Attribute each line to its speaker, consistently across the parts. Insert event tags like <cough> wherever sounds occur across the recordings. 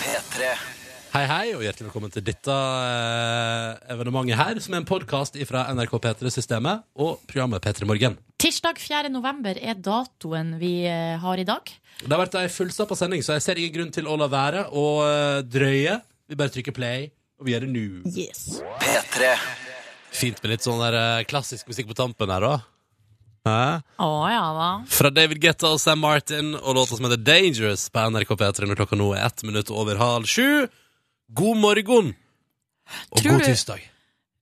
Speaker 1: P3.
Speaker 2: Hei, hei, og hjertelig velkommen til dette eh, evenementet her, som er en podkast fra NRK P3-systemet og programmet P3 Morgen.
Speaker 3: Tirsdag 4. november er datoen vi eh, har i dag.
Speaker 2: Det har vært ei fullstappa sending, så jeg ser ingen grunn til å la være å eh, drøye. Vi bare trykker play, og vi gjør det nå.
Speaker 1: P3.
Speaker 2: Fint med litt sånn der eh, klassisk musikk på tampen her, da. Hæ?
Speaker 3: Å ja da.
Speaker 2: Fra David Guetta og Sam Martin og låta som heter Dangerous på NRK P3 når klokka nå er ett minutt over halv sju. God morgen! Og
Speaker 3: Tror
Speaker 2: god
Speaker 3: du-
Speaker 2: tirsdag.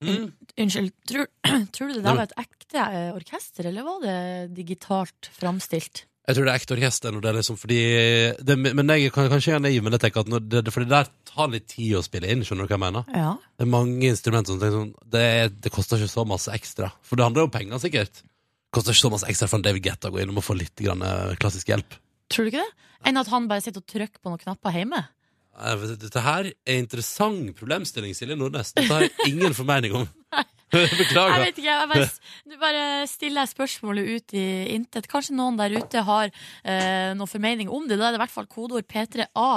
Speaker 3: Unnskyld, tror, <clears throat> tror du
Speaker 2: Nei,
Speaker 3: det der
Speaker 2: men-
Speaker 3: var et ekte eh, orkester, eller var det digitalt framstilt?
Speaker 2: Jeg tror det er ekte orkester når det er liksom fordi det, Men jeg kan kanskje jeg er naiv, men jeg tenker at når det, for det der tar litt tid å spille inn, skjønner du hva jeg mener?
Speaker 3: Ja.
Speaker 2: Det er mange instrumenter som tenker sånn det, det koster ikke så masse ekstra. For det handler jo om penger, sikkert. Det koster ikke så masse ekstra for en David Guetta å gå innom og få litt grann eh, klassisk hjelp.
Speaker 3: Tror du ikke det? Enn at han bare sitter og trykker på noen knapper hjemme?
Speaker 2: Eh, vet du, Dette her er interessant problemstilling, Silje Nordnes. Dette har jeg ingen formening
Speaker 3: <laughs>
Speaker 2: om.
Speaker 3: Jeg
Speaker 2: <laughs> Beklager.
Speaker 3: vet ikke, jeg bare, du bare stiller jeg spørsmålet ut i intet. Kanskje noen der ute har eh, noen formening om det. Da er det i hvert fall kodeord P3A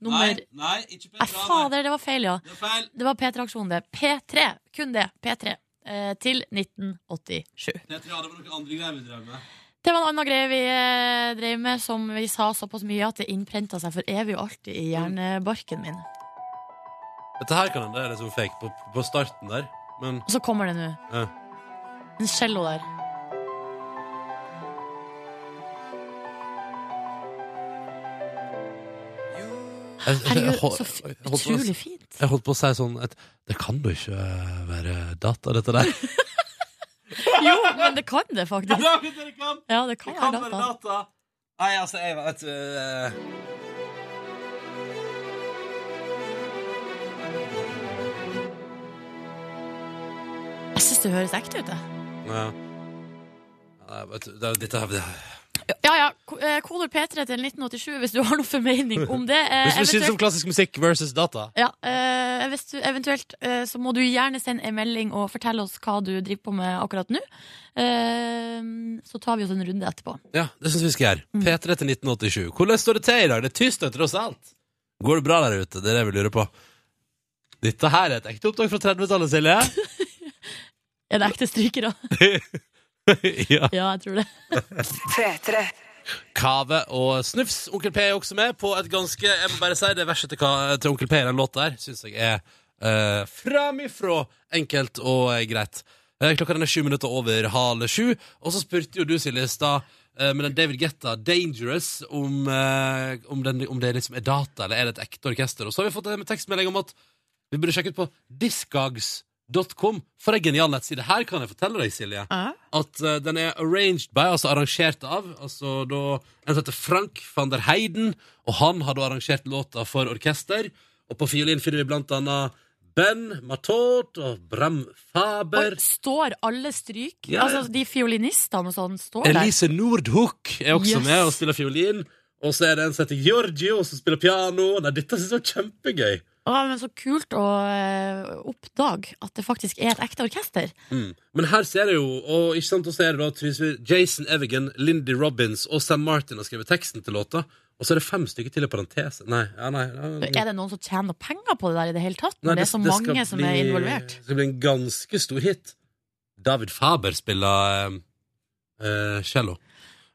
Speaker 3: nummer
Speaker 2: nei, ikke
Speaker 3: Nei, fader, det var feil, ja.
Speaker 2: Det er feil.
Speaker 3: Det var P3-aksjonen, det. P3, kun det. P3. Eh, til 1987.
Speaker 2: Petra, det var noen andre greier vi drev med.
Speaker 3: Det var en annen greie vi eh, drev med som vi sa såpass mye at det innprenta seg for evig og alltid i hjernebarken min.
Speaker 2: Dette her kan hende det er liksom fake på, på starten der, men
Speaker 3: Og så kommer det nå.
Speaker 2: Ja.
Speaker 3: En cello
Speaker 2: <laughs>
Speaker 3: der.
Speaker 2: Jeg- jeg- jeg
Speaker 3: Herregud,
Speaker 2: hol-
Speaker 3: så f-
Speaker 2: jeg holdt på å-
Speaker 3: utrolig fint.
Speaker 2: Jeg holdt på å si sånn at det kan jo ikke være data, dette der.
Speaker 3: Jo, men det kan det
Speaker 2: <laughs>
Speaker 3: faktisk. Ja, det kan være data.
Speaker 2: Nei, altså, jeg vet
Speaker 3: Jeg syns det høres ekte ut, jeg.
Speaker 2: Dette her det-
Speaker 3: Ja ja, ko- eh, kodeord P3 til 1987 hvis du har noen formening om det. Eh,
Speaker 2: Hvis du
Speaker 3: eventuelt-
Speaker 2: synes om klassisk musikk versus data
Speaker 3: Ja, eh, hvis du, eventuelt eh, så må du gjerne sende en melding og fortelle oss hva du driver på med akkurat nå. Eh, så tar vi oss en runde etterpå.
Speaker 2: Ja, det synes vi skal gjøre. P3 til 1987. Hvordan står det til i dag? Det er tirsdag, tross alt. Går det bra der ute? Det er det vi lurer på. Dette her er et ekte opptak fra 30-tallet, <laughs> Silje.
Speaker 3: Er det ekte strykere?
Speaker 2: ja.
Speaker 3: <laughs> ja, jeg tror det.
Speaker 2: Kave og Snufs. Onkel P er også med på et ganske Jeg må bare si det verset til, Ka- til Onkel P i den låta der, syns jeg er uh, framifrå enkelt og eh, greit. Eh, klokka den er sju minutter over halv sju, og så spurte jo du, Silje, i stad eh, med den David Guetta, 'Dangerous', om, eh, om, den, om det liksom er data, eller er det et ekte orkester. Og så har vi fått en tekstmelding om at vi burde sjekke ut på discogs.com, for ei genial nettside. Her kan jeg fortelle deg, Silje at eh, den er arranged by, altså arrangert av, altså da en som heter Frank van der Heiden, og han har da arrangert låta for orkester, og på fiolin finner vi blant annet Ben Matot og Bram Faber.
Speaker 3: Oi, står alle stryk?
Speaker 2: Ja, ja.
Speaker 3: Altså de fiolinistene og sånn står der?
Speaker 2: Elise Nordhook er også
Speaker 3: Yes.
Speaker 2: med og spiller fiolin, og så er det en som heter Giorgio som spiller piano. Nei, dette synes jeg var kjempegøy.
Speaker 3: Å, men så kult å eh, oppdage at det faktisk er et ekte orkester.
Speaker 2: Mm. Men her ser jeg jo, og ikke sant, og så er det da Trysvir, Jason Evigan, Lindy Robbins og Sam Martin har skrevet teksten til låta. Og så er det fem stykker til i parentes. Nei, ja, nei, ja,
Speaker 3: Er det noen som tjener noe penger på det der i det hele tatt?
Speaker 2: nei,
Speaker 3: Når det er så
Speaker 2: skal
Speaker 3: mange som er
Speaker 2: bli-
Speaker 3: involvert.
Speaker 2: Det skal bli en ganske stor hit. David Faber spiller eh, eh, cello.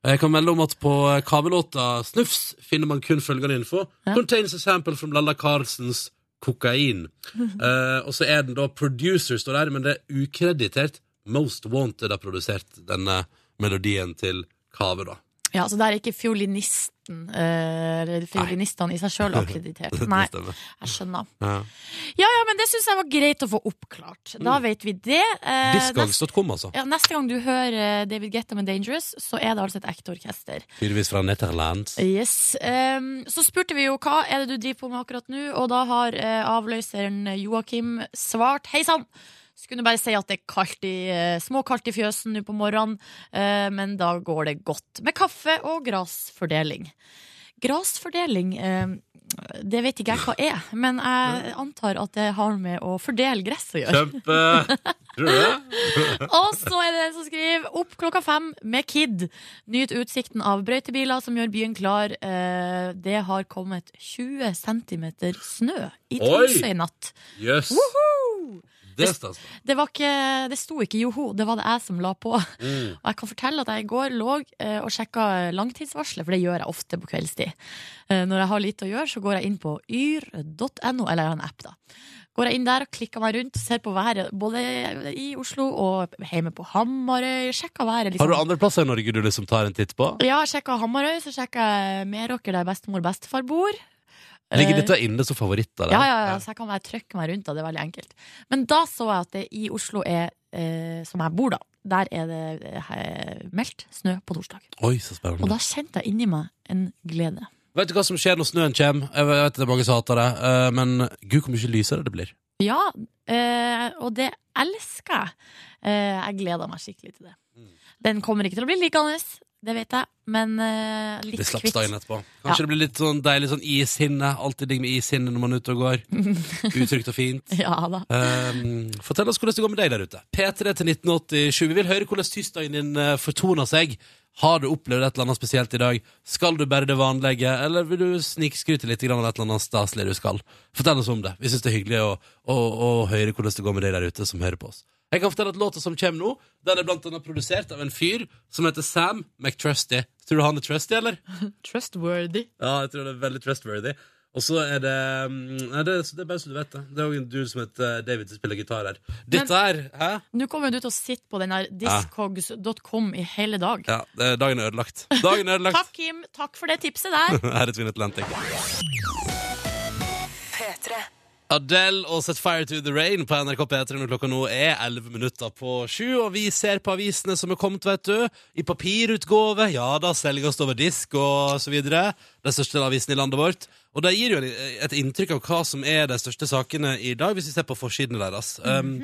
Speaker 2: Jeg kan melde om at på kavelåta Snufs finner man kun følgende info.
Speaker 3: Ja.
Speaker 2: Contains a sample from Lalla Carlsens
Speaker 3: <laughs>
Speaker 2: kokain. Eh, og så er den da producer, står der, men det er ukreditert. Most Wanted har produsert denne melodien til Kave, da.
Speaker 3: Ja, så der er ikke fiolinisten eh, Eller fiolinistene i seg
Speaker 2: <laughs>
Speaker 3: sjøl akkreditert. Nei,
Speaker 2: Det stemmer.
Speaker 3: jeg skjønner.
Speaker 2: Ja.
Speaker 3: Ja, ja, men det syns jeg var greit å få oppklart. Da vet vi det. Eh, nest-
Speaker 2: Discogs.com, altså.
Speaker 3: ja, neste gang du hører eh, David Guetta med Dangerous, så er det altså et ekte orkester.
Speaker 2: Tydeligvis fra Netherlands.
Speaker 3: Yes. Ehm, så spurte vi jo hva er det du driver på med akkurat nå, og da har eh, avløseren Joakim svart hei sann. Skulle bare si at det er kaldt i, eh, småkaldt i fjøsen nå på morgenen, eh, men da går det godt med kaffe og grasfordeling. Grasfordeling, eh, det vet ikke jeg hva er, men jeg antar at det har med å fordele gress å gjøre.
Speaker 2: Kjempe
Speaker 3: <laughs>
Speaker 2: Tror du det?
Speaker 3: Og så er det den som skriver opp klokka fem med Kid. Nyt utsikten av brøytebiler som gjør byen klar. Eh, det har kommet 20 cm snø
Speaker 2: Oi!
Speaker 3: i Tromsø i natt.
Speaker 2: Jøss. Det stas.
Speaker 3: Det, var ikke, det sto ikke joho, det var det jeg som la på. Og
Speaker 2: Mm.
Speaker 3: jeg kan fortelle at jeg i går lå eh, og sjekka langtidsvarselet, for det gjør jeg ofte på kveldstid. Eh, Når jeg har lite å gjøre, så går jeg inn på yr.no, eller jeg har en app, da. Går jeg inn der og klikker meg rundt, ser på været både i Oslo og hjemme på Hamarøy. Sjekker været.
Speaker 2: Har
Speaker 3: Liksom.
Speaker 2: du andre plasser i Norge du liksom tar en titt på?
Speaker 3: Ja, jeg sjekka Hamarøy, så sjekka jeg Meråker, der bestemor og bestefar bor.
Speaker 2: Ligger dette inne som favoritter?
Speaker 3: Eh. Ja, ja, ja, så jeg kan bare trykke meg rundt, da. Det er veldig enkelt. Men da så jeg at det i Oslo er, eh, som jeg bor, da, der er det eh, meldt snø på torsdag.
Speaker 2: Oi, så
Speaker 3: Og
Speaker 2: spennende.
Speaker 3: da kjente jeg inni meg en glede.
Speaker 2: Vet du hva som skjer når snøen kommer? Jeg vet det er mange som hater det, eh, men gud, hvor mye lysere det blir.
Speaker 3: Ja, eh, og det elsker jeg. Eh, jeg gleder meg skikkelig til det. Den kommer ikke til å bli liggende, det vet jeg, men eh, litt
Speaker 2: Det slapp
Speaker 3: kvitt.
Speaker 2: dagen etterpå.
Speaker 3: Ja.
Speaker 2: Kanskje det blir litt sånn deilig sånn ishinne. Alltid digg med ishinne når man er ute og
Speaker 3: <laughs>
Speaker 2: går. Utrygt og fint.
Speaker 3: <laughs> Ja da.
Speaker 2: Um, fortell oss hvordan det går med deg der ute. P3 til 1987. Vi vil høre hvordan tirsdagen din eh, fortoner seg. Har du opplevd et eller annet spesielt i dag? Skal du bare det vanlige, eller vil du snikskryte litt grann av et eller annet staselig du skal? Fortell oss om det. Vi syns det er hyggelig å, å, å høre hvordan det går med deg der ute som hører på oss. Jeg kan fortelle at Låta som kommer nå, den er blant annet produsert av en fyr som heter Sam McTrusty. Tror du han er trusty, eller?
Speaker 3: Trustworthy.
Speaker 2: Ja, jeg tror det er veldig trustworthy. Og så er det mm, Nei, det, det er bare så du vet det. Det er òg en dude som heter eh, David som spiller gitar her. Dette her Hæ?
Speaker 3: Nå kommer jo du til å sitte på den der discogs.com i hele dag.
Speaker 2: Ja, det, dagen er ødelagt. Dagen er
Speaker 3: Takk,
Speaker 2: ødelagt.
Speaker 3: Kim. Takk for det tipset der.
Speaker 2: her er Twin Atlantic. Adele og Set Fire to the Rain på NRK P3 når klokka nå er 11 minutter på sju. Og vi ser på avisene som er kommet, vet du. I papirutgave. Ja da, selges over disk og så videre. Den største avisen i landet vårt. Og det gir jo et inntrykk av hva som er de største sakene i dag, hvis vi ser på forsidene deres. Um,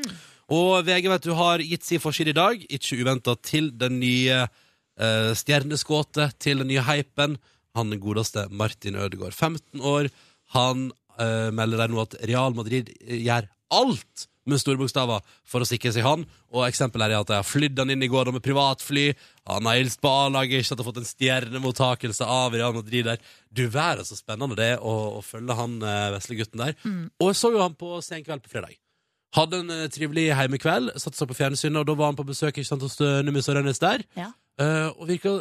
Speaker 2: og VG vet du har gitt sin forside i dag, ikke uventa til den nye uh, stjerneskuddet, til den nye hypen. Han den godeste Martin Ødegaard, 15 år. Han eh, melder der nå at Real Madrid eh, gjør alt med store bokstaver for å sikre seg han. Og eksempel er at de har flydd han inn i går da med privatfly. Han har hilst på A-laget, ikke at han har fått en stjernemottakelse av Real Madrid der. Du verden så spennende det er å, å følge han eh, vesle gutten der. Og jeg så jo han på sen kveld på fredag. Hadde en eh, trivelig heimekveld, satte seg på fjernsynet, og da var han på besøk ikke sant, hos eh, Numis og Rønnes der.
Speaker 3: Ja.
Speaker 2: Eh, og virka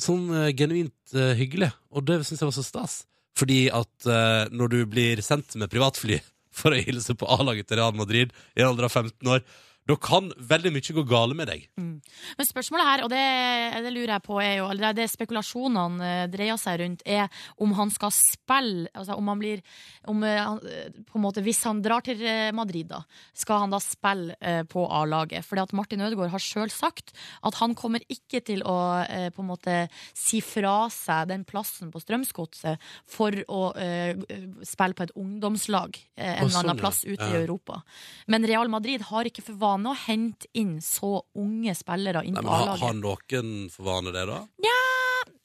Speaker 2: sånn eh, genuint eh, hyggelig, og det syns jeg var så stas. Fordi at eh, når du blir sendt med privatfly <laughs> for å hilse på A-laget til Real Madrid i en alder av 15 år, da kan veldig mye gå gale med deg.
Speaker 3: Men spørsmålet her, og det, det lurer jeg på, er jo, eller det spekulasjonene eh, dreier seg rundt, er om han skal spille altså om han blir, om, eh, han, eh, på en måte, Hvis han drar til eh, Madrid, da, skal han da spille eh, på A-laget? Fordi at Martin Ødegaard har sjøl sagt at han kommer ikke til å eh, på en måte si fra seg den plassen på Strømsgodset for å eh, spille på et ungdomslag
Speaker 2: Å,
Speaker 3: eh, en eller
Speaker 2: sånn,
Speaker 3: annen
Speaker 2: ja.
Speaker 3: plass ute
Speaker 2: Ja.
Speaker 3: i Europa. Men Real Madrid har ikke for vane å hente inn så unge spillere inn
Speaker 2: Nei,
Speaker 3: på
Speaker 2: men ha,
Speaker 3: A-laget.
Speaker 2: Har noen for vane det, da?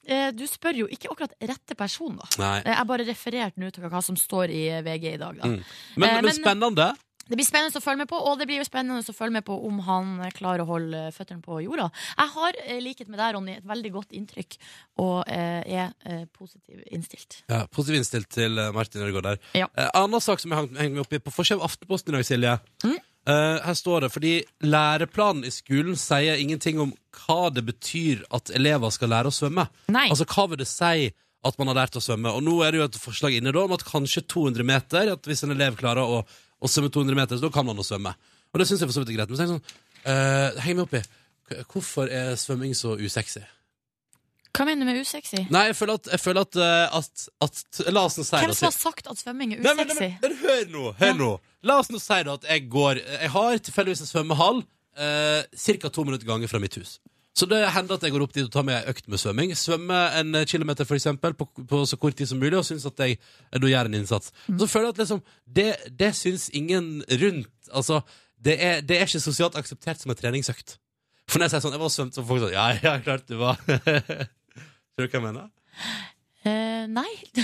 Speaker 3: Eh, Du spør jo ikke akkurat rette person, da.
Speaker 2: Nei.
Speaker 3: Eh, Jeg bare refererte nå til hva som står i VG i dag, da.
Speaker 2: Mm. Men,
Speaker 3: Eh,
Speaker 2: men,
Speaker 3: men-
Speaker 2: spennende.
Speaker 3: Det blir spennende å følge med på, og det blir jo spennende å følge med på om han eh, klarer å holde eh, føttene på jorda. Jeg har, eh, likhet med deg, Ronny, et veldig godt inntrykk og eh, er eh, positiv innstilt.
Speaker 2: Ja, Positiv innstilt til eh, Martin Ødegaard der.
Speaker 3: Ja.
Speaker 2: Eh, annen sak som jeg hang- hengte meg opp i på forskjell av Aftenposten i dag, Silje.
Speaker 3: Mm.
Speaker 2: Eh, her står det fordi læreplanen i skolen sier ingenting om hva det betyr at elever skal lære å svømme.
Speaker 3: Nei.
Speaker 2: Altså, hva vil det si at man har lært å svømme? Og nå er det jo et forslag inne da om at kanskje 200 meter, at hvis en elev klarer å, å svømme 200 meter, så da kan man å svømme. Og det syns jeg for så vidt er greit. Men så er jeg sånn, eh, heng meg opp i K- hvorfor er svømming så usexy?
Speaker 3: Hva mener du med usexy?
Speaker 2: Nei, jeg føler at, jeg føler at, eh, at, at La oss nå si
Speaker 3: Hvem
Speaker 2: det.
Speaker 3: som har sagt at svømming er
Speaker 2: Nei, men,
Speaker 3: usexy?
Speaker 2: men, men hør nå, hør
Speaker 3: Ja.
Speaker 2: nå. La oss nå si da at jeg går Jeg har tilfeldigvis en svømmehall eh, Cirka to minutter gange fra mitt hus Så det hender at jeg går opp dit og tar med en økt med svømming Svømmer en eh, kilometer for eksempel på, på så kort tid som mulig Og synes at jeg eh, da gjør en innsats
Speaker 3: Mm.
Speaker 2: Så føler jeg at liksom Det, det synes ingen rundt Altså, det er, det er ikke sosialt akseptert som en treningsøkt For når jeg <laughs>
Speaker 3: <laughs>
Speaker 2: sier sånn, jeg var svømt Så får folk sånn, ja, ja, klart du var Tror du hva jeg mener?
Speaker 3: Eh, Eh, nei.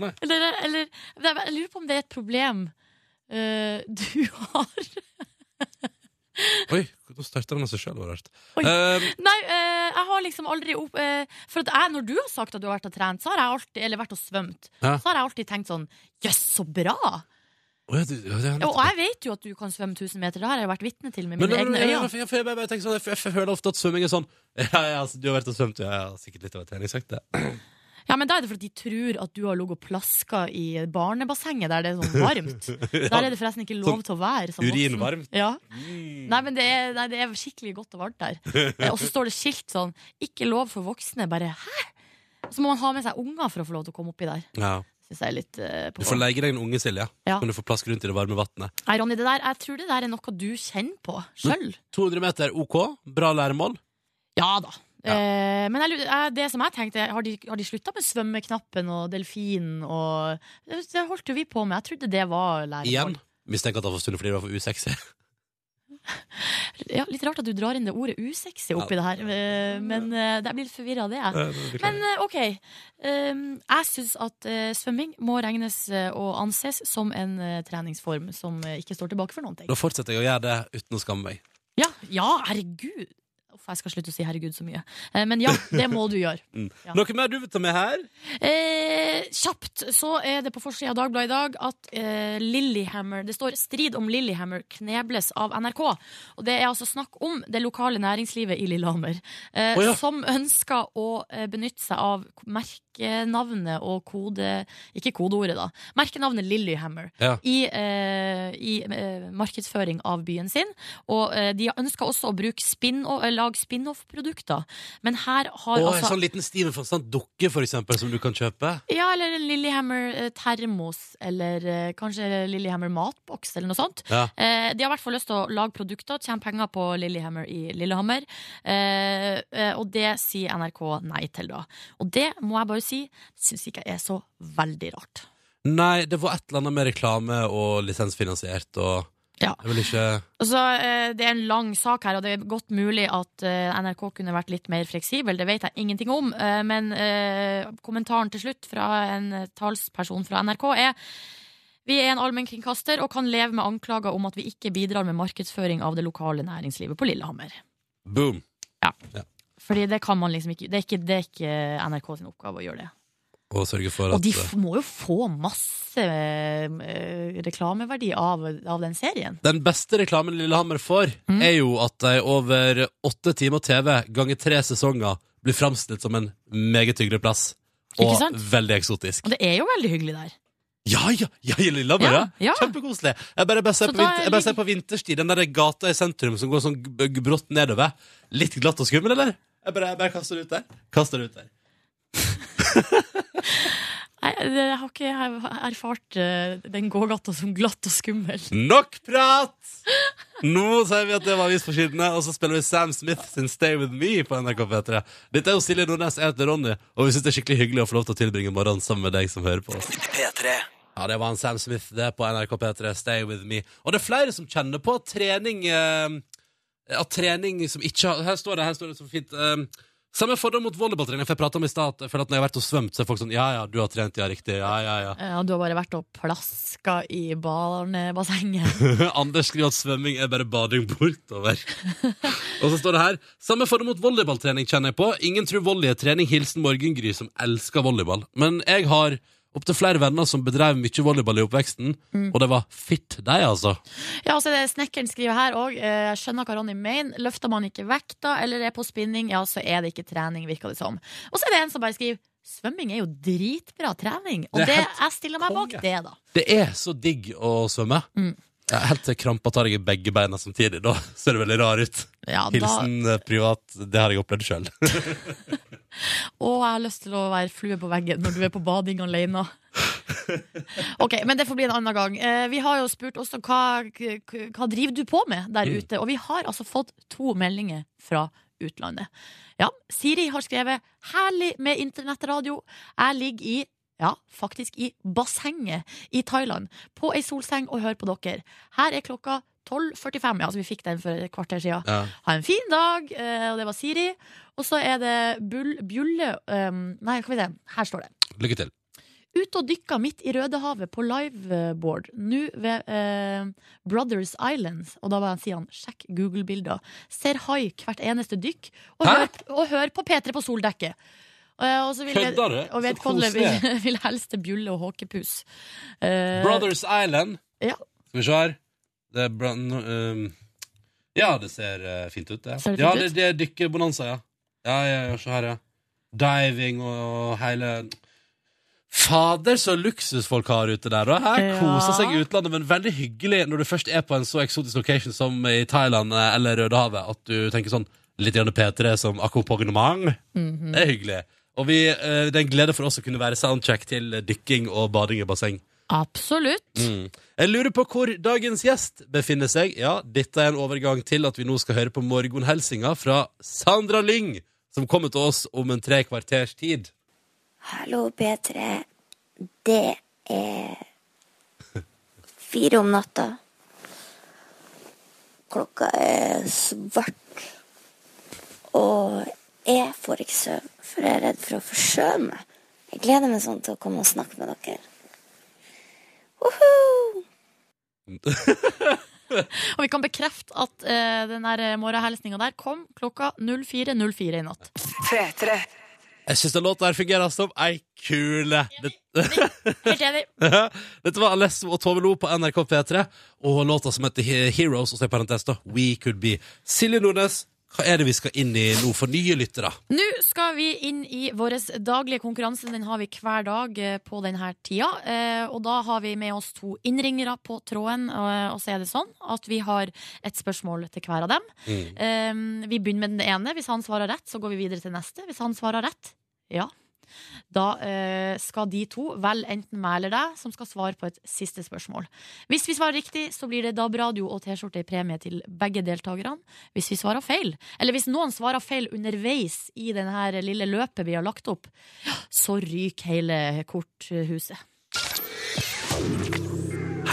Speaker 2: Nei.
Speaker 3: <laughs> eller, eller det er- Jeg lurer på om det er et problem eh, du har. <laughs>
Speaker 2: Oi, nå starter den av seg sjøl.
Speaker 3: Oi.
Speaker 2: Um,
Speaker 3: Nei, eh, jeg har liksom aldri opp, eh, For at jeg, når du har sagt at du har vært og trent, så har jeg alltid, eller vært og svømt,
Speaker 2: Ja.
Speaker 3: så har jeg alltid tenkt sånn Jøss, så bra!
Speaker 2: oh, ja, du, ja, det er
Speaker 3: Og
Speaker 2: nettopp-
Speaker 3: jeg vet jo at du kan svømme 1000 meter, det har jeg jo vært vitne til med
Speaker 2: Men
Speaker 3: mine
Speaker 2: nei,
Speaker 3: egne
Speaker 2: nei, nei,
Speaker 3: øyne.
Speaker 2: for jeg, for jeg, bare- bare tenker sånn, jeg, jeg, jeg hører ofte at svømming er sånn <laughs> Ja, ja, altså, du har vært og svømt, ja, ja, sikkert litt av en treningsøkt, det.
Speaker 3: Ja, men Da er det fordi de tror at du har ligget og plaska i barnebassenget der det er
Speaker 2: <laughs>
Speaker 3: sånn varmt. Der er det forresten ikke lov
Speaker 2: Sånn
Speaker 3: til å være som voksen.
Speaker 2: Urinvarmt. Mm.
Speaker 3: Ja. Nei, men det er, nei, det er skikkelig godt og varmt der. Eh, Og så står det skilt sånn 'Ikke lov for voksne'. Bare hæ?! Og Så må man ha med seg unger for å få lov til å komme oppi der.
Speaker 2: Ja.
Speaker 3: Synes jeg er litt eh,
Speaker 2: Du
Speaker 3: på
Speaker 2: får leie deg en unge, Silje.
Speaker 3: Ja.
Speaker 2: Kan du få plaske rundt i det varme vannet.
Speaker 3: Nei, Ronny, det der, jeg tror det der er noe du kjenner på sjøl.
Speaker 2: 200 meter, OK. Bra læremål.
Speaker 3: Ja da.
Speaker 2: Ja.
Speaker 3: Eh, men jeg, lurer- eh, det som jeg tenkte, har de, har de slutta med svømmeknappen og delfinen og Det det holdt jo vi på med. Jeg trodde det var læremål.
Speaker 2: Igjen. Mistenker at det var for stund fordi det var for <laughs> usexy.
Speaker 3: Ja, litt rart at du drar inn det ordet usexy oppi det her, eh, men eh, jeg blir litt forvirra av det. Jeg. Men eh, OK. Um, jeg syns at eh, svømming må regnes eh, og anses som en eh, treningsform som eh, ikke står tilbake for noen ting.
Speaker 2: Da fortsetter jeg å gjøre det uten å skamme meg.
Speaker 3: Ja, ja herregud! Uff, jeg skal slutte å si 'herregud' så mye. Eh, Men ja, det må du gjøre. Ja.
Speaker 2: Noe mer du vil ta med her?
Speaker 3: Eh, kjapt så er det på forsida av Dagbladet i dag at eh, Lillehammer Det står 'Strid om Lillehammer knebles av NRK'. Og det er altså snakk om det lokale næringslivet i Lillehammer. Eh,
Speaker 2: Å ja.
Speaker 3: Som ønsker å eh, benytte seg av k- merkenavnet og kode Ikke kodeordet, da. Merkenavnet Lillehammer.
Speaker 2: Ja.
Speaker 3: I, eh, i eh, markedsføring av byen sin. Og eh, de ønsker også å bruke spin og, lage spin-off-produkter. Men her har
Speaker 2: Og en
Speaker 3: altså
Speaker 2: sånn liten Steven Fonstad dukke, for eksempel, som du kan kjøpe.
Speaker 3: ja, eller en Lillehammer eh, termos, eller eh, kanskje Lillehammer matboks, eller noe sånt.
Speaker 2: Ja.
Speaker 3: Eh, de har i hvert fall lyst til å lage produkter, tjene penger på Lillehammer i Lillehammer. Eh, eh, og det sier NRK nei til, da. Og det må jeg bare si, syns ikke jeg er så veldig rart.
Speaker 2: Nei, det var et eller annet med reklame og lisensfinansiert og
Speaker 3: Ja.
Speaker 2: Jeg vil ikke
Speaker 3: Altså, eh, det er en lang sak her, og det er godt mulig at eh, NRK kunne vært litt mer fleksibel. Det vet jeg ingenting om. eh, Men eh, kommentaren til slutt fra en eh, talsperson fra NRK er vi er en allmennkringkaster og kan leve med anklager om at vi ikke bidrar med markedsføring av det lokale næringslivet på Lillehammer.
Speaker 2: Boom.
Speaker 3: Fordi det kan man liksom ikke Det er ikke, det er ikke NRK sin oppgave å gjøre det.
Speaker 2: Og sørge for
Speaker 3: Og
Speaker 2: at
Speaker 3: de f må jo få masse eh, reklameverdi av, av den serien.
Speaker 2: Den beste reklamen Lillehammer får,
Speaker 3: Mm.
Speaker 2: er jo at de over åtte timer TV ganger tre sesonger blir framstilt som en meget hyggelig plass. Og
Speaker 3: Ikke sant?
Speaker 2: veldig eksotisk.
Speaker 3: Og det er jo veldig hyggelig der.
Speaker 2: Ja, ja! ja i Lillehammer, ja!
Speaker 3: Ja, ja.
Speaker 2: Kjempekoselig. Jeg bare, bare ser
Speaker 3: Så
Speaker 2: på,
Speaker 3: da
Speaker 2: vinter, jeg bare
Speaker 3: ligger-
Speaker 2: ser på vinterstid, den der gata i sentrum som går sånn g- g- brått nedover. Litt glatt og skummel, eller? Jeg bare, jeg bare kaster det ut der. Kaster det ut der.
Speaker 3: Nei, det- jeg har ikke jeg har erfart eh, den gågata som glatt og skummel.
Speaker 2: Nok prat! Nå sier vi at det var avis på sidene, og så spiller vi Sam Smith sin Stay With Me på NRK P3. Dette er jo Silje Nordnes, jeg heter Ronny, og vi syns det er skikkelig hyggelig å få lov til å tilbringe morgenen sammen med deg som hører på oss. Ja, det var en Sam Smith det på NRK P3, Stay With Me. Og det er flere som kjenner på at trening eh, At trening som ikke har Her står det, her står det så fint. Eh, samme fordom mot volleyballtrening, for jeg prata om i stad at jeg føler at når jeg har vært og svømt, så er folk sånn Ja, ja, du har trent, ja, riktig. Ja, ja, ja.
Speaker 3: Ja, du har bare vært og plaska i barnebassenget. <laughs>
Speaker 2: <laughs> Anders skriver at svømming er bare bading bortover. <laughs> og så står det her Samme form mot volleyballtrening kjenner jeg på. Ingen tror volley er trening. Hilsen Morgengry, som elsker volleyball. Men jeg har opptil flere venner som bedrev mye volleyball i oppveksten,
Speaker 3: Mm.
Speaker 2: og det var fitt de, altså.
Speaker 3: Ja, og så er det Snekkeren skriver her òg. Jeg skjønner hva Ronny mener. Løfter man ikke vekta eller er på spinning, ja, så er det ikke trening, virker det som. Og så er det en som bare skriver Svømming er jo dritbra trening. Og
Speaker 2: Det er
Speaker 3: det,
Speaker 2: helt
Speaker 3: jeg stiller meg bak
Speaker 2: konge.
Speaker 3: det, da.
Speaker 2: Det er så digg å svømme.
Speaker 3: Mm.
Speaker 2: Ja, Helt til krampa tar deg i begge beina samtidig. Da <laughs> ser det veldig rar ut.
Speaker 3: Ja, da
Speaker 2: Hilsen eh, privat. Det har jeg opplevd sjøl.
Speaker 3: Og jeg har lyst til å være flue på veggen når du er på bading alene. Ok, men det får bli en annen gang. Eh, vi har jo spurt også hva, k- k- hva driver du på med der
Speaker 2: Mm.
Speaker 3: ute, og vi har altså fått to meldinger fra utlandet. Ja, Siri har skrevet 'herlig med internettradio'. Jeg ligger i ja, faktisk i bassenget i Thailand, på ei solseng og hører på dere. Her er klokka 12.45. Ja, altså vi fikk den for et kvarter siden.
Speaker 2: Ja.
Speaker 3: Ha en fin dag, eh, og det var Siri. Og så er det Bull, Bjulle um, Nei, skal vi se. Her står
Speaker 2: <laughs>
Speaker 3: det.
Speaker 2: Lykke til.
Speaker 3: Ute og dykka midt i Rødehavet på liveboard, nå ved eh, Brothers Islands. Og da var han, sier han, sjekk Google-bilder. Ser hai hvert eneste dykk, og,
Speaker 2: Hæ?
Speaker 3: hør, og hør på P3 på soldekket. Eh, og så vil jeg-
Speaker 2: Kødder du? Så
Speaker 3: Og vedkommende vil, <laughs>
Speaker 2: koselig.
Speaker 3: vil helst til bjulle og håkepus. Eh,
Speaker 2: Brothers Island.
Speaker 3: Ja.
Speaker 2: Skal vi se her. Det er bra, nå, ehm, ja, det ser eh, fint ut, det.
Speaker 3: Ser det
Speaker 2: ja, det,
Speaker 3: fint
Speaker 2: det er dykkerbonanza, ja. Ja, ja, ja, se her, ja. Diving og hele Fader, så luksus folk har ute der. Og her
Speaker 3: Ja.
Speaker 2: koser seg i utlandet, men veldig hyggelig når du først er på en så eksotisk location som i Thailand eh, eller Rødehavet, at du tenker sånn litt grann P3 som akkompagnement.
Speaker 3: mhm.
Speaker 2: Det er hyggelig. Og vi, eh, det er en glede for oss å kunne være soundcheck til dykking og bading i basseng.
Speaker 3: Absolutt.
Speaker 2: Mm. Jeg lurer på hvor dagens gjest befinner seg. Ja, dette er en overgang til at vi nå skal høre på morgenhelsinga fra Sandra Lyng, som kommer til oss om en tre kvarters tid.
Speaker 1: Hallo, P3. Det er fire om natta. Klokka er svart. Og jeg får ikke søvn, for jeg er redd for å forsøve meg. Jeg gleder meg sånn til å komme og snakke med dere. Woohoo!
Speaker 3: Og vi kan bekrefte at eh, den der morgenhilsninga der kom klokka 04.04 i natt.
Speaker 2: Jeg syns den låta her fungerer som ei kule. Det- <laughs>
Speaker 3: Helt enig.
Speaker 2: Dette var Alesso og Tove Lo på NRK P3, og låta som heter He- Heroes, og så i parentes da, We Could Be. Silje Nordnes, hva er det vi skal inn i nå for nye lyttere?
Speaker 3: Nå skal vi inn i vår daglige konkurranse. Den har vi hver dag eh, på denne tida. Eh, Og da har vi med oss to innringere på tråden. eh, Og så er det sånn at vi har et spørsmål til hver av dem.
Speaker 2: Mm.
Speaker 3: Eh, Vi begynner med den ene. Hvis han svarer rett, så går vi videre til neste. Hvis han svarer rett, ja. Da eh, skal de to velge enten meg eller deg, som skal svare på et siste spørsmål. Hvis vi svarer riktig, så blir det DAB-radio og T-skjorte i premie til begge deltakerne. Hvis vi svarer feil, eller hvis noen svarer feil underveis i denne her lille løpet vi har lagt opp, så ryker hele korthuset.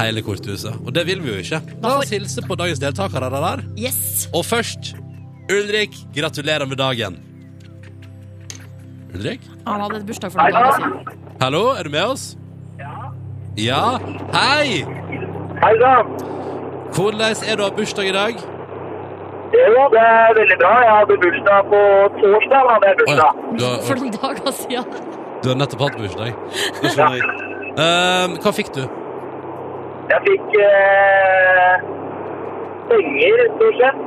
Speaker 2: Hele korthuset. Og det vil vi jo ikke. La oss hilse på dagens deltakere. da, der.
Speaker 3: Yes!
Speaker 2: Og først, Ulrik, gratulerer med dagen. Ulrik?
Speaker 3: Han hadde et bursdag for noen dager siden.
Speaker 2: Hallo, er du med oss? Ja. Ja? Hei!
Speaker 4: Hei da.
Speaker 2: Hvordan er du av bursdag i dag?
Speaker 4: Jo, det er veldig bra. Jeg hadde bursdag på torsdag. hadde jeg
Speaker 2: Oi,
Speaker 4: bursdag.
Speaker 2: du,
Speaker 3: <laughs> For
Speaker 2: har,
Speaker 3: noen dager siden.
Speaker 2: du har nettopp hatt bursdag. Det skjønner jeg. Ehm, hva fikk du?
Speaker 4: Jeg fikk eh, penger, stort sett.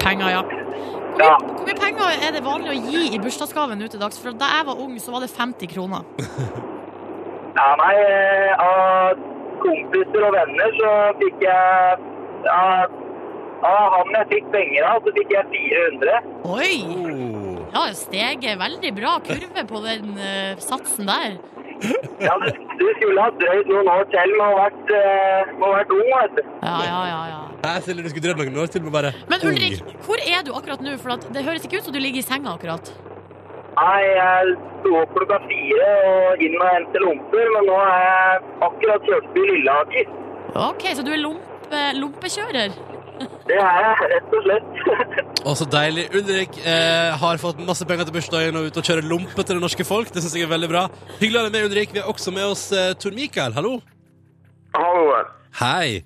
Speaker 3: Penger, ja. Hvor mye,
Speaker 4: Ja.
Speaker 3: hvor mye penger er det vanlig å gi i bursdagsgave nå til dags? For da jeg var ung, så var det 50 kroner.
Speaker 4: Ja, nei, eh, av kompiser og venner så fikk jeg av, av han jeg fikk penger av, så fikk jeg 400.
Speaker 3: Oi!
Speaker 2: Oh.
Speaker 3: Ja, steget er veldig bra kurve på den eh, satsen der.
Speaker 4: Ja, du, du skulle ha drøyd noen år til med å ha vært, eh, med å ha vært ung, vet du.
Speaker 3: Ja, ja, ja, ja.
Speaker 2: Jeg Silje, du skulle drømt noen år til med bare
Speaker 3: Men Ulrik,
Speaker 2: Ung.
Speaker 3: hvor er du akkurat nå? For at det høres ikke ut som du ligger i senga akkurat.
Speaker 4: Nei, jeg sto opp klokka fire og inn og hente lomper, men nå har jeg akkurat kjørt til Lilleaker.
Speaker 3: Ok, så du er lompe, lompekjører?
Speaker 4: Det er jeg rett og slett.
Speaker 2: Å, så deilig. Ulrik eh, har fått masse penger til bursdagen og er ute og kjører lompe til det norske folk. Det synes jeg er veldig bra. Hyggelig å ha deg med, Ulrik. Vi har også med oss eh, Tor Mikael. Hallo.
Speaker 4: <laughs> Hallo.
Speaker 2: Hei.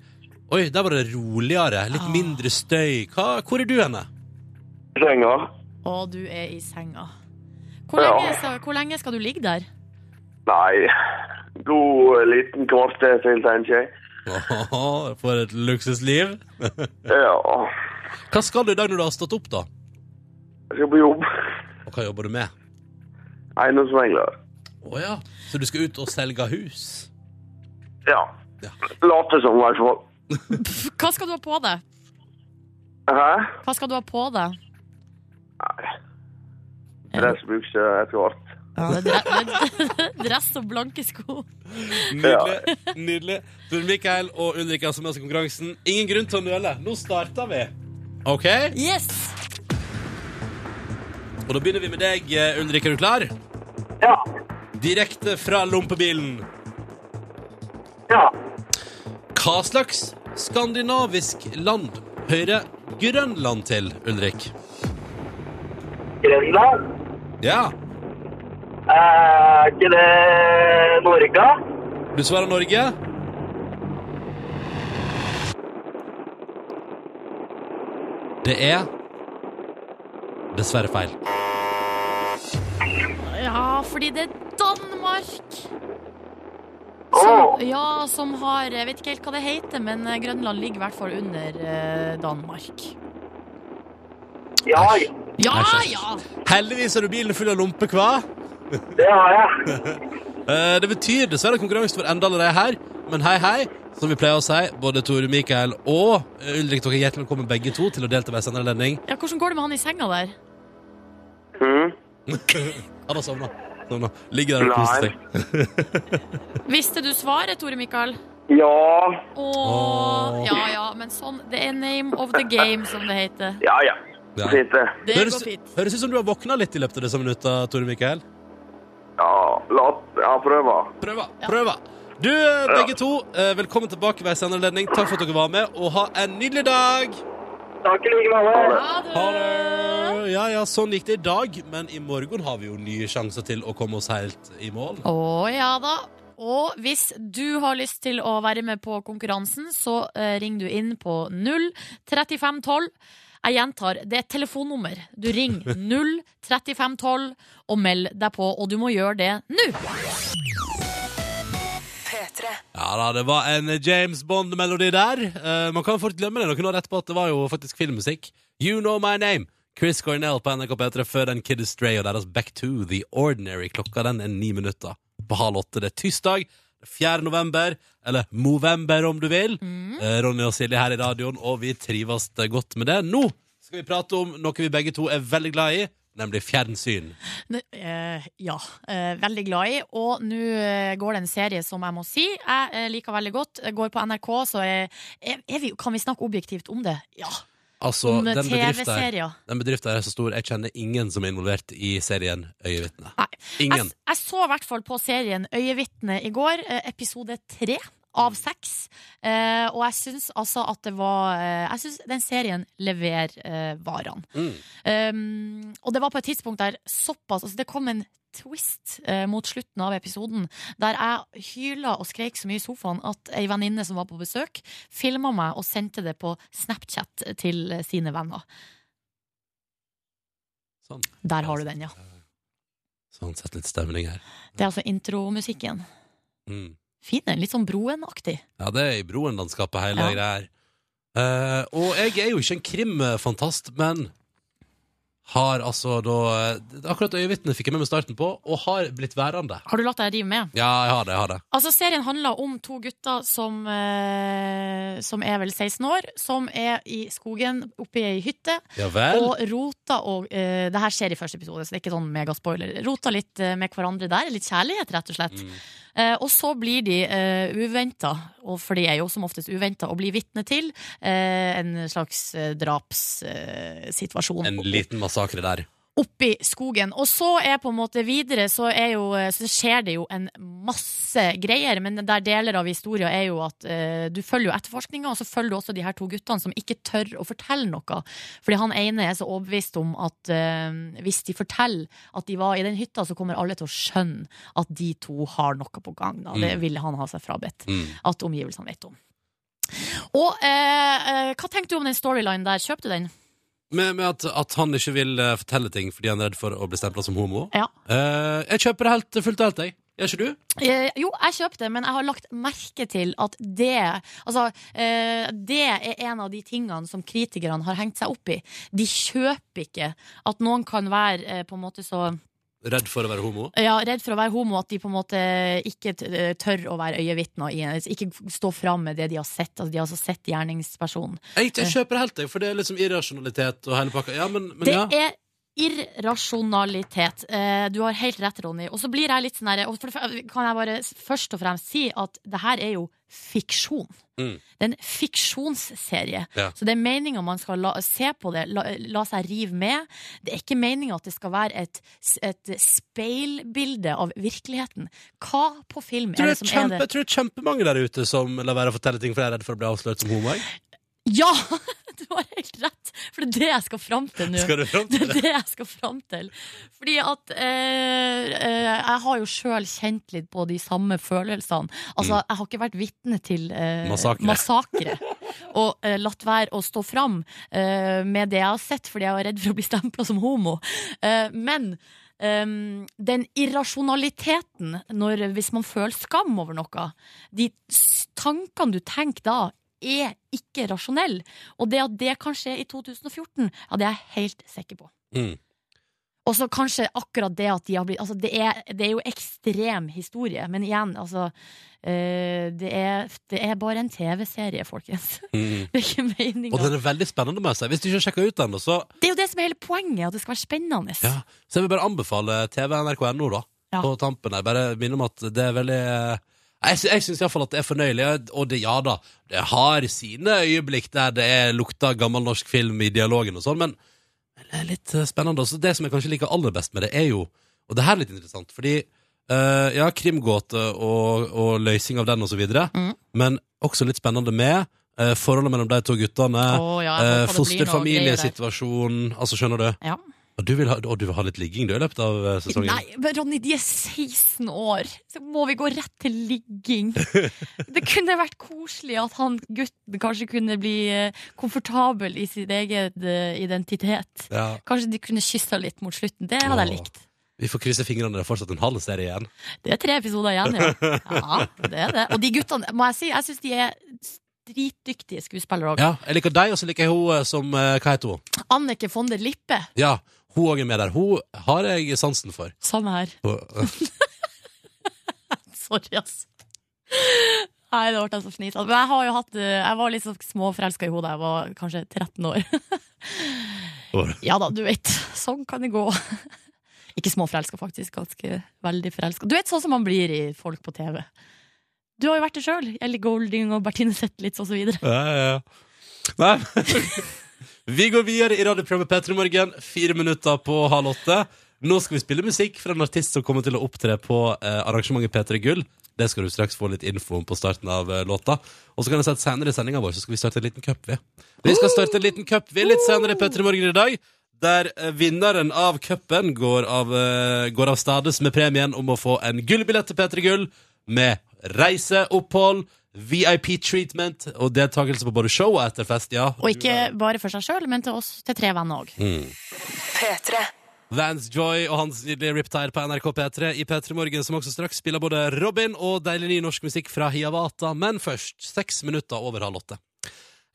Speaker 2: Oi, der var det roligere. Litt
Speaker 3: Ah.
Speaker 2: mindre støy. Hva, hvor er du henne?
Speaker 4: Senga?
Speaker 3: Å, du er i senga. Hvor lenge, skal, hvor lenge skal du ligge der?
Speaker 4: Nei, god eh, liten kvarter til, tenker jeg.
Speaker 2: Åhåhå, For et luksusliv.
Speaker 4: Ja,
Speaker 2: Hva skal du i dag når du har stått opp, da?
Speaker 4: jeg skal på jobb.
Speaker 2: Og hva jobber du med?
Speaker 4: Eiendomsmegler.
Speaker 2: Å ja, så du skal ut og selge hus?
Speaker 4: Ja.
Speaker 2: Ja.
Speaker 4: Late som, i hvert fall.
Speaker 3: Pff, Hva skal du ha på deg?
Speaker 4: Hæ?
Speaker 3: Hva skal du ha på deg?
Speaker 4: Dressbukse etter hvert.
Speaker 3: Ja, det er dre- det er <laughs> dress og blanke sko.
Speaker 2: Nydelig. nydelig Tor Mikael og Ulrik er også med oss i konkurransen. Ingen grunn til å nøle. Nå starter vi. OK?
Speaker 3: Yes!
Speaker 2: Og da begynner vi med deg, eh, Ulrik. Er du klar?
Speaker 4: Ja.
Speaker 2: Direkte fra lompebilen.
Speaker 4: Ja.
Speaker 2: Hva slags skandinavisk land hører Grønland til, Ulrik?
Speaker 4: Grønland?
Speaker 2: Ja.
Speaker 4: Eh, Er ikke det Norge?
Speaker 2: Du svarer Norge. Det er dessverre feil.
Speaker 3: Ja, fordi det er Danmark
Speaker 4: Åh.
Speaker 3: som, ja, som har Jeg vet ikke helt hva det heter, men eh, Grønland ligger i hvert fall under eh, Danmark.
Speaker 4: Ja,
Speaker 3: Ja,
Speaker 2: Æsj, æsj.
Speaker 3: ja!
Speaker 2: Heldigvis har du bilen full av lompe, hva?
Speaker 4: det har jeg.
Speaker 2: Eh, Det betyr dessverre at konkurransen vår ender allerede her. Men hei, hei, som vi pleier å si, både Tore Mikael og eh, Ulrik, dere er hjertelig velkommen begge to til å delta ved senere anledning.
Speaker 3: ja hvordan går det med han i senga der?
Speaker 4: Mhm.
Speaker 2: Han har sovna. Sovna. Ligger der og koser seg.
Speaker 3: Visste du svaret, Tore Mikael?
Speaker 4: Ja,
Speaker 3: Åh, ja ja, men sånn Det er name of the game, som det heter.
Speaker 4: ja, ja.
Speaker 2: Ja.
Speaker 4: Fint det.
Speaker 3: Det
Speaker 2: Høres,
Speaker 3: går fint.
Speaker 2: høres ut som du har våkna litt i løpet av disse minutta, Tore Mikael.
Speaker 4: Ja, la ja, prøve.
Speaker 2: Prøva, prøva. Du, eh, begge to, eh, velkommen tilbake ved senere anledning. Takk for at dere var med, og ha en nydelig dag!
Speaker 4: Takk i like måte.
Speaker 3: Ha det!
Speaker 2: Ha det! Ja, ja, sånn gikk det i dag, men i morgen har vi jo nye sjanser til å komme oss helt i mål.
Speaker 3: Å ja da. Og hvis du har lyst til å være med på konkurransen, så eh, ringer du inn på 03512. Jeg gjentar, det er et telefonnummer. Du <laughs> ringer 03512 og meld deg på, og du må gjøre det nå!
Speaker 2: Ja da, det var en James Bond-melodi der. Eh, man kan fort glemme det noen år etterpå at det var jo faktisk filmmusikk. You Know My Name. Chris Cornell på NRK P3 før den Kid Stray og deres Back to The Ordinary. Klokka den er ni minutter på halv åtte. Det er tirsdag. 4. november, eller Movember om du vil. Eh, Ronny og Silje her i radioen, og vi trives det godt med det. Nå skal vi prate om noe vi begge to er veldig glad i, nemlig fjernsyn.
Speaker 3: N- eh, ja, eh, veldig glad i. Og nå eh, går det en serie som jeg må si jeg eh, liker veldig godt. Jeg går på NRK, så er, er, er vi, kan vi snakke objektivt om det? Ja.
Speaker 2: Altså,
Speaker 3: Om eh,
Speaker 2: den bedriften her-
Speaker 3: TV-serier.
Speaker 2: den bedriften her er så stor, jeg kjenner ingen som er involvert i serien Øyevitne.
Speaker 3: Nei.
Speaker 2: Ingen.
Speaker 3: Jeg, jeg så i hvert fall på serien Øyevitne i går, eh, episode tre av seks. Eh, og jeg syns altså at det var eh, Jeg syns den serien leverer eh, varene.
Speaker 2: Mm.
Speaker 3: Um, og det var på et tidspunkt der såpass altså Det kom en twist eh, mot slutten av episoden der jeg hyla og skreik så mye i sofaen at ei venninne som var på besøk, filma meg og sendte det på Snapchat til eh, sine venner.
Speaker 2: Sånn.
Speaker 3: Der har du den, ja.
Speaker 2: Sånn, sett litt stemning her.
Speaker 3: Det er altså intromusikken.
Speaker 2: Mm.
Speaker 3: Fin den. Litt sånn Broen-aktig.
Speaker 2: Ja, det er i Broen-landskapet hele
Speaker 3: Ja.
Speaker 2: greia her. Eh, og jeg er jo ikke en krimfantast, men har altså da eh, Akkurat Øyevitne fikk jeg med meg starten på, og har blitt værende.
Speaker 3: Har du latt deg rive med?
Speaker 2: Ja, jeg har det. jeg har det
Speaker 3: Altså, serien handler om to gutter som, eh, som er vel 16 år, som er i skogen oppe i ei hytte
Speaker 2: Ja vel?
Speaker 3: og roter og eh, Det her skjer i første episode, så det er ikke sånn megaspoiler. Roter litt eh, med hverandre der. Litt kjærlighet, rett og slett.
Speaker 2: Mm.
Speaker 3: Eh, og så blir de uh, uventa, og for de er jo som oftest uventa, og blir vitne til eh, en slags drapssituasjon.
Speaker 2: En liten massakre der.
Speaker 3: oppi skogen. Og så er på en måte videre så, er jo, eh, så skjer det jo en masse greier, men der deler av historien er jo at eh, du følger jo etterforskninga, og så følger du også de her to guttene som ikke tør å fortelle noe. Fordi han ene er så overbevist om at eh, hvis de forteller at de var i den hytta, så kommer alle til å skjønne at de to har noe på gang. Da. Det
Speaker 2: Mm.
Speaker 3: ville han ha seg frabedt
Speaker 2: Mm.
Speaker 3: at omgivelsene vet om. Og eh, eh, hva tenkte du om den storylinen der? Kjøpte du den?
Speaker 2: Med, med at, at han ikke vil eh, fortelle ting fordi han er redd for å bli stempla som homo.
Speaker 3: Ja.
Speaker 2: Eh, jeg kjøper det helt, fullt og helt, jeg. Gjør ikke du?
Speaker 3: Eh, jo, jeg kjøpte, men jeg har lagt merke til at det Altså, eh, det er en av de tingene som kritikerne har hengt seg opp i. De kjøper ikke at noen kan være eh, på en måte så
Speaker 2: Redd for å være homo?
Speaker 3: ja, redd for å være homo at de på en måte ikke t- eh, tør å være øyevitner. i en- Ikke stå fram med det de har sett. Altså, de har altså sett gjerningspersonen.
Speaker 2: Jeg, jeg kjøper det helt, jeg, for det er liksom irrasjonalitet og hele pakka. Ja, men, men
Speaker 3: Eh. Det
Speaker 2: ja.
Speaker 3: er irrasjonalitet. Eh, Du har helt rett, Ronny. Og så blir jeg litt sånn her, og for, for- Kan jeg bare s- først og fremst si at det her er jo fiksjon.
Speaker 2: Mm.
Speaker 3: Det er en fiksjonsserie.
Speaker 2: Ja.
Speaker 3: Så det er meninga man skal la, se på det, la, la seg rive med. Det er ikke meninga at det skal være et, s- et speilbilde av virkeligheten. Hva på film
Speaker 2: Jeg tror
Speaker 3: er det
Speaker 2: det
Speaker 3: som
Speaker 2: er kjempe,
Speaker 3: er det?
Speaker 2: jeg tror det er kjempemange der ute som lar være å fortelle ting fordi de er redd for å bli avslørt som homo. jeg.
Speaker 3: Ja! <laughs> Du har helt rett, for det er det jeg skal fram til nå.
Speaker 2: Skal du fram
Speaker 3: Det
Speaker 2: til
Speaker 3: er <laughs> det jeg skal fram til. Fordi at eh, eh, jeg har jo sjøl kjent litt på de samme følelsene.
Speaker 2: Mm.
Speaker 3: Altså, jeg har ikke vært vitne til eh,
Speaker 2: Massakre.
Speaker 3: massakre. Og eh, latt være å stå fram eh, med det jeg har sett, fordi jeg var redd for å bli stempla som homo. Eh, men ehm, den irrasjonaliteten når, hvis man føler skam over noe, de s- tankene du tenker da, er ikke rasjonelle. Og det at det kan skje i 2014, ja, det er jeg helt sikker på.
Speaker 2: Mm.
Speaker 3: Og så kanskje akkurat det at de har blitt altså det, er, det er jo ekstrem historie, men igjen, altså eh, det, er, det er bare en TV-serie, folkens. <laughs>
Speaker 2: Mm.
Speaker 3: Det er ikke meninga.
Speaker 2: Og den er veldig spennende, må jeg si. Hvis du ikke har sjekka ut den, så,
Speaker 3: Det er jo det som er hele poenget, at det skal være spennende.
Speaker 2: ja. så jeg vil bare anbefale TV NRK.no, da.
Speaker 3: Ja.
Speaker 2: På tampen der. Bare minne om at det er veldig eh, Jeg, sy- jeg syns iallfall at det er fornøyelig. Og det, ja da, det har sine øyeblikk der det er lukta gammel norsk film i dialogen og sånn, men men det er litt eh, spennende. Også det som jeg kanskje liker aller best med det, er jo Og det her er litt interessant, fordi eh, ja, krimgåte og, og løsning av den og så videre,
Speaker 3: Mm.
Speaker 2: men også litt spennende med eh, forholdet mellom de to guttene.
Speaker 3: Å, ja,
Speaker 2: Eh,
Speaker 3: jeg håper det blir noe greier der.
Speaker 2: Fosterfamiliesituasjonen, altså skjønner du?
Speaker 3: Ja.
Speaker 2: Og du vil ha, og du vil ha litt ligging du i løpet av eh, sesongen?
Speaker 3: Nei, men Ronny, de er 16 år, så må vi gå rett til ligging.
Speaker 2: <laughs>
Speaker 3: Det kunne vært koselig at han gutten kanskje kunne bli eh, komfortabel i sin egen eh, identitet.
Speaker 2: Ja.
Speaker 3: Kanskje de kunne kyssa litt mot slutten. Det hadde jeg
Speaker 2: Åh.
Speaker 3: likt.
Speaker 2: Vi får krysse fingrene, det er fortsatt en halv serie igjen.
Speaker 3: Det er tre episoder igjen, ja. ja det er det. Og de guttene, må jeg si, jeg syns de er dritdyktige skuespillere òg.
Speaker 2: Ja, Jeg liker deg, og så liker jeg hun eh, som eh, Hva heter hun?
Speaker 3: Annike Fonder Lippe,
Speaker 2: Ja, hun òg er med der. Hun har jeg sansen for.
Speaker 3: samme her.
Speaker 2: Hun- <laughs>
Speaker 3: Sorry, ass. Nei, det ble jeg så fnisete. Men jeg har jo hatt eh, Jeg var litt så småforelska i henne da jeg var kanskje 13 år. <laughs>
Speaker 2: År.
Speaker 3: Ja da, du vet. Sånn kan det gå. Ikke småforelska, faktisk. Ganske veldig forelska. Du vet sånn som man blir i folk på TV. Du har jo vært det sjøl. Ellie Golding og Bertine Zetlitz og så videre
Speaker 2: Ja, ja, ja. Nei Vi går videre i radioprogrammet Petter i morgen. Fire minutter på halv åtte. Nå skal vi spille musikk fra en artist som kommer til å opptre på eh, arrangementet P3 Gull. Det skal du straks få litt info om på starten av eh, låta. Og så kan jeg si at senere i sendinga vår så skal vi starte en liten cup, vi. Vi skal starte en liten cup, vi, litt senere i Petter i morgen i dag. Der eh, vinneren av cupen går, av, eh, går av stades med premien om å få en gullbillett til P3 Gull med reise, opphold, VIP-treatment og deltakelse på både show og etterfest, ja.
Speaker 3: Og ikke bare for seg sjøl, men til oss, til tre venner òg.
Speaker 2: Vance Joy og hans nydelige Riptide på NRK P3 i P3 Morgen, som også straks spiller både Robin og deilig ny norsk musikk fra Hiawatha. Men først, seks minutter over halv åtte.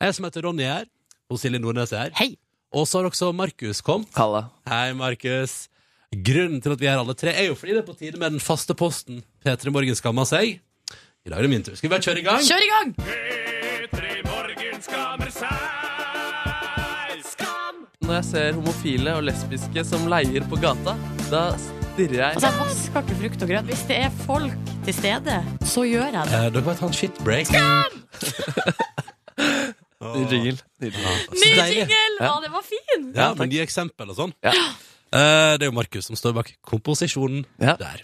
Speaker 2: Jeg som heter Ronny er her, og Silje Nordnes er her.
Speaker 3: Hei!
Speaker 2: Og så har også Markus kommet.
Speaker 5: Kalle.
Speaker 2: Hei, Markus. Grunnen til at vi er her alle tre, er jo fordi det er på tide med den faste posten. P3 Morgen skammer seg. I dag er det min tur. Skal vi bare kjøre i gang?
Speaker 3: Kjør i gang!
Speaker 5: Når jeg ser homofile og lesbiske som leier på gata, da stirrer jeg
Speaker 3: Altså, jeg vasker ikke frukt og grønt. Hvis det er folk til stede, så gjør jeg det.
Speaker 2: Eh, dere må ta en shitbreak.
Speaker 5: Ny jingle. Ny jingle.
Speaker 3: Ny
Speaker 2: Så deilig.
Speaker 3: jingle! Ja, den var fin!
Speaker 2: Ja,
Speaker 5: Ja,
Speaker 2: men
Speaker 5: takk.
Speaker 2: gi eksempel og sånn.
Speaker 5: Ja.
Speaker 2: Eh, det er jo Markus som står bak komposisjonen
Speaker 5: Ja.
Speaker 2: der.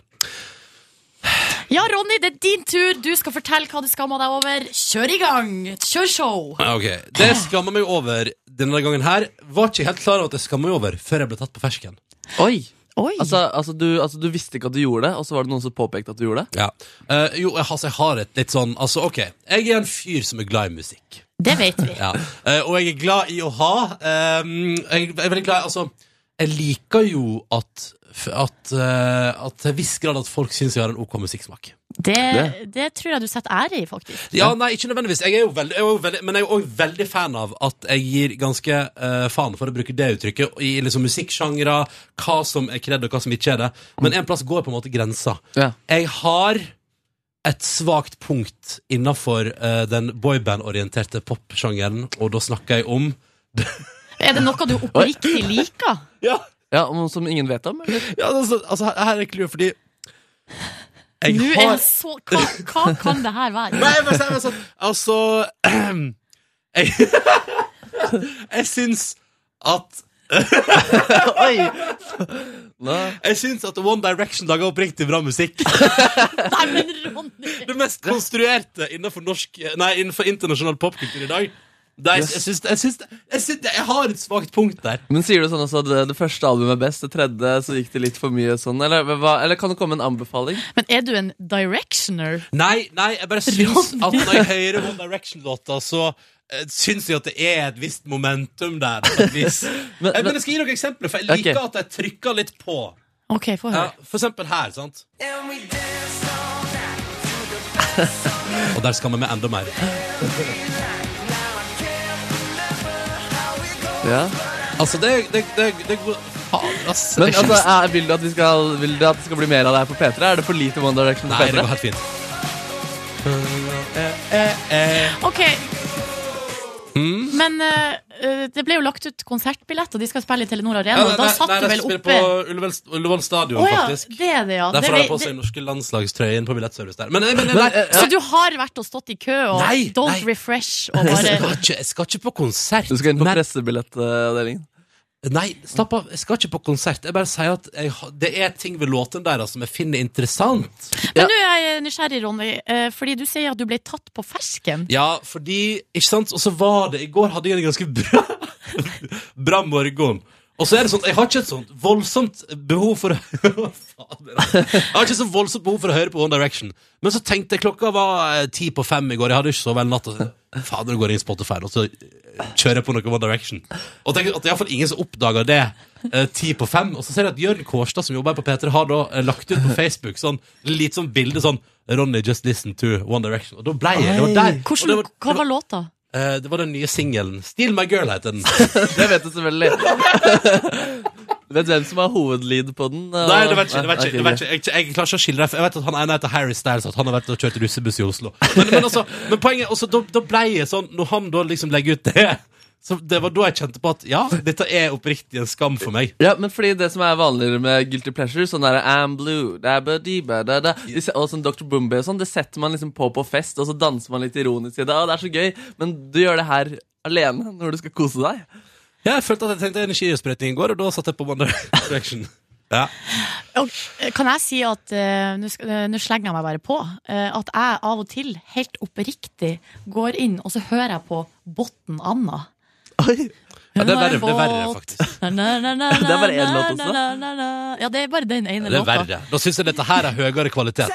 Speaker 3: Ja, Ronny, det er din tur. Du skal fortelle hva du skammer deg over. Kjør i gang! Kjør show!
Speaker 2: Ja, Ok, Det skammer meg over denne gangen her. Var ikke helt klar over at jeg skammer meg over før jeg ble tatt på fersken.
Speaker 5: Oi!
Speaker 3: Oi!
Speaker 5: Altså, altså, du, altså, du visste ikke at du gjorde det, og så var det noen som påpekte at du gjorde det?
Speaker 2: Ja. Eh, jo, jeg, altså, jeg har et litt sånn Altså, ok, jeg er en fyr som er glad i musikk.
Speaker 3: det vet vi.
Speaker 2: Ja. Eh, og jeg er glad i å ha eh, Jeg er veldig glad i Altså, jeg liker jo at at, eh, at til en viss grad at folk syns jeg har en ok musikksmak.
Speaker 3: Det, det tror jeg du setter ære i, faktisk.
Speaker 2: Ja, nei, ikke nødvendigvis. Jeg er jo veldig, jeg er jo veldig Men jeg er jo også veldig fan av at jeg gir ganske eh, faen for å bruke det uttrykket i liksom musikksjangre, hva som er kred, og hva som ikke er det. Men en plass går på en måte grensa.
Speaker 5: Ja.
Speaker 2: Jeg har et svakt punkt innafor den boyband-orienterte popsjangeren, og da snakker jeg om
Speaker 3: Er det noe du oppriktig liker?
Speaker 2: Ja,
Speaker 5: Ja, og noen som ingen vet om? Eller?
Speaker 2: ja altså, altså, her her er clouet, fordi <laughs> jeg
Speaker 3: Nå er
Speaker 2: har
Speaker 3: jeg så, hva, hva kan det her være?
Speaker 2: Nei, jeg bare sier bare sånn Altså <clears throat> Jeg, jeg <laughs> syns at
Speaker 5: Oi! Nå.
Speaker 2: Jeg syns at One Direction lager oppriktig bra musikk.
Speaker 3: Nei, men Ronny!
Speaker 2: Det mest konstruerte innenfor, norsk, nei, innenfor internasjonal popkultur i dag. Nei, jeg syns, jeg, syns, jeg, syns, jeg har et svakt punkt der.
Speaker 5: Men sier du sånn også at det, det første albumet er best, det tredje så gikk det litt for mye sånn, eller, hva, eller kan det komme en anbefaling?
Speaker 3: Men er du en directioner?
Speaker 2: Nei, nei, jeg bare syns at når jeg hører One Direction-låta, så eh, syns jeg at det er et visst momentum der. På et
Speaker 3: <laughs>
Speaker 2: vis.
Speaker 5: Men-
Speaker 2: Eh, men jeg skal gi dere eksempler, for jeg liker
Speaker 5: Ok.
Speaker 2: at jeg trykker litt på.
Speaker 3: Ok, få
Speaker 2: Ja,
Speaker 3: høre.
Speaker 2: for eksempel her, sant? <laughs> Og der skal vi med
Speaker 3: <laughs>
Speaker 2: enda mer.
Speaker 5: Ja.
Speaker 2: Altså, det, det, det, det går Faen, ass.
Speaker 5: Men
Speaker 2: Jeg skjønner-
Speaker 5: altså, er, vil, du at vi skal, vil du at det skal bli mer av det her på P3? Er det for lite One Direction på
Speaker 2: Nei, det
Speaker 5: P3?
Speaker 2: går helt fint.
Speaker 3: Ok. Men eh, eh, det ble jo lagt ut konsertbilletter, de skal spille i Telenor Arena. og da satt du
Speaker 2: de
Speaker 3: vel
Speaker 2: spiller
Speaker 3: oppe
Speaker 2: på Ullevål, Ullevål stadion,
Speaker 3: Å ja,
Speaker 2: faktisk.
Speaker 3: det er det, ja. Det
Speaker 2: Derfor har de på
Speaker 3: ble-
Speaker 2: seg
Speaker 3: det,
Speaker 2: den norske landslagstrøyen på billettservice der. Men, men, men,
Speaker 5: Men,
Speaker 2: nei,
Speaker 5: eh,
Speaker 3: så du har vært og stått i kø og
Speaker 2: Nei,
Speaker 3: don't
Speaker 2: nei. <laughs>
Speaker 3: refresh og
Speaker 2: jeg,
Speaker 3: bare
Speaker 2: skal ikke, jeg skal ikke på konsert.
Speaker 5: Du skal inn på
Speaker 2: Nei,
Speaker 5: pressebillettavdelingen.
Speaker 2: Nei, slapp av. Jeg skal ikke på konsert. Jeg bare sier at jeg, ha- det er ting ved låten der altså, som jeg finner interessant.
Speaker 5: Ja.
Speaker 3: Men nå er jeg nysgjerrig, Ronny, eh, fordi du sier at du ble tatt på fersken.
Speaker 2: Ja, fordi Ikke sant? Og så var det I går hadde jeg en ganske bra Bra <laughs> morgen. Og så er det sånn Jeg har ikke et sånt voldsomt behov for å <laughs> Hva faen er det? Jeg har ikke så voldsomt behov for å høre på One Direction. Men så tenkte jeg klokka var eh, ti på fem i går. Jeg hadde ikke sovet hele natta. så tenkte jeg, Fader, nå går jeg inn i Spotify, og så eh, kjører jeg på noe One Direction. Og tenk at det er iallfall ingen som oppdager det eh, ti på fem. Og så ser jeg at Jørn Kårstad, som jobber her på P3, har da eh, lagt ut på Facebook sånn litt sånn bilde sånn Ronny, just listen to One Direction. Og da ble jeg. Det var der. og
Speaker 3: Hvordan,
Speaker 2: det var-
Speaker 3: hva var låta?
Speaker 2: Eh, det var den nye singelen. Steal My Girl heter den.
Speaker 5: <laughs> Det vet du selvfølgelig. Du vet hvem som er hovedlead på den? og-
Speaker 2: Nei, det vet ikke, det vet
Speaker 5: Nei,
Speaker 2: ikke, det <laughs>
Speaker 5: ok,
Speaker 2: vet ikke. Jeg, jeg klarer ikke å skille det. for Jeg vet at han ene heter Harry Styles, at han har vært og kjørt russebuss i Oslo. Men, men, altså, men poenget også, da, da ble jeg sånn Når han da liksom legger ut det så Det var da jeg kjente på at ja, dette er oppriktig en skam for meg.
Speaker 5: Ja, men fordi det som er vanligere med Guilty Pleasure, sånn der I'm blue, dabba diba da da de se- Og sånn Dr. Boombe og sånn, det setter man liksom på på fest, og så danser man litt ironisk i det, og det er så gøy, men du gjør det her alene når du skal kose deg.
Speaker 2: Ja, jeg følte at jeg trengte energiutsprøytning i går, og da satte jeg på One <laughs> Direction. Ja.
Speaker 3: Og, eh, Kan jeg si at eh, Nå sk- eh, nå slenger jeg meg bare på. eh, at jeg av og til, helt oppriktig, går inn og så hører jeg på Botten Anna.
Speaker 5: Oi.
Speaker 2: Ja, det er verre, det er verre faktisk. <laughs>
Speaker 3: Det
Speaker 5: er bare én låt også.
Speaker 3: Ja, det er bare den ene
Speaker 2: Det er
Speaker 3: låta.
Speaker 2: verre. Da syns jeg dette her er høyere kvalitet.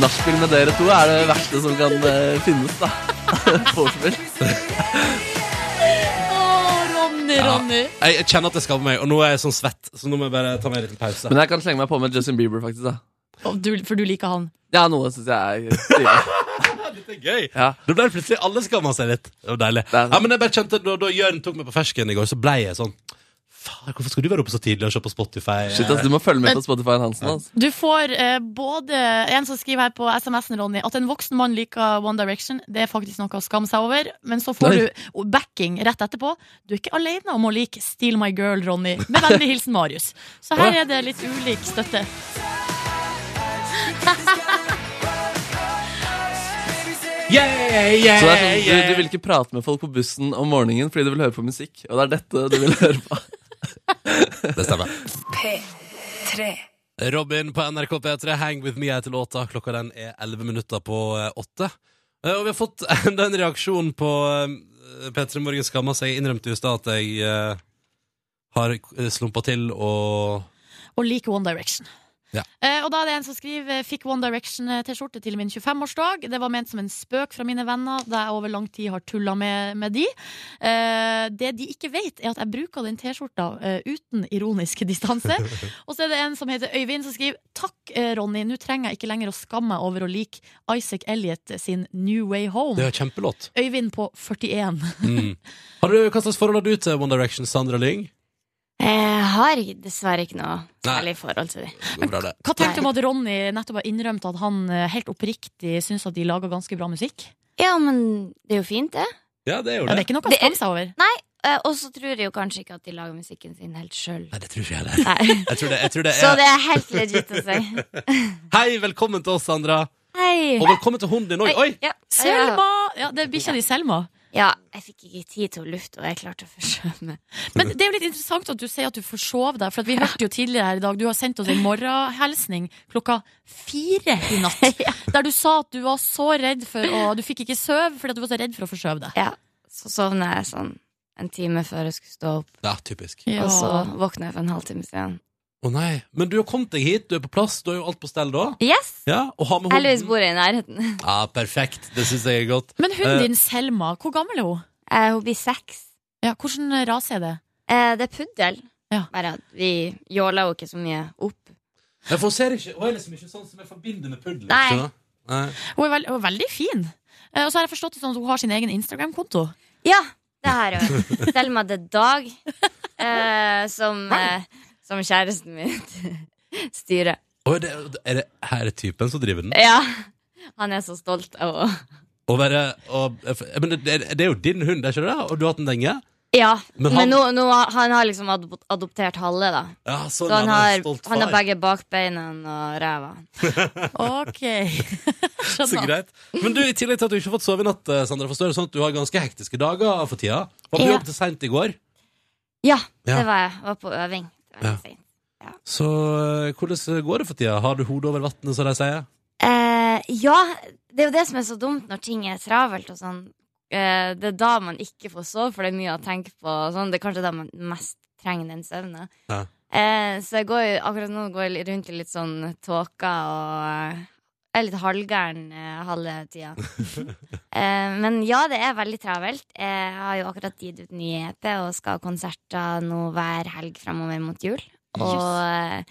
Speaker 5: Nachspiel med dere to er det verste som kan eh, finnes, da. <laughs> Vorspiel.
Speaker 3: Å, Ronny, Ronny.
Speaker 2: Jeg, jeg kjenner at det skammer meg, og nå er jeg sånn svett, så nå må jeg bare ta meg en liten pause.
Speaker 5: Men jeg kan slenge meg på med Justin Bieber, faktisk, da.
Speaker 3: Å, du, for du liker han.
Speaker 5: Ja, noe syns jeg er stilig.
Speaker 2: Det er gøy.
Speaker 5: Ja.
Speaker 2: Da ble det plutselig alle skamma seg litt. Det var deilig.
Speaker 5: Det er sant.
Speaker 2: Ja, men jeg bare kjente, da, da Jørn tok meg på fersken i går, så ble jeg sånn Faen, hvorfor skal du være oppe så tidlig og se på Spotify?
Speaker 5: Shit, ass, du må følge med på Spotify-en Hansen, altså.
Speaker 3: Du får eh, både en som skriver her på SMS-en, Ronny, at en voksen mann liker One Direction. Det er faktisk noe å skamme seg over. Men så får
Speaker 5: Nei.
Speaker 3: du backing rett etterpå. Du er ikke alene om å like Steal My Girl, Ronny. Med vennlig hilsen Marius. Så her er det litt ulik støtte.
Speaker 2: Yeah, yeah,
Speaker 5: Så det er sånn, du,
Speaker 2: yeah.
Speaker 5: du vil ikke prate med folk på bussen om morgenen fordi du vil høre på musikk, og det er dette du vil høre på.
Speaker 2: Det stemmer.
Speaker 6: P3.
Speaker 2: Robin på NRK P3, Hang With Me heter låta. Klokka den er 11 minutter på eh, åtte. Eh, Og vi har fått <laughs> enda en reaksjon på eh, P3 Morgen skamma seg. Jeg innrømte jo i stad at jeg eh, har slumpa til og
Speaker 3: og liker One Direction.
Speaker 2: Ja.
Speaker 3: Eh, og da er det en som skriver Fikk One Direction-T-skjorte til min 25-årsdag. Det var ment som en spøk fra mine venner, da jeg over lang tid har tulla med, med de. Eh, det de ikke vet, er at jeg bruker den T-skjorta eh, uten ironisk <laughs>
Speaker 2: <laughs>
Speaker 3: distanse. og så er det en som heter Øyvind, som skriver Takk, eh, Ronny, nå trenger jeg ikke lenger å skamme meg over å like Isaac Elliot sin New Way
Speaker 2: Det
Speaker 3: Home.
Speaker 2: er kjempelåt.
Speaker 3: Øyvind på 41.
Speaker 2: Mm. Har du, hva slags forhold har du til One Direction, Sandra Lyng?
Speaker 7: Jeg Eh, har dessverre ikke noe
Speaker 2: Nei.
Speaker 7: særlig forhold til det.
Speaker 2: Går bra, det.
Speaker 3: Hva tenker du om at Ronny nettopp har innrømt at han eh, helt oppriktig syns at de lager ganske bra musikk?
Speaker 7: Ja, men det er jo fint, det.
Speaker 2: Ja, det er jo
Speaker 3: Ja,
Speaker 2: det.
Speaker 3: det er ikke noe å
Speaker 7: Det
Speaker 3: skamme
Speaker 7: er-
Speaker 3: seg over.
Speaker 7: Eh, Og så tror jeg jo kanskje ikke at de lager musikken sin helt sjøl.
Speaker 2: Nei, det tror ikke jeg heller. Jeg tror det, jeg tror det
Speaker 7: Så
Speaker 2: er
Speaker 7: det er helt legit å si.
Speaker 2: Hei, velkommen til oss, Sandra.
Speaker 7: Hei.
Speaker 2: Og velkommen til hunden din òg. Oi!
Speaker 7: Ja, ja, ja.
Speaker 3: Selma! Ja, det er bikkja di, Selma.
Speaker 7: Ja, jeg fikk ikke tid til å lufte, og jeg klarte å forsømme.
Speaker 3: Men det er jo litt interessant at du sier at du forsov deg, for at vi hørte jo tidligere her i dag, du har sendt oss en morgenhelsning klokka fire i
Speaker 7: <laughs>
Speaker 3: natt, der du sa at du var så redd for å Du fikk ikke sove fordi at du var så redd for å forsøve deg.
Speaker 7: Ja, <laughs> så sovna jeg sånn en time før jeg skulle stå opp,
Speaker 2: Ja, typisk. Å
Speaker 7: og så våkna jeg for en halvtime siden.
Speaker 2: nei. Men du har kommet deg hit, du er på plass, du har jo alt på stell da.
Speaker 7: Yes!
Speaker 2: Ja, og har med
Speaker 7: Heldigvis
Speaker 2: hunden.
Speaker 7: bor jeg i nærheten.
Speaker 2: Ja, perfekt. Det syns jeg er godt.
Speaker 3: Men hunden
Speaker 2: Eh.
Speaker 3: din Selma, hvor gammel er hun?
Speaker 7: <laughs> Eh, hun blir seks.
Speaker 3: Ja, Hvilken rase er det?
Speaker 7: Eh, det er puddel.
Speaker 3: Ja.
Speaker 7: Bare at vi jåla jo ikke så mye opp.
Speaker 2: Nei, for hun ser ikke Hun er liksom ikke sånn som jeg forbinder med puddel.
Speaker 7: Nei.
Speaker 2: skjønner du? Nei.
Speaker 3: Hun er, vel- hun er veldig fin. Eh, Og så har jeg forstått det sånn at hun har sin egen Instagram-konto.
Speaker 7: Ja, det har <laughs> hun. Selma The Dag, eh, som, eh, som kjæresten min <laughs> styrer.
Speaker 2: Å, er, det, er det her er typen som driver den?
Speaker 7: Ja. Han er så stolt av å
Speaker 2: Å være og, Men det, det er jo din hund, er ikke det? Og du har hatt den lenge?
Speaker 7: Ja,
Speaker 2: Men han-
Speaker 7: men, nå, nå, han har liksom adop- adoptert halve, da.
Speaker 2: Ja, sånn,
Speaker 7: Så han
Speaker 2: ja,
Speaker 7: har,
Speaker 2: en stolt
Speaker 7: han har
Speaker 2: far.
Speaker 7: begge bakbeina og ræva.
Speaker 3: Ok.
Speaker 7: <laughs>
Speaker 2: <laughs> Så
Speaker 3: Skjønner.
Speaker 2: greit. Men du, i tillegg til at du ikke har fått sove i natt, eh, Sandra, forstår jeg det sånn at du har ganske hektiske dager for tida. Var på
Speaker 7: Ja.
Speaker 2: jobb til seint i går.
Speaker 7: Ja,
Speaker 2: Ja.
Speaker 7: det var jeg. Var på øving. Det var
Speaker 2: Ja.
Speaker 7: helt fint.
Speaker 2: Så eh, hvordan går det for tida? Har du hodet over vannet, som de sier?
Speaker 7: Eh, ja, det er jo det som er så dumt når ting er travelt og sånn. Eh, det er da man ikke får sove, for det er mye å tenke på. og Sånn. Det er kanskje da man mest trenger den søvnen.
Speaker 2: Ja.
Speaker 7: Eh, så jeg går, jo- akkurat nå går jeg rundt i litt sånn tåke og eh, er litt halvgæren eh, halve tida.
Speaker 2: <laughs>
Speaker 7: eh, men ja, det er veldig travelt. Jeg har jo akkurat gitt ut ny EP og skal ha konserter nå hver helg framover mot jul. Og eh,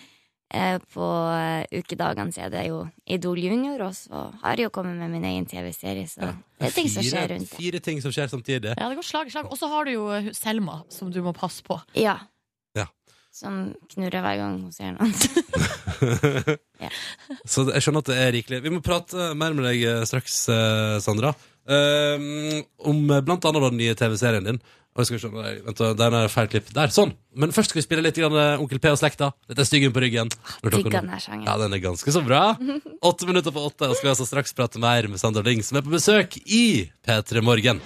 Speaker 7: Eh, På eh, ukedagene så er det jo Idol Junior, og så har jeg jo kommet med min egen TV-serie, så det er ting som skjer rundt det.
Speaker 2: Fire ting som skjer samtidig.
Speaker 3: Ja, det går slag i slag. Og så har du jo eh, Selma, som du må passe på.
Speaker 7: Ja.
Speaker 2: Ja.
Speaker 7: Som knurrer hver gang hun
Speaker 3: <laughs>
Speaker 7: ser noen.
Speaker 2: Så jeg skjønner at det er rikelig. Vi må prate mer med deg eh, straks, eh, Sandra. Eh, om eh, blant annet den nye TV-serien din. Og jeg skal skjønne, nei, vent, da, der er det feil klipp. Der, sånn! Men først skal vi spille litt grann, eh, Onkel P og slekta. Dette er Styggen på ryggen. Når klokka
Speaker 7: Digger
Speaker 2: nå-
Speaker 7: den her sangen.
Speaker 2: Ja, den er ganske så bra. Åtte minutter på åtte, og skal vi altså straks prate mer med Sandra Lyng, som er på besøk i P3 Morgen.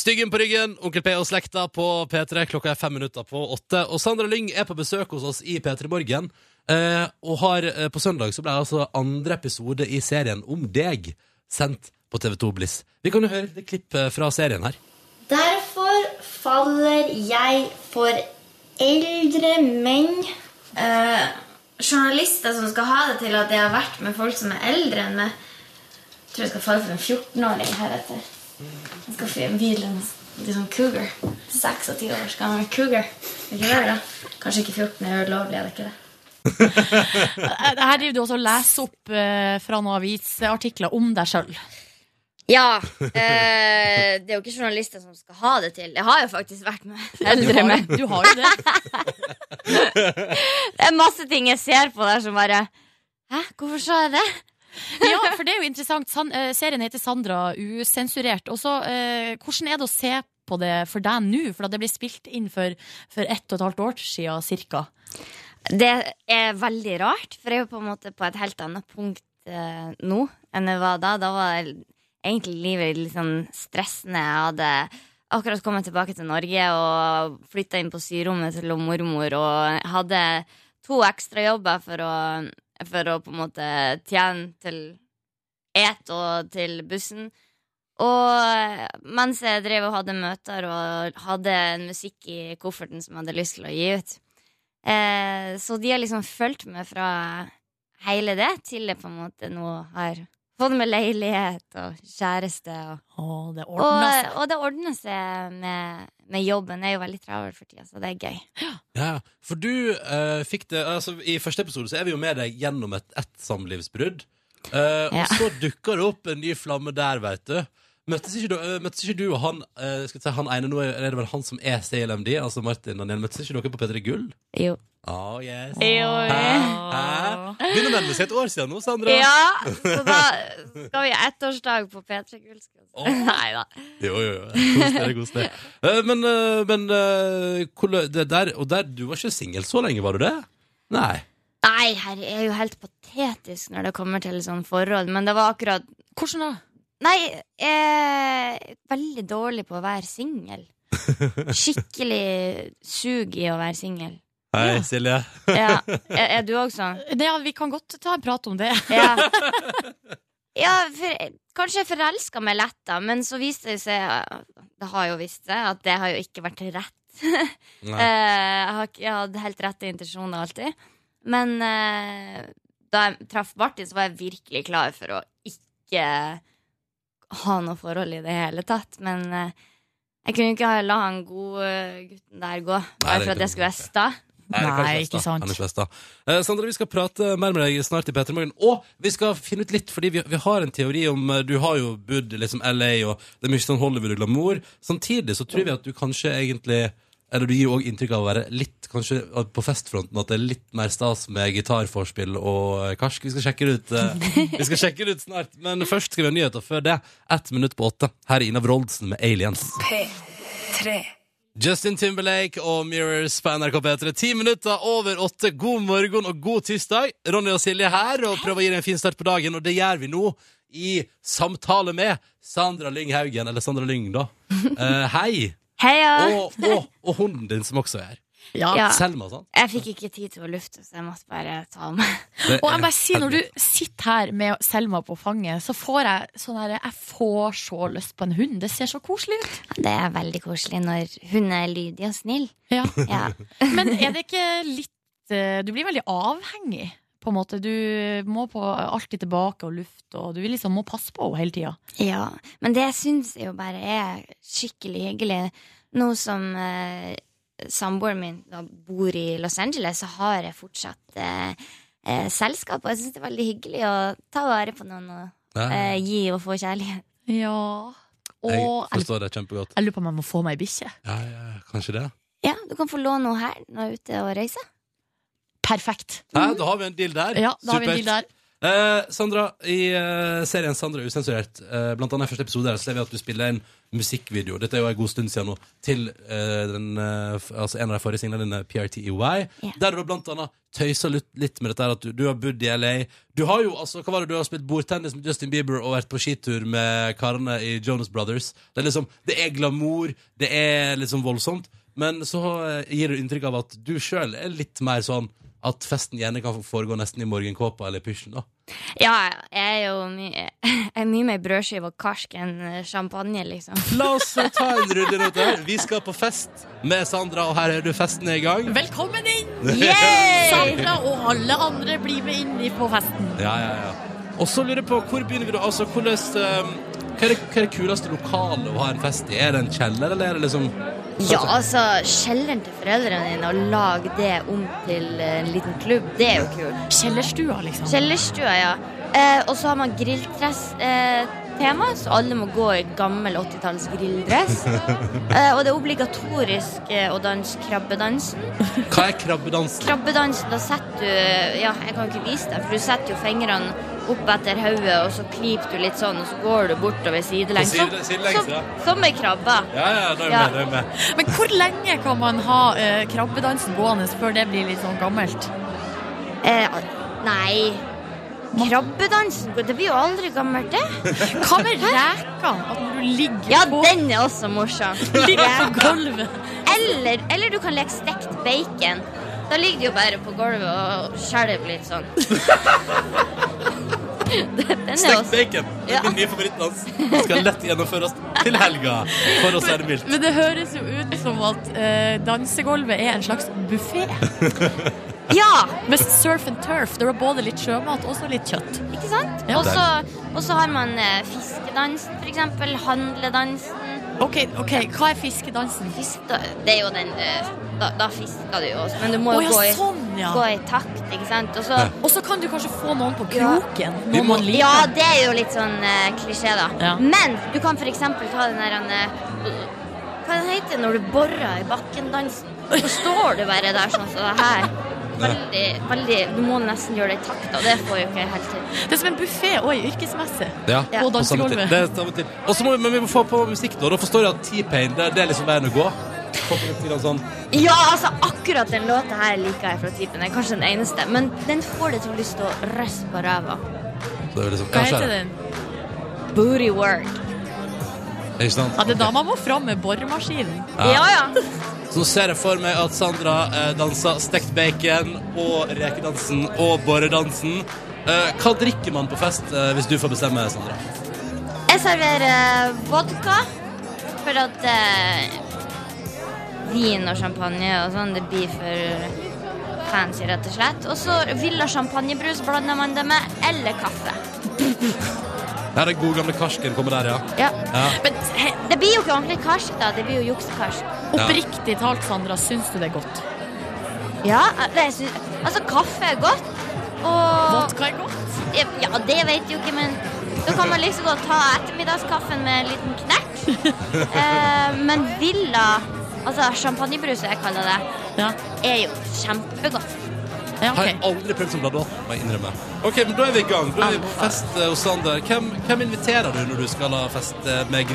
Speaker 2: Styggen på ryggen, Onkel P og slekta på P3. Klokka er fem minutter på åtte. Og Sandra Lyng er på besøk hos oss i P3 Morgen. Eh, og har, eh, på søndag så ble altså andre episode i serien om deg sendt på TV2 Bliss. Vi kan jo høre et klipp eh, fra serien her.
Speaker 8: Derfor faller jeg for eldre menn.
Speaker 6: Eh, journalister som skal ha det til at jeg har vært med folk som er eldre enn meg. Jeg tror jeg skal falle for en 14-åring heretter. Jeg skal få en bil en liksom cougar. 26 år skal han være cougar. Er Ikke det, da? Kanskje ikke 14 er ulovlig, er det ikke det?
Speaker 3: Eh, Her driver du også og leser opp eh, fra noen avisartikler om deg sjøl.
Speaker 7: Ja! Eh, det er jo ikke journalister som skal ha det til. Jeg har jo faktisk vært
Speaker 3: <laughs>
Speaker 7: med eldre med.
Speaker 3: Du har jo det.
Speaker 7: Det er masse ting jeg ser på der som bare Hæ, hvorfor sa jeg det?
Speaker 3: Ja, for det er jo interessant. San, eh, serien heter Sandra usensurert. Og så, eh, hvordan er det å se på det for deg nå? For at det ble spilt inn for, for ett og et halvt år siden cirka.
Speaker 7: Det er veldig rart, for jeg er jo på en måte på et helt annet punkt eh, nå enn jeg var da. Da var egentlig livet litt sånn stressende. Jeg hadde akkurat kommet tilbake til Norge og flytta inn på syrommet til mormor og hadde to ekstrajobber for, å- for å på en måte tjene til et og til bussen. Og mens jeg drev og hadde møter og hadde en musikk i kofferten som jeg hadde lyst til å gi ut. Eh, så de har liksom fulgt meg fra hele det til jeg på en måte nå har fått meg leilighet og kjæreste. Og,
Speaker 3: Å, det
Speaker 7: og,
Speaker 3: ordna seg.
Speaker 7: og det ordner seg med, med jobben. Jeg er jo veldig travel for tida, så det er gøy.
Speaker 2: Ja, for du eh, fikk det altså, I første episode så er vi jo med deg gjennom et ett samlivsbrudd. Eh,
Speaker 7: Ja.
Speaker 2: Og så dukker det opp en ny flamme der, veit du. Møttes ikke, du, eh, møttes ikke du og han eh, skal vi si, han ene nå er er det vel han som er CLMD, altså Martin Daniel, møttes ikke dere på P3 Gull?
Speaker 7: Jo.
Speaker 2: Oh, yes. Hæ?
Speaker 7: jo.
Speaker 2: Hæ? Begynner å nærme seg et år siden nå, Sandra.
Speaker 7: Ja, så da skal vi ha ettårsdag på P3 Gull. skal vi <laughs> si.
Speaker 2: Åh.
Speaker 7: Nei da.
Speaker 2: Jo, jo, jo. Kos deg, kos deg. Eh, men eh, men eh, hvordan- det der, og der, du var ikke singel så lenge, var du det? Nei.
Speaker 7: Nei, herre, jeg er jo helt patetisk når sånn det kommer til sånne forhold, men det var akkurat
Speaker 3: Hvordan da?
Speaker 7: Nei, jeg er veldig dårlig på å være singel. Skikkelig sug i å være singel.
Speaker 2: Hei, Silje.
Speaker 7: Ja. Er, er du òg sånn?
Speaker 3: Det, ja, vi kan godt ta en prat om det.
Speaker 7: Ja. ja for, kanskje jeg forelska meg lett, da, men så viste det seg Det har jo vist seg at det har jo ikke vært rett. Eh,
Speaker 2: Nei.
Speaker 7: jeg, har, ikke- jeg hadde helt rette intensjoner alltid. Men eh, da jeg traff Martin, så var jeg virkelig klar for å ikke ha noe forhold i det hele tatt. Men eh, jeg kunne ikke ha- la han gode gutten der gå,
Speaker 2: Nei,
Speaker 7: bare
Speaker 2: det
Speaker 7: for at
Speaker 2: kan
Speaker 7: jeg skulle
Speaker 2: man
Speaker 7: være sta.
Speaker 2: Nei, det er kanskje
Speaker 3: Nei,
Speaker 2: best, da.
Speaker 3: ikke sant.
Speaker 2: Kanskje best, da. Eh, Sandra, vi skal prate mer med deg snart i Petter Morgen. Og vi skal finne ut litt, fordi vi, vi har en teori om eh, Du har jo bodd i liksom LA, og det er mye sånn Hollywood og glamour. Samtidig så tror vi at du kanskje egentlig eller du gir jo også inntrykk av å være litt kanskje at på festfronten at det er litt mer stas med gitarforspill og eh, karsk. Vi skal sjekke det ut, eh, vi skal sjekke det ut snart. Men først skal vi ha nyheter før det. Ett minutt på åtte. Her er Ina Wroldsen med Aliens. Justin Timberlake og Mirrors på NRK P3. Ti minutter over åtte. God morgen og god tirsdag. Ronny og Silje her og prøver å gi deg en fin start på dagen, og det gjør vi nå i samtale med Sandra Lyng Haugen, eller Sandra Lyng, da. Eh,
Speaker 3: <laughs>
Speaker 2: hei.
Speaker 7: Heia!
Speaker 2: Og,
Speaker 7: <laughs>
Speaker 2: og, og hunden din, som også er her.
Speaker 7: Ja.
Speaker 2: Selma, sant?
Speaker 7: Jeg fikk ikke tid til å lufte, så jeg måtte bare ta ham.
Speaker 2: Det
Speaker 3: <laughs> Og jeg
Speaker 2: er
Speaker 3: må bare si, når du
Speaker 2: helvete.
Speaker 3: sitter her med Selma på fanget, så får jeg sånn her Jeg får så lyst på en hund. Det ser så koselig ut.
Speaker 7: Det er veldig koselig når hun er lydig og snill.
Speaker 3: Ja.
Speaker 7: Ja.
Speaker 3: Men er det ikke litt eh, Du blir veldig avhengig, på en måte. Du må på alltid tilbake og lufte, og du liksom må passe på henne hele tida.
Speaker 7: Ja, men det syns jeg jo bare er skikkelig hyggelig. Nå som eh, samboeren min da bor i Los Angeles, så har jeg fortsatt eh, eh, selskap. Og jeg syns det er veldig hyggelig å ta vare på noen og eh, gi og få kjærlighet.
Speaker 3: Ja. Og
Speaker 2: Jeg
Speaker 3: jeg,
Speaker 2: forstår det kjempegodt.
Speaker 3: jeg lurer på om jeg må få meg ei bikkje.
Speaker 2: Ja, ja, kanskje det.
Speaker 7: Ja, du kan få låne noe her når jeg er ute og reiser.
Speaker 3: Perfekt.
Speaker 2: Hæ, da har vi en deal der.
Speaker 3: Ja, da har vi
Speaker 2: Supert.
Speaker 3: en deal der.
Speaker 2: Eh, Sandra, i eh, serien Sandra Usensurert, eh, blant annet i første episode, her, så ser vi at du spiller en musikkvideo. Dette er jo en god stund siden nå, til eh, den, eh, f- altså en av de forrige singlene dine, PRTEY.
Speaker 7: Ja.
Speaker 2: E Der du blant annet tøyser litt, litt med dette her, at du, du har bodd i LA. Du har jo, altså, hva var det du har spilt bordtennis med Justin Bieber og vært på skitur med karene i Jonas Brothers. Det er liksom, det er glamour, det er liksom voldsomt, men så eh, gir du inntrykk av at du selv er litt mer sånn, at festen gjerne kan foregå nesten i morgenkåpa eller pysjen da.
Speaker 7: <laughs> Ja, jeg er jo mye, jeg er mye mer brødskive og karsk enn champagne, liksom.
Speaker 2: La oss ta en runde rundt her. Vi skal på fest med Sandra, og her er du festen er i gang.
Speaker 3: Velkommen
Speaker 2: <laughs>
Speaker 3: inn!
Speaker 7: Yay!
Speaker 3: Sandra og alle andre blir med inn i- på festen.
Speaker 2: Ja, ja, ja. Og så lurer jeg på, hvor begynner vi da? Altså, hvordan, ehm, hva, er det, hva er det kuleste lokalet å ha en fest i? Er det en kjeller, eller er det liksom
Speaker 7: Ja, altså, kjelleren til foreldrene dine, og lag det om til eh, en liten klubb, det er jo kult.
Speaker 3: Kjellerstua, liksom.
Speaker 7: Kjellerstua, ja. Eh, og så har man grilltema, så alle må gå i gammel 80-talls
Speaker 2: <laughs>
Speaker 7: grilldress. Eh, og det er obligatorisk eh, å danse krabbedansen.
Speaker 2: Hva er krabbedansen?
Speaker 7: Krabbedansen, da setter du eh, Ja, jeg kan jo ikke vise deg, for du setter jo fingrene opp etter hodet, og så klyper du litt sånn, og så går du bortover sidelengs.
Speaker 2: På side- sidelengs,
Speaker 7: Som-
Speaker 2: ja.
Speaker 7: Som ei krabbe.
Speaker 2: Ja, ja, da er vi
Speaker 7: Ja.
Speaker 2: med, da er vi med.
Speaker 3: Men hvor lenge kan man ha eh, krabbedansen gående før det blir litt sånn gammelt?
Speaker 7: Eh, nei Krabbedansen? Det blir jo aldri gammelt, det.
Speaker 3: Hva med reka? At når du ligger
Speaker 7: Ja,
Speaker 3: på,
Speaker 7: den er også morsom.
Speaker 3: <laughs>
Speaker 7: <laughs>
Speaker 3: ligger på gulvet?
Speaker 7: Eller, eller du kan leke stekt bacon. Da ligger du jo bare på gulvet og skjelver litt sånn. <laughs> Den er
Speaker 2: Stekt
Speaker 7: også
Speaker 2: bacon. Det
Speaker 7: Ja.
Speaker 2: er min nye favorittdans. Den skal lett gjennomføres til helga, for å si det mildt.
Speaker 3: Men det høres jo ut som at eh, dansegulvet er en slags buffé.
Speaker 7: Ja,
Speaker 3: Med surf and turf. Det er både litt sjømat og også litt kjøtt.
Speaker 7: ikke sant?
Speaker 3: Ja.
Speaker 7: Og så- Og så har man eh, fiskedansen, for eksempel. Handledansen.
Speaker 3: Ok, ok, Hva er fiskedansen?
Speaker 7: Fisk, da, det er jo den eh, da, da fisker du jo også, men du
Speaker 3: Å
Speaker 7: må jo
Speaker 3: ja,
Speaker 7: gå, i,
Speaker 3: sånn, ja.
Speaker 7: gå i takt, ikke sant? Og så
Speaker 2: Ja.
Speaker 3: Og så kan du kanskje få noen på
Speaker 7: Ja.
Speaker 3: kroken.
Speaker 2: Vi
Speaker 3: Noen
Speaker 2: må-
Speaker 3: man liker.
Speaker 7: Ja, det er jo litt sånn eh, klisjé, da.
Speaker 3: Ja.
Speaker 7: Men du kan for eksempel ta den der eh, Hva den heter når du borer i bakken-dansen? Så står du bare der sånn som det her. Veldig, veldig Du må nesten gjøre det i takt, og det får jo ikke jeg helt til.
Speaker 3: Det er som en buffé òg, yrkesmessig.
Speaker 2: Ja,
Speaker 7: Ja.
Speaker 3: På
Speaker 2: på samme tid.
Speaker 3: dansegulvet.
Speaker 2: Det er samme tid. Og så må vi, men vi må få på musikk, da. Da forstår jeg at T-Pain, det, det er liksom veien å gå. Få på litt grann sånn
Speaker 7: Ja, altså, akkurat den låta her liker jeg fra typen. Den er kanskje den eneste, men den får deg til å lyst til å røste på ræva.
Speaker 2: Så det er liksom,
Speaker 3: Hva
Speaker 2: Ja, skjønner.
Speaker 3: heter den?
Speaker 7: Booty work.
Speaker 2: Ikke sant?
Speaker 3: Ja, det er da man må fram med boremaskinen.
Speaker 7: Ja, ja.
Speaker 2: Så ser jeg for meg at Sandra eh, danser stekt bacon og rekedansen og borredansen. Eh, hva drikker man på fest, eh, hvis du får bestemme, Sandra?
Speaker 7: Jeg serverer eh, vodka for at eh, vin og champagne og sånn, det blir for fancy, rett og slett. Og så Villa champagnebrus blander man det med, eller kaffe.
Speaker 2: Ja, den gode gamle karsken kommer der, ja.
Speaker 7: Ja.
Speaker 2: ja.
Speaker 7: Men he- det blir jo ikke ordentlig karsk, da. Det blir jo juksekarsk.
Speaker 3: Oppriktig talt, Sandra, syns du det er godt?
Speaker 7: Ja, det jeg syns- altså, kaffe er godt. Og
Speaker 3: Vodka er godt?
Speaker 7: Ja, det vet jo ikke, men da kan man liksom godt ta ettermiddagskaffen med en liten knekk. Eh, men Villa, altså champagnebrus, som jeg kaller det,
Speaker 3: Ja.
Speaker 7: er jo kjempegodt.
Speaker 3: ja
Speaker 2: Har
Speaker 3: ok.
Speaker 2: jeg aldri prøvd som bladat, må jeg innrømme. Ok, men da er vi i gang. Da er vi på fest eh, hos Sander. Hvem, hvem inviterer du når du skal ha fest eh, med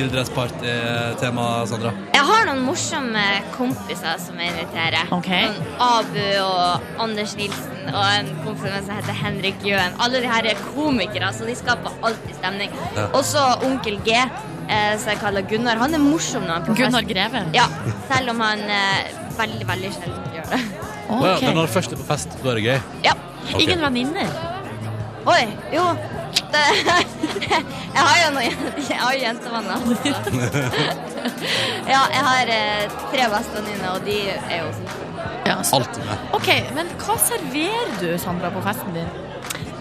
Speaker 2: grilldressparty-tema, Sandra?
Speaker 7: Jeg har noen morsomme kompiser som jeg inviterer.
Speaker 3: Ok.
Speaker 7: Sånn Abu og Anders Nilsen og en kompis av meg som heter Henrik Jøen. Alle de her er komikere, så de skaper alltid stemning.
Speaker 2: Ja.
Speaker 7: Også onkel G, eh, som jeg kaller Gunnar. Han er morsom når han er på
Speaker 3: Gunnar
Speaker 7: fest.
Speaker 3: Greve?
Speaker 7: Ja, selv om han eh, veldig, veldig sjelden gjør det. <laughs>
Speaker 2: Å ja,
Speaker 3: Ok.
Speaker 2: men når først er på fest, da er det gøy.
Speaker 7: Ja.
Speaker 2: Ok.
Speaker 3: Ingen venninner?
Speaker 7: Oi, jo. Det, <laughs> jeg har jo noen jen- jeg har jo
Speaker 3: <laughs>
Speaker 7: jentevenner. altså. Ja, jeg har eh, tre bestevenninner, og de er jo sånn
Speaker 3: Ja, så-
Speaker 2: Alt er med.
Speaker 3: Ok, men hva serverer du, Sandra, på festen din?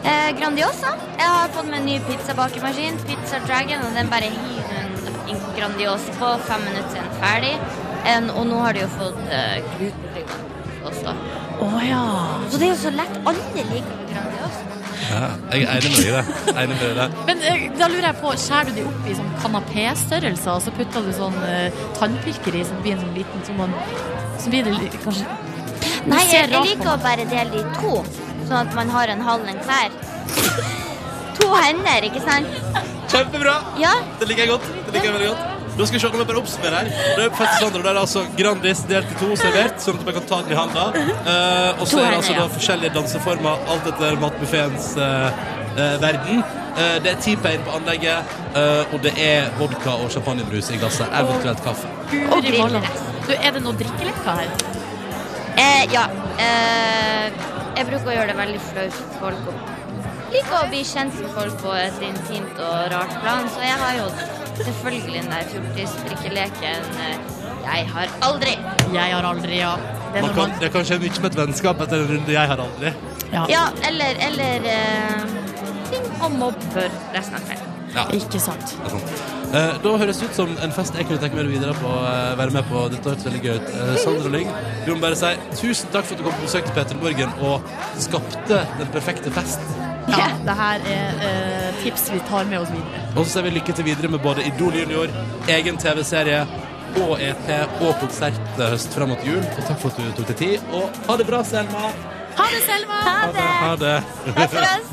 Speaker 7: Eh, grandiosa. Jeg har fått meg en ny pizzabakemaskin, Pizza Dragon, og den bare hiver en- en Grandiosa på. Fem minutter siden ferdig. En, og nå har de jo fått eh, glutenfri også.
Speaker 3: Å ja.
Speaker 7: Så det er jo så lett. Alle liker jo Grandiosa.
Speaker 2: Ja, jeg er enig med deg i det. Jeg er Enig med deg i det.
Speaker 3: Men eh, da lurer jeg på, skjærer du de opp i sånn kanapé-størrelser, og så putter du sånn eh, tannpirker i, som blir en sånn liten som man Så blir det litt, kanskje
Speaker 7: Nei,
Speaker 3: Det ser
Speaker 7: jeg, jeg
Speaker 3: rart
Speaker 7: liker
Speaker 3: på
Speaker 7: å bare dele det i to, sånn at man har en halv en hver. <laughs> To hender, ikke sant?
Speaker 2: <laughs> Kjempebra!
Speaker 7: Ja.
Speaker 2: Det liker jeg godt. Det liker jeg veldig godt. Da skal vi se om jeg bare oppsummerer her. Det er fest hos Sandra, det er altså Grandis delt i to servert, sånn at man kan ta den i handa. Eh, og så er det
Speaker 7: To hender,
Speaker 2: altså da
Speaker 7: ja.
Speaker 2: forskjellige danseformer, alt etter matbuffeens verden. Eh, det er teampain på anlegget, eh, og det er vodka og champagnebrus i glasset, eventuelt kaffe.
Speaker 3: Guri
Speaker 7: griller.
Speaker 3: malla. Du, er det noe drikkelekker her?
Speaker 7: Eh, ja. Eh, jeg bruker å gjøre det veldig flaut for folk. og Liker å bli kjent med folk på et intimt og rart plan, så jeg har jo selvfølgelig den der fjortisdrikkeleken eh, jeg har aldri.
Speaker 3: Jeg har aldri, ja. Det er
Speaker 2: Man
Speaker 3: når
Speaker 2: kan,
Speaker 3: man,
Speaker 2: det kan skje mye med et vennskap etter en runde jeg har aldri.
Speaker 3: ja.
Speaker 7: Ja, eller, eller eh, ting å mobbe for resten av kvelden.
Speaker 3: Ikke sant.
Speaker 2: Det er sant. Eh, da høres det ut som en fest jeg kunne tenke meg å videre på, eh, være med på. Dette hørtes veldig gøy ut. Eh, Sandra Lyng, vi må bare si tusen takk for at du kom på besøk til Peter Borgen og skapte den perfekte fest.
Speaker 3: Ja, det her er eh, tips vi tar med oss videre.
Speaker 2: Og så sier vi lykke til videre med både Idol junior, egen TV-serie og EP og konsert eh, høst fram mot jul. Og takk for at du tok deg tid. Og ha det bra, Selma.
Speaker 3: Ha det, Selma!
Speaker 7: Ha det!
Speaker 2: Ha det.
Speaker 7: Takk for oss!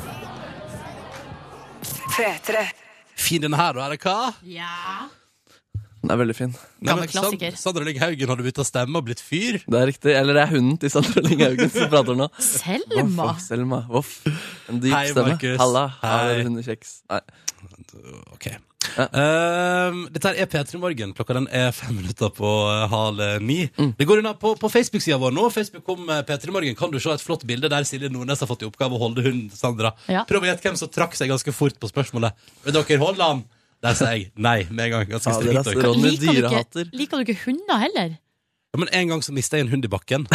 Speaker 2: Fin den her, da, eller hva?
Speaker 3: Ja.
Speaker 5: Den er veldig fin.
Speaker 2: Nei, men
Speaker 3: Gammel klassiker.
Speaker 2: Sand- Sandra Lyng Haugen hadde bytta stemme og blitt fyr.
Speaker 5: Det er riktig. Eller det er hunden til Sandra Lyng Haugen som prater nå. Voff,
Speaker 3: Selma!
Speaker 5: voff, Selma. Voff. En dyp
Speaker 2: Hei,
Speaker 5: stemme.
Speaker 2: Markus.
Speaker 5: Halla. Har
Speaker 2: Hei.
Speaker 5: dere hundekjeks? Nei.
Speaker 2: OK. Ehm, dette her er P3 Morgen. Klokka den er fem minutter på eh, halv ni. Det går unna på, på Facebook-sida vår nå. Facebook kom eh, P3 Morgen. Kan du se et flott bilde der Silje Nordnes har fått i oppgave å holde hunden til Sandra?
Speaker 3: Ja.
Speaker 2: Prøv å gjette hvem som trakk seg ganske fort på spørsmålet. Vil dere holde han? Der sa jeg nei med en gang. Ganske
Speaker 5: Ja,
Speaker 2: strikt
Speaker 5: dere er så
Speaker 2: også.
Speaker 5: rå. Ronny,
Speaker 3: Liker du, ikke,
Speaker 5: dyrehater.
Speaker 3: liker du ikke hunder heller?
Speaker 2: ja, men en gang så mista jeg en hund i bakken.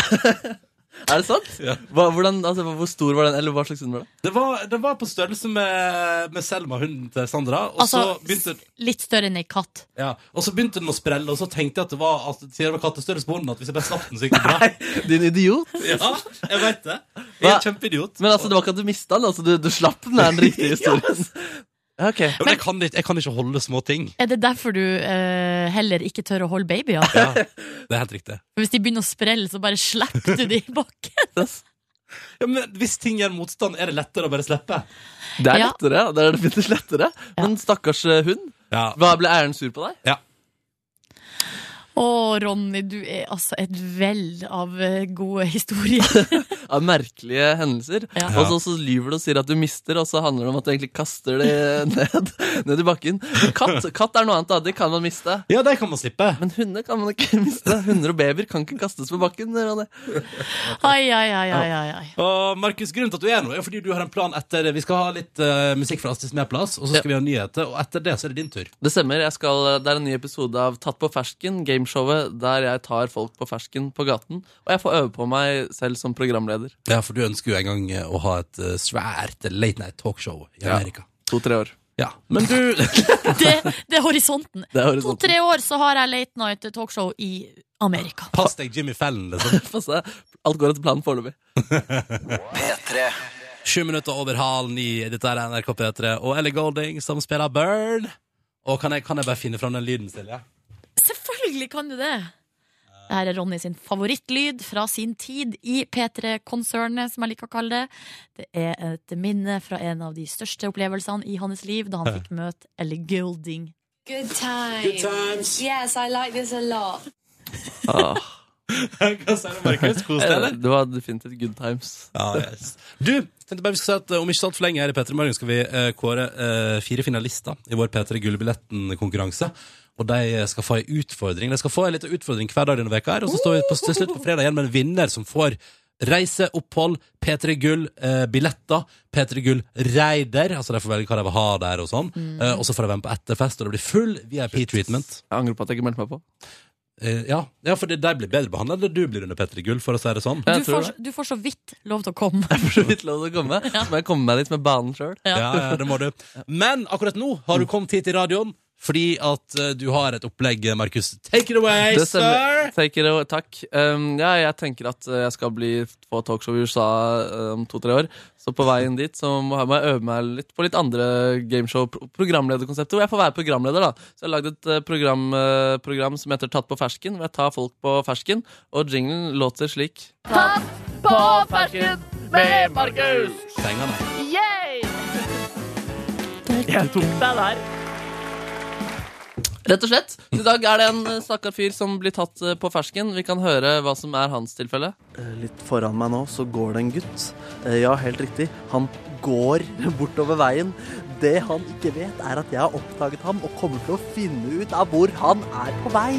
Speaker 5: Er det sant?
Speaker 2: Ja.
Speaker 5: Hva, hvordan, altså, hvor stor var den, eller hva slags hund var det?
Speaker 2: Det var, det var på størrelse med, med Selma, hunden til Sandra. Og
Speaker 3: Altså,
Speaker 2: så begynte
Speaker 3: Litt større enn ei katt.
Speaker 2: ja, Og så begynte den å sprelle, og så tenkte jeg at det var, at det var kattestørrelse på hunden. At hvis jeg bare slapp den, så gikk det bra.
Speaker 5: Din idiot.
Speaker 2: Ja, jeg vet det. Jeg er
Speaker 5: Hva?
Speaker 2: en kjempeidiot.
Speaker 5: Men altså, det var ikke at du mista den, altså, du, du slapp den, er den
Speaker 3: <laughs>
Speaker 5: riktige historien. Ja, ok.
Speaker 2: Ja, men jeg, kan ikke, jeg kan ikke holde små ting.
Speaker 3: Er det derfor du eh, heller ikke tør å holde babyer?
Speaker 2: Ja, det er helt riktig.
Speaker 3: For Hvis de begynner å sprelle, så bare slipper du de i bakken.
Speaker 2: Ja, men Hvis ting gjør motstand, er det lettere å bare slippe.
Speaker 5: Det er
Speaker 3: Ja.
Speaker 5: lettere. ja. Det er definitivt lettere. Men stakkars eh, hund.
Speaker 2: Ja,
Speaker 5: Hva ble Erlend sur på deg?
Speaker 2: ja.
Speaker 3: <laughs> Å, Ronny, du er altså et vell av eh, gode historier. <laughs>
Speaker 5: Av merkelige hendelser.
Speaker 3: Ja.
Speaker 5: Og så, så lyver du og sier at du mister, og så handler det om at du egentlig kaster det <laughs> ned, ned i bakken. Men Katt, katt er noe annet, da. Det kan man miste.
Speaker 2: Ja, det kan man slippe.
Speaker 5: Men hunder kan man ikke <laughs> miste. Hunder og babyer kan ikke kastes på bakken. Ronny.
Speaker 3: Ai, ai, ai, ai, ai, ai.
Speaker 2: Og Markus, grunnen til at du er nå, er fordi du har en plan etter Vi skal ha litt eh, musikk fra Astrid Smeplass, og så skal vi ha nyheter, og etter det så er det din tur.
Speaker 5: Det stemmer. Jeg skal, det er en ny episode av Tatt på fersken, gameshowet der jeg tar folk på fersken på gaten. Og jeg får øve på meg selv som programleder.
Speaker 2: Ja, for du ønsker jo en gang eh, å ha et eh, svært late night talkshow i Amerika.
Speaker 5: To-tre år. <laughs>
Speaker 2: Ja, men du
Speaker 3: Det, det er horisonten.
Speaker 5: Det er horisonten.
Speaker 3: To-tre år så har jeg Late Night Talkshow i Amerika.
Speaker 2: <laughs> Pass deg Jimmy Fallon, liksom.
Speaker 5: Få se. Alt går etter planen foreløpig.
Speaker 9: P3
Speaker 2: Sju minutter over halv ni. Dette er NRK P3 og Ellie Golding som spiller Burn. Og kan jeg, kan jeg bare finne fram den lyden, Silje?
Speaker 3: Selvfølgelig kan du det! Det her er Ronny sin favorittlyd fra sin tid i P3-konsernet, som jeg liker å kalle det. Det er et minne fra en av de største opplevelsene i hans liv, da han fikk møte Ellie Goulding.
Speaker 10: Good times. Yes, I like this a lot.
Speaker 5: Ah,
Speaker 2: Hva sier du, Markus? Kos deg, eller?
Speaker 5: det var definitivt good times.
Speaker 2: Ja, yes. Du, tenkte bare vi skal si at eh, om ikke så altfor lenge her i P3 Morgen skal vi eh, kåre eh, fire finalister i vår P3 Gullbilletten-konkurranse. Og de skal få ei utfordring. De skal få ei lita utfordring hver dag denne veka her, og så står vi på, til slutt på fredag igjen med en vinner som får reise, opphold, P3 Gull, eh, billetter, P3 Gull Reider, altså de får velge hva de vil ha der og sånn, eh, og så får de være med på etterfest, og det blir full VIP-treatment.
Speaker 5: Jeg angrer på at jeg ikke meldte meg på.
Speaker 2: Eh, ja. ja, for det- de blir bedre behandla enn det du blir under P3 Gull, for å si det sånn.
Speaker 5: Jeg
Speaker 3: Du
Speaker 5: tror
Speaker 3: får, du får så vidt lov til å komme.
Speaker 5: For så vidt lov til å komme. Så må jeg komme meg dit med banen sjøl.
Speaker 2: Ja, ja, det må du. Men akkurat nå har du kommet hit i radioen fordi at eh, du har et opplegg, Markus. Take it away, sir!
Speaker 5: Take it away. Takk. Um, ja, jeg tenker at uh, jeg skal bli på talkshow i USA uh, om to-tre år. Så på veien dit så må jeg må jeg øve meg litt på litt andre gameshow-programlederkonsepter. Hvor jeg får være programleder, da. Så jeg har lagd et uh, program, uh, program som heter Tatt på fersken. Hvor jeg tar folk på fersken. Og jinglen låter slik.
Speaker 2: Senga, nei.
Speaker 5: Rett og slett. Så I dag er det en eh, stakkar fyr som blir tatt eh, på fersken. Vi kan høre hva som er hans tilfelle.
Speaker 11: Eh, Litt foran meg nå så går det en gutt. Eh, Ja, helt riktig. Han går <laughs> bortover veien. Det han ikke vet, er at jeg har oppdaget ham og kommer til å finne ut av hvor han er på vei.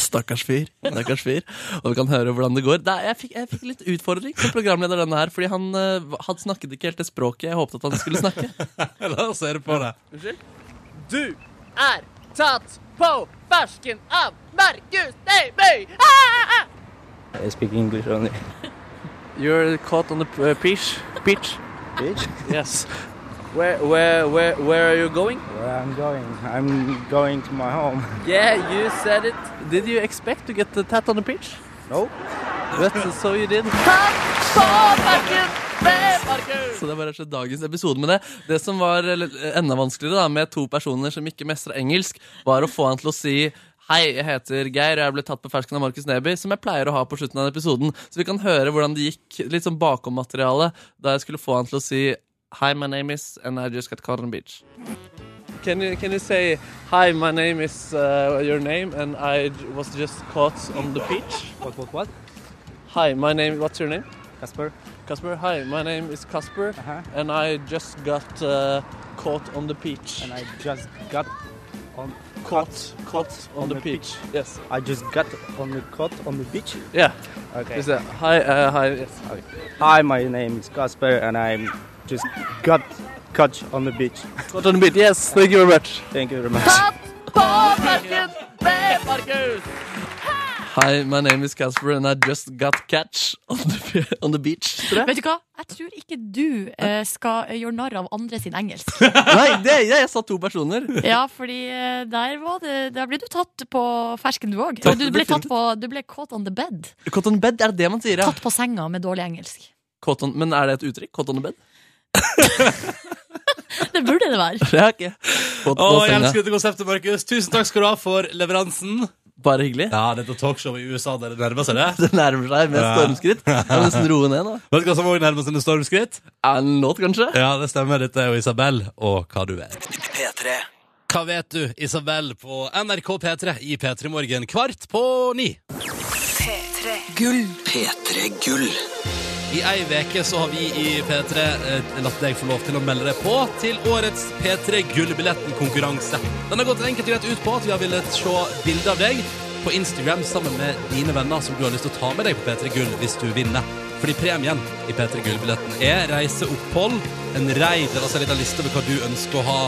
Speaker 5: Stakkars fyr. Stakkars fyr. Og vi kan høre hvordan det går. Det er- jeg, fikk, jeg fikk litt utfordring som programleder denne her, fordi han, eh, han snakket ikke helt det språket jeg håpet at han skulle snakke.
Speaker 2: <laughs> La oss høre på det.
Speaker 5: Du!
Speaker 12: er tatt på fersken av Markus Neby!
Speaker 5: You're caught on the pitch. Pitch. Yes. Where, are you going?
Speaker 11: I'm going to my home.
Speaker 5: Yeah, you said it. Did you expect to get the tat on the pitch?
Speaker 11: No.
Speaker 5: But so you did.
Speaker 12: På fersken med Markus!
Speaker 5: Så det var rett og slett dagens episode med det. Det som var eh, enda vanskeligere da, med to personer som ikke mestra engelsk, var å få han til å si Hei, jeg heter Geir, og jeg ble tatt på fersken av Markus Neby, som jeg pleier å ha på slutten av episoden. Så vi kan høre hvordan det gikk, litt sånn bakom-materiale, da jeg skulle få han til å si Hi, my name is And I just got caught on the beach. Can you, can you say Hi, my name is uh, your name, and I j- was just caught on the beach?
Speaker 11: What, what, what?
Speaker 5: Hi, my name, what's your name?
Speaker 11: Kasper?
Speaker 5: Kasper, hi, my name is Kasper,
Speaker 11: Uh-huh.
Speaker 5: and I just got uh, caught on the beach.
Speaker 11: I just got on,
Speaker 5: Caught, caught on,
Speaker 11: on
Speaker 5: the,
Speaker 11: the
Speaker 5: beach. Yes.
Speaker 11: I just got on the cot on the beach.
Speaker 5: Yeah.
Speaker 11: Okay.
Speaker 5: Is that, hi, uh, hi. Yes.
Speaker 11: Hi, my name is Kasper, and I'm just got caught on the beach.
Speaker 5: Caught on the beach. Yes. Thank you very much.
Speaker 11: Thank you very much.
Speaker 12: På fersken med Markus!
Speaker 5: Hi, my name is Kasper, and I just got catch on the <laughs> on the beach. Tror jeg.
Speaker 3: Vet du hva? Jeg tror ikke du eh, skal gjøre narr av andre sin engelsk. <laughs>
Speaker 5: Nei, det, jeg, jeg sa to personer.
Speaker 3: Ja, fordi eh, der, var det, der ble du tatt på fersken, du òg. Du ble tatt på Du ble caught on the bed.
Speaker 5: Caught on bed, er det det man sier? Ja.
Speaker 3: Tatt på senga med dårlig engelsk.
Speaker 5: Caught on, men er det et uttrykk? Caught on the bed?
Speaker 3: <laughs> Det burde det være.
Speaker 5: <laughs> Ja, ok. Caught
Speaker 2: Å,
Speaker 5: på
Speaker 2: jeg
Speaker 5: senga.
Speaker 2: elsker dette konseptet, Markus. Tusen takk skal du ha for leveransen.
Speaker 5: Bare hyggelig.
Speaker 2: Ja, dette talkshowet i USA, dere nærmer seg det.
Speaker 5: Det nærmer seg med
Speaker 2: Ja.
Speaker 5: <laughs> stormskritt. Jeg må nesten roe ned nå.
Speaker 2: Vet du hva som også nærmer seg en stormskritt?
Speaker 5: Er det en låt, kanskje?
Speaker 2: Ja, det stemmer. Dette er jo Isabel og hva du er.
Speaker 9: P3
Speaker 2: Hva vet du, Isabel, på NRK P3 i P3 Morgen kvart på ni.
Speaker 13: P3
Speaker 2: Gull.
Speaker 9: P3 Gull.
Speaker 2: I ei veke så har vi i P3 eh, latt deg få lov til å melde deg på til årets P3 Gullbilletten-konkurranse. Den har gått enkelt og greit ut på at vi har villet se bilde av deg på Instagram sammen med dine venner som du har lyst til å ta med deg på P3 Gull hvis du vinner. Fordi premien i P3 Gull-billetten er reiseopphold, en raid, altså en liten liste over hva du ønsker å ha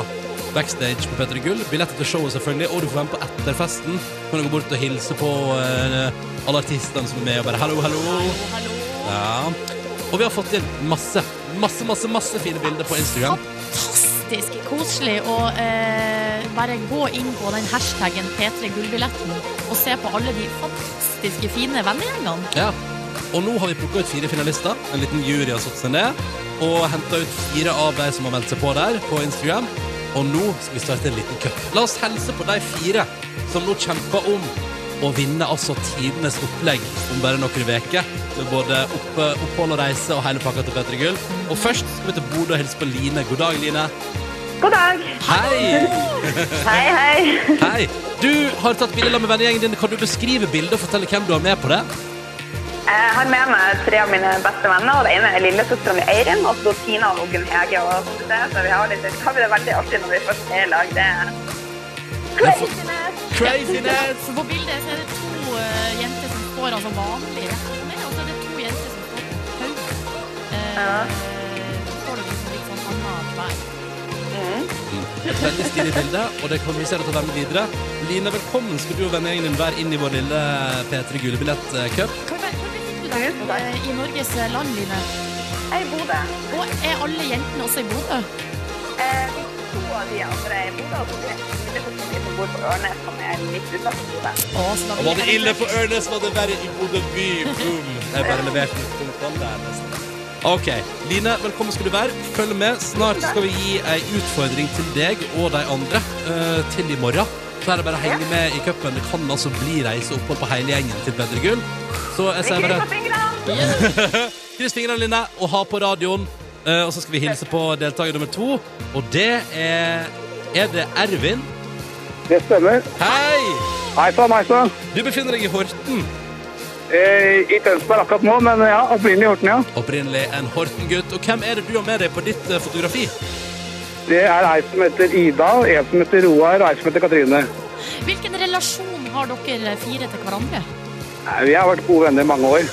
Speaker 2: backstage på P3 Gull. Billetter til showet, selvfølgelig. Og du får være med på etterfesten. Kan du gå bort og hilse på eh, alle artistene som er med, og bare hallo, hallo. Ja. Og vi har fått inn masse, masse, masse, masse fine bilder på Instagram.
Speaker 3: Fantastisk koselig å eh, bare gå inn på den hashtaggen P3 Gullbilletten og se på alle de fantastiske fine vennegjengene.
Speaker 2: Ja. Og nå har vi plukka ut fire finalister. En liten jury har satt seg ned og henta ut fire av de som har meldt seg på der, på Instagram. Og nå skal vi starte en liten cup. La oss hilse på de fire som nå kjemper om å vinne altså tidenes opplegg om bare noen uker. Med både oppe, opphold og reise og hele pakka til P3 Gull. Og først skal vi til Bodø og hilse på Line. God dag, Line.
Speaker 14: God dag.
Speaker 2: Hei!
Speaker 14: <laughs> Hei, hei.
Speaker 2: Hei. Du har tatt bilde med vennegjengen din. Kan du beskrive bildet og fortelle hvem du har med på det?
Speaker 14: Jeg har med meg tre av mine beste venner. og Det ene er lillesøstera mi Eirin, og så Tina og Gunn Hege. og Sofie. Så vi har, litt, har vi det veldig artig når vi først er i lag. Det er craziness!
Speaker 2: Craziness!
Speaker 3: For på bildet så er det to eh, jenter som står altså vanlig rett med, og så er det to jenter som står på pause. Eh, Får du liksom litt sånn annet vær.
Speaker 2: Et veldig stilig bilde, og det kan vi se deg til å være med videre. Line, velkommen skal du og vennegjengen din være inn i vår lille P3 eh, Gule Billett-cup.
Speaker 3: Hvor hvor befinner du deg på, eh, i Norges land, Line?
Speaker 14: Jeg er i Bodø.
Speaker 3: Og er alle jentene også i Bodø?
Speaker 14: Eh, vi to av de andre er i Bodø, og så er det lillesøstera mi som bor på Ørnes, som er litt utenfor Bodø.
Speaker 2: Og var det ille på Ørnes, var det verre i Bodø by. Boom! Jeg bare leverte ut punktene der, nesten. OK. Line, velkommen skal du være. Følg med. Snart skal vi gi ei utfordring til deg og de andre eh, til i morgen. Så er det bare å henge med i cupen. Det kan altså bli reiseopphold på hele gjengen til Bedre gull. Så
Speaker 14: Vi
Speaker 2: jeg sier bare
Speaker 14: krysser fingrene!
Speaker 2: <laughs> Kryss fingrene, Line, og ha på radioen. Eh, og så skal vi hilse på deltaker nummer to, og det er Er det Ervin?
Speaker 15: Det stemmer.
Speaker 2: Hei!
Speaker 15: Hei sann, hei sann.
Speaker 2: Du befinner deg i Horten.
Speaker 15: Eh, I Tønsberg akkurat nå, men ja, opprinnelig i Horten, ja.
Speaker 2: Opprinnelig en Horten-gutt. Og hvem er det du har med deg på ditt eh, fotografi?
Speaker 15: Det er ei som heter Ida, og en som heter Roar, og ei som heter Katrine.
Speaker 3: Hvilken relasjon har dere eh, fire til hverandre?
Speaker 15: Nei, Vi har vært gode venner i mange år.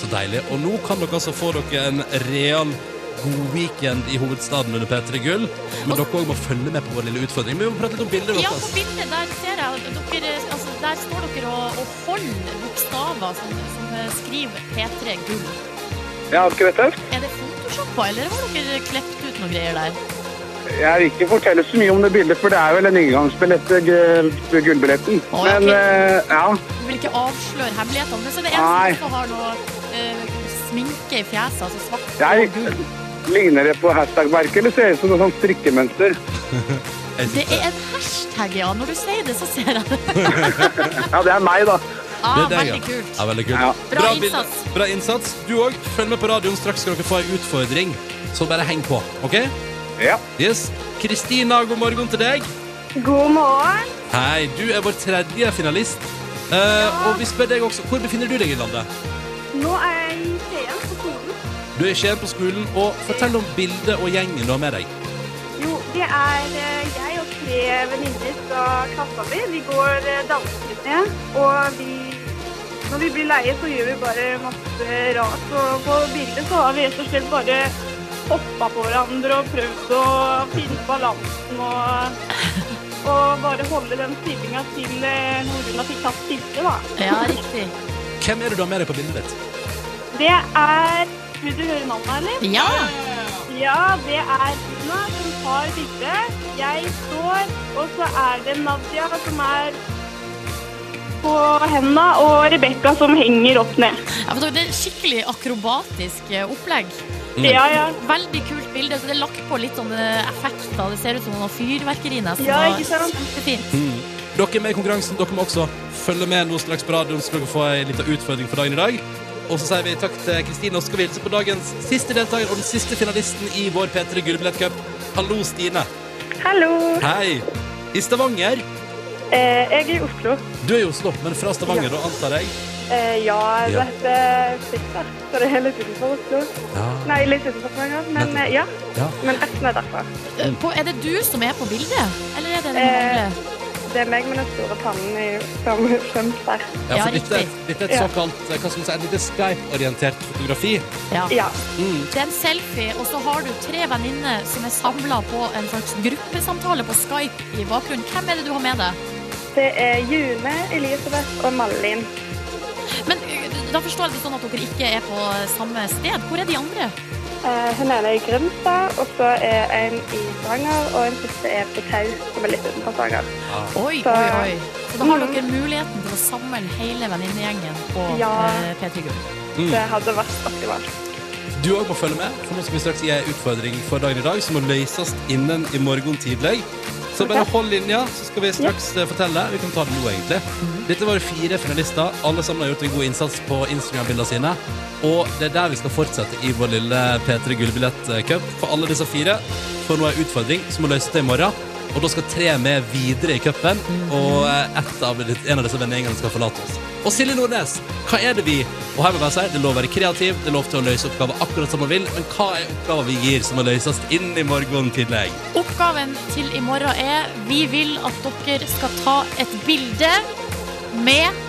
Speaker 2: Så deilig. Og nå kan dere altså få dere en real god weekend i hovedstaden under P3 Gull. Men dere også må følge med på vår lille utfordring. Men vi må prate litt om altså. bildet
Speaker 3: Ja, på
Speaker 2: deres.
Speaker 3: bildet der ser jeg at dere, altså, Der står dere og, og holder bokstaver som, som eh, skriver P3 Gull.
Speaker 15: Ja, skal vi tøft?
Speaker 3: Er det photoshoppa, eller har dere klept ut noen greier der?
Speaker 15: Jeg vil ikke fortelle så mye om det bildet, for det er vel en inngangsbillett til gu- gullbilletten. Men eh, ja.
Speaker 3: Du vil ikke avsløre hemmelighetene, men så er det en
Speaker 15: Nei.
Speaker 3: som også har noe eh, sminke i fjeset, altså svart.
Speaker 15: Jeg ligner det på hashtag-merket, eller ser det ut som noe sånt strikkemønster?
Speaker 3: Det er en hashtag, ja. Når du sier det, så ser jeg det.
Speaker 15: <laughs> ja, det er meg, da.
Speaker 3: Ah,
Speaker 2: Det er deg,
Speaker 3: veldig
Speaker 2: ja.
Speaker 3: kult.
Speaker 2: Ja, veldig kult.
Speaker 3: Bra
Speaker 2: bilde.
Speaker 3: innsats.
Speaker 2: Bra innsats. Du òg. Følg med på radioen. Straks skal dere få ei utfordring, så bare heng på. OK?
Speaker 15: Ja.
Speaker 2: Yes. Kristina, god morgen til deg.
Speaker 14: God morgen.
Speaker 2: Hei, du er vår tredje finalist. Eh, Og vi spør deg også, hvor befinner du deg i landet?
Speaker 14: Nå er jeg i Skien på skolen.
Speaker 2: Du er i Skien på skolen, og fortell om bildet og gjengen du har med deg.
Speaker 14: Jo, det er eh, jeg og tre venninner fra klassa mi. Vi går eh, danseturné, og vi når vi blir leie, så gjør vi bare masse rart. Og på bildet så har vi rett og slett bare hoppa på hverandre og prøvd å finne balansen og, og bare holde den stillinga til eh, Noruna fikk tatt siste, da.
Speaker 3: Ja, riktig.
Speaker 2: Hvem er det du har med deg på bildet ditt?
Speaker 14: Det er Vil du høre navnet, eller?
Speaker 3: Ja.
Speaker 14: Ja, det er Dina som tar bildet. Jeg står, og så er det Nadia som er på henda, og Rebekka som henger opp ned.
Speaker 3: Ja, men det er skikkelig akrobatisk eh, opplegg.
Speaker 14: Mm. Ja, ja.
Speaker 3: Veldig kult bilde. så Det er lagt på litt sånne effekter. Det ser ut som noe fyrverkeri nesten.
Speaker 14: Ja,
Speaker 3: og
Speaker 14: ikke sant?
Speaker 3: Kjempefint.
Speaker 2: Mm. Dere er med i konkurransen. Dere må også følge med nå straks på radioen, så skal dere få ei lita utfordring for dagen i dag. Og så sier vi takk til Kristine, og så skal vi hilse på dagens siste deltaker og den siste finalisten i vår P3 Gullbillettcup. Hallo, Stine.
Speaker 14: Hallo.
Speaker 2: Hei. I Stavanger.
Speaker 14: Eh, jeg er i Oslo.
Speaker 2: Du er i Oslo, men fra Stavanger, da, antar jeg?
Speaker 14: Eh, ja,
Speaker 2: Ja.
Speaker 14: det heter Fritza, så det er litt utenfor Oslo. Nei, litt utenfor Stavanger, men eh, ja.
Speaker 2: Ja.
Speaker 14: Men resten er derfra.
Speaker 3: Eh, På, er det du som er på bildet, eller er det den
Speaker 14: Eh,
Speaker 3: andre?
Speaker 14: det er meg med den store pannen i som skjømt der.
Speaker 2: Ja, for dette, er- dette er et såkalt eh, hva skal man si, et lite Skype-orientert fotografi.
Speaker 3: Ja.
Speaker 2: Mm.
Speaker 3: Det er en selfie, og så har du tre venninner som er samla på en slags gruppesamtale på Skype i bakgrunnen. Hvem er det du har med deg?
Speaker 14: Det er June, Elisabeth og Malin.
Speaker 3: Men uh, da forstår jeg det sånn at dere ikke er på samme sted. Hvor er de andre?
Speaker 14: Eh, hun ene er i Grimstad, og så er en i Stavanger, og en siste er på Tau, som er litt utenfor Stavanger.
Speaker 3: Oi,
Speaker 14: Så-
Speaker 3: oi, oi. Så da har dere muligheten til å samle hele venninnegjengen på
Speaker 14: Ja.
Speaker 3: eh, P3 Gull.
Speaker 2: Mm.
Speaker 14: Det hadde vært optimalt.
Speaker 2: Du òg må følge med, for nå skal vi straks gi en utfordring for dagen i dag som må løses innen i morgen tidlig. Så bare hold linja, så skal vi straks eh, fortelle. Vi kan ta det nå, egentlig. Dette var jo fire finalister. Alle sammen har gjort en god innsats på Instagram-bildene sine. Og det er der vi skal fortsette i vår lille P3 Gullbillett-cup for alle disse fire. For nå er utfordring som må løses til i morgen. Og da skal tre med videre i cupen, og eh, ett av, en av disse vennegjengene skal forlate oss. Og Silje Nordnes, hva er det vi Og her vil jeg bare si, det er lov å være kreativ, det er lov til å løse oppgaver akkurat som man vil, men hva er oppgaver vi gir som må løses inn i morgen tidlig?
Speaker 3: Oppgaven til i morgen er Vi vil at dere skal ta et bilde med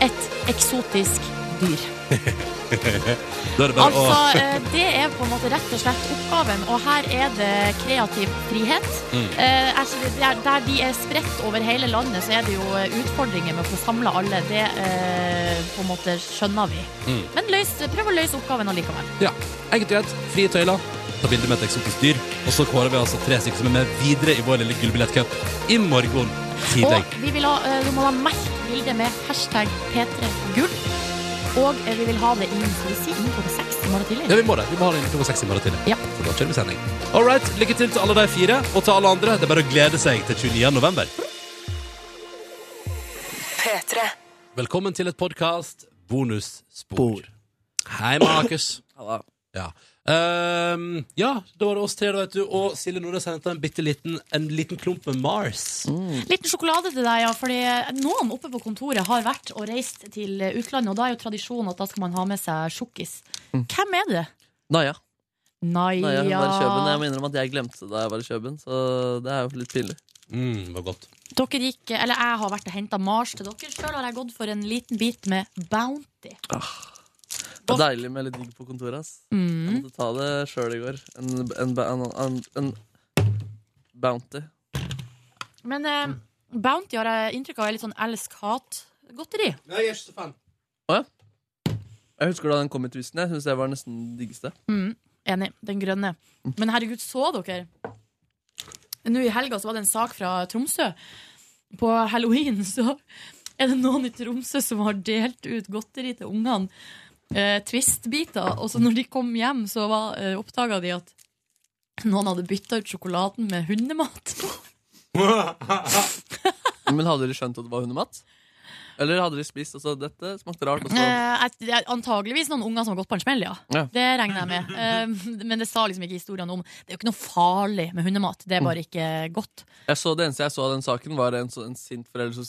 Speaker 3: et eksotisk dyr.
Speaker 2: da er det bare
Speaker 3: Altså,
Speaker 2: å
Speaker 3: eh, det er på en måte rett og slett oppgaven, og her er det kreativ frihet.
Speaker 2: Mm.
Speaker 3: Eh, altså, der, der de er spredt over hele landet, så er det jo eh, utfordringer med å få samla alle. Det eh, på en måte skjønner vi.
Speaker 2: Mm.
Speaker 3: Men løs, prøv å løse oppgaven allikevel.
Speaker 2: Ja. Enkelt og greit. Frie tøyler. Ta bilde med et eksotisk dyr. Og så kårer vi altså tre stykker som er med videre i vår lille gullbillettcup i morgen tidlig.
Speaker 3: Og vi vil ha, eh, du må da merke bildet med hashtag P3gull. Og eh, vi vil ha det innen skal vi si, innen klokka seks i morgen tidlig.
Speaker 2: Ja, vi må det. Vi må ha det inn klokka seks i morgen tidlig.
Speaker 3: Ja.
Speaker 2: Så da kjører vi sending. All right. Lykke til til alle de fire, og til alle andre. Det er bare å glede seg til 29. november.
Speaker 10: P3.
Speaker 2: Velkommen til et podkast bonusspor. Hei, Markus.
Speaker 5: Halla.
Speaker 2: Ja. Ehm, ja, da var det oss tre, da, vet du. Og Silje Nordnes har henta en bitte liten, en liten klump med Mars.
Speaker 3: Liten sjokolade til deg, ja. Fordi noen oppe på kontoret har vært og reist til utlandet, og da er jo tradisjonen at da skal man ha med seg sjokkis. Hvem er det?
Speaker 5: Naja.
Speaker 3: Naja.
Speaker 5: Naja, hun var i Kjøben. Jeg må innrømme at jeg glemte det da jeg var i Kjøben, så det er jo litt pinlig.
Speaker 2: Mm, det var godt.
Speaker 3: Dere gikk, eller jeg har vært og henta Mars til dere. Sjøl har jeg gått for en liten bit med Bounty.
Speaker 5: Ah. Det er deilig med litt digg på kontoret, ass.
Speaker 3: Mm.
Speaker 5: Jeg måtte ta det sjøl i går. En, en, ba- en, en, en bounty.
Speaker 3: Men eh, Bounty har jeg inntrykk av er litt sånn elsk-hat-godteri.
Speaker 2: Jeg er ikke så fan.
Speaker 5: Å ja. Jeg husker da den kom i twisten. Jeg syns det var nesten det diggeste.
Speaker 3: Mm, enig. Den grønne. Men herregud, så dere? Nå i helga så var det en sak fra Tromsø. På halloween så er det noen i Tromsø som har delt ut godteri til ungene. Eh, Twist-biter. Og så når de kom hjem, så var- eh, oppdaga de at noen hadde bytta ut sjokoladen med hundemat.
Speaker 5: Men hadde de skjønt at det var hundemat? Eller hadde de spist og så dette smakte rart? Og så
Speaker 3: <laughs> Eh, jeg- jeg- antageligvis noen unger som har gått på en smell, ja.
Speaker 5: Ja.
Speaker 3: Det regner jeg med. Eh, men det sa liksom ikke historien om. Det er jo ikke noe farlig med hundemat. Det er bare ikke godt.
Speaker 5: Jeg så Det eneste jeg så av den saken, var en, så- en sint forelder som,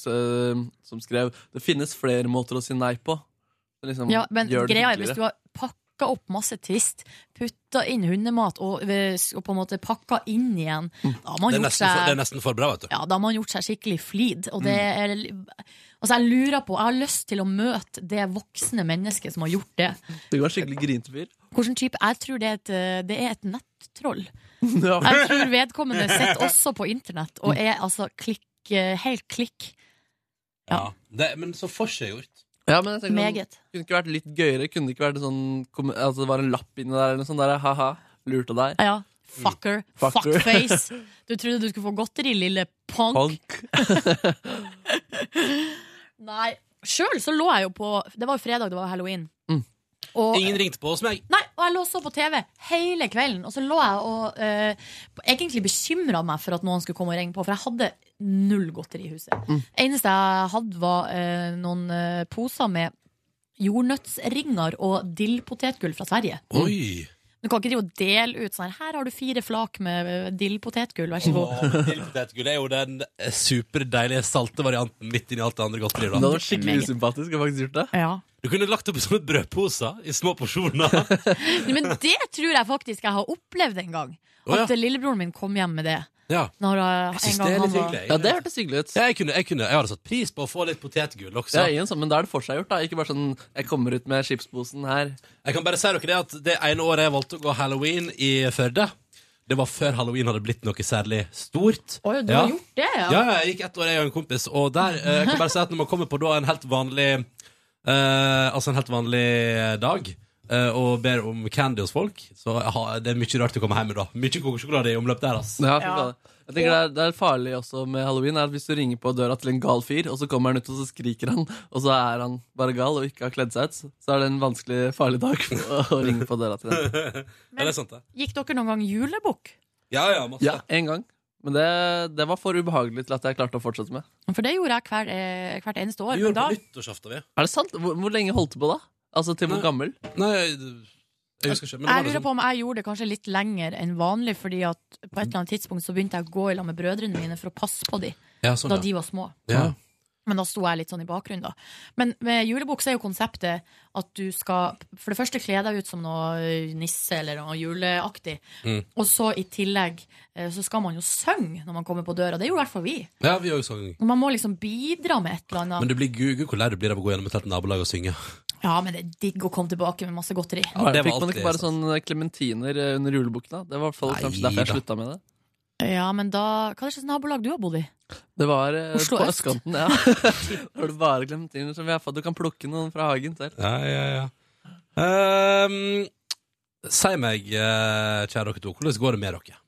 Speaker 5: s- som skrev Det finnes flere måter å si nei på. Så Liksom,
Speaker 3: Ja, men
Speaker 5: gjør det
Speaker 3: greia er
Speaker 5: hyggeligere.
Speaker 3: hvis du har pakka opp masse Twist, putta inn hundemat og, eh, og på en måte pakka inn igjen, da har man
Speaker 2: Det er
Speaker 3: gjort
Speaker 2: nesten for, det er
Speaker 3: seg
Speaker 2: nesten for bra, vet du.
Speaker 3: ja, da har man gjort seg skikkelig flid. Og det er, altså jeg lurer på, jeg har lyst til å møte det voksne mennesket som har gjort det.
Speaker 5: Du var skikkelig grinete fyr.
Speaker 3: Hvilken type? Jeg tror det er et, eh, det er et nettroll.
Speaker 5: Ja.
Speaker 3: Jeg tror vedkommende sitter også på internett og er altså klikk, eh, helt klikk.
Speaker 2: Ja. Det, men så forseggjort.
Speaker 5: Ja, men jeg tenker sånn,
Speaker 3: Meget.
Speaker 5: Kunne det ikke vært litt gøyere? Kunne det ikke vært sånn kom- Altså det var en lapp inni der eller noe sånt? Der, ha-ha, lurte deg.
Speaker 3: Ja, fucker,
Speaker 5: Fucker.
Speaker 3: fuckface. Du trodde du skulle få godteri, lille punk.
Speaker 5: Punk.
Speaker 3: Nei. Sjøl så lå jeg jo på Det var jo fredag, det var halloween. Og,
Speaker 2: Mm. Ingen ringte på hos meg.
Speaker 3: Nei, og jeg lå så på TV hele kvelden, og så lå jeg og eh, egentlig bekymra meg for at noen skulle komme og ringe på, for jeg hadde null godteri i huset.
Speaker 13: Mm.
Speaker 3: eneste jeg hadde, var eh, noen eh, Mm. poser med jordnøttsringer og dillpotetgull fra Sverige.
Speaker 2: Oi.
Speaker 3: Du kan ikke drive og dele ut sånn her, her har du fire flak med eh, dillpotetgull, vær så god.
Speaker 2: Dillpotetgull er jo den eh, superdeilige salte varianten midt inni alt det andre godteriet. da.
Speaker 5: Det hadde vært skikkelig usympatisk. Jeg har faktisk gjort det.
Speaker 2: Du kunne lagt opp sånne brødposer i små <laughs> porsjoner.
Speaker 3: Men det tror jeg faktisk jeg har opplevd en gang.
Speaker 2: Å, ja.
Speaker 3: At eh, lillebroren min kom hjem med det.
Speaker 2: ja.
Speaker 3: Når, eh,
Speaker 2: Jeg synes
Speaker 3: en
Speaker 2: det
Speaker 3: gang
Speaker 2: er
Speaker 3: han
Speaker 2: litt
Speaker 3: var-
Speaker 2: hyggelig. Ja, det hørtes hyggelig ut. Jeg, kunne, jeg, kunne, jeg hadde satt pris på å få litt potetgull også.
Speaker 5: Det er ingen sånn, men da er det forseggjort. da. Ikke bare sånn 'jeg kommer ut med chipsposen her'.
Speaker 2: Jeg kan bare si dere det at det ene året jeg valgte å gå halloween i Førde, det var før halloween hadde blitt noe særlig stort.
Speaker 3: Oi, du har gjort det,
Speaker 2: ja.
Speaker 3: ja.
Speaker 2: ja, jeg gikk ett år, jeg og en kompis, og der eh, Jeg kan bare si at når man kommer på da en helt vanlig eh, Altså en helt vanlig dag eh, og ber om candy hos folk, så har- det er mye rart å komme hjem med da. Mye kokosjokolade i omløp der, ass.
Speaker 5: Ja, fy faen. Jeg tenker det er, det er farlig også med halloween er at hvis du ringer på døra til en gal fyr, og så kommer han ut og så skriker han, og så er han bare gal og ikke har kledd seg ut, så er det en vanskelig, farlig dag å, å ringe på døra til den.
Speaker 2: Ja, det er sant, det.
Speaker 3: Gikk dere noen gang julebukk?
Speaker 2: Ja, ja, masse.
Speaker 5: Ja, en gang. Men det, det var for ubehagelig til at jeg klarte å fortsette med.
Speaker 3: For det gjorde jeg hver, eh, hvert eneste år.
Speaker 2: Vi
Speaker 3: Men
Speaker 2: gjorde
Speaker 3: da,
Speaker 2: det på nyttårsaften, vi.
Speaker 5: Er det sant? Hvor, hvor lenge holdt du på da? Altså til hvor gammel?
Speaker 2: Nei, jeg husker ikke. Men det var
Speaker 3: jeg lurer
Speaker 2: liksom
Speaker 3: på om jeg gjorde det kanskje litt lenger enn vanlig, fordi at på et eller annet tidspunkt så begynte jeg å gå i lag med brødrene mine for å passe på de
Speaker 2: Ja, sånn,
Speaker 3: da
Speaker 2: ja.
Speaker 3: de var små.
Speaker 2: Ja.
Speaker 3: Men da sto jeg litt sånn i bakgrunnen, da. Men med julebukk så er jo konseptet at du skal for det første kle deg ut som noe eh, nisse eller noe juleaktig,
Speaker 2: Mm.
Speaker 3: og så i tillegg eh, så skal man jo synge når man kommer på døra. Det gjorde i hvert fall vi.
Speaker 2: Ja, vi sånn òg sang.
Speaker 3: Og Man må liksom bidra med et eller
Speaker 2: Men
Speaker 3: annet.
Speaker 2: du blir gud, gud hvor lei du blir av å gå gjennom et helt nabolag og synge.
Speaker 3: Ja, men det er digg å komme tilbake med masse godteri.
Speaker 2: Ja, det var
Speaker 5: Fikk man
Speaker 2: alltid
Speaker 5: ikke bare sånn klementiner under julebukken da? Det var i hvert fall kanskje derfor jeg
Speaker 2: Neida.
Speaker 5: slutta med det.
Speaker 3: Ja, men da Hva er det slags nabolag du har bodd i?
Speaker 5: Det var eh,
Speaker 3: Oslo
Speaker 5: på
Speaker 3: øst.
Speaker 5: østkanten, <laughs> ja. Da var det bare klementiner som vi har fått. Du kan plukke noen fra hagen selv.
Speaker 2: Ja, ja, ja. Ehm, si meg, eh, kjære dere to, hvordan går det med dere?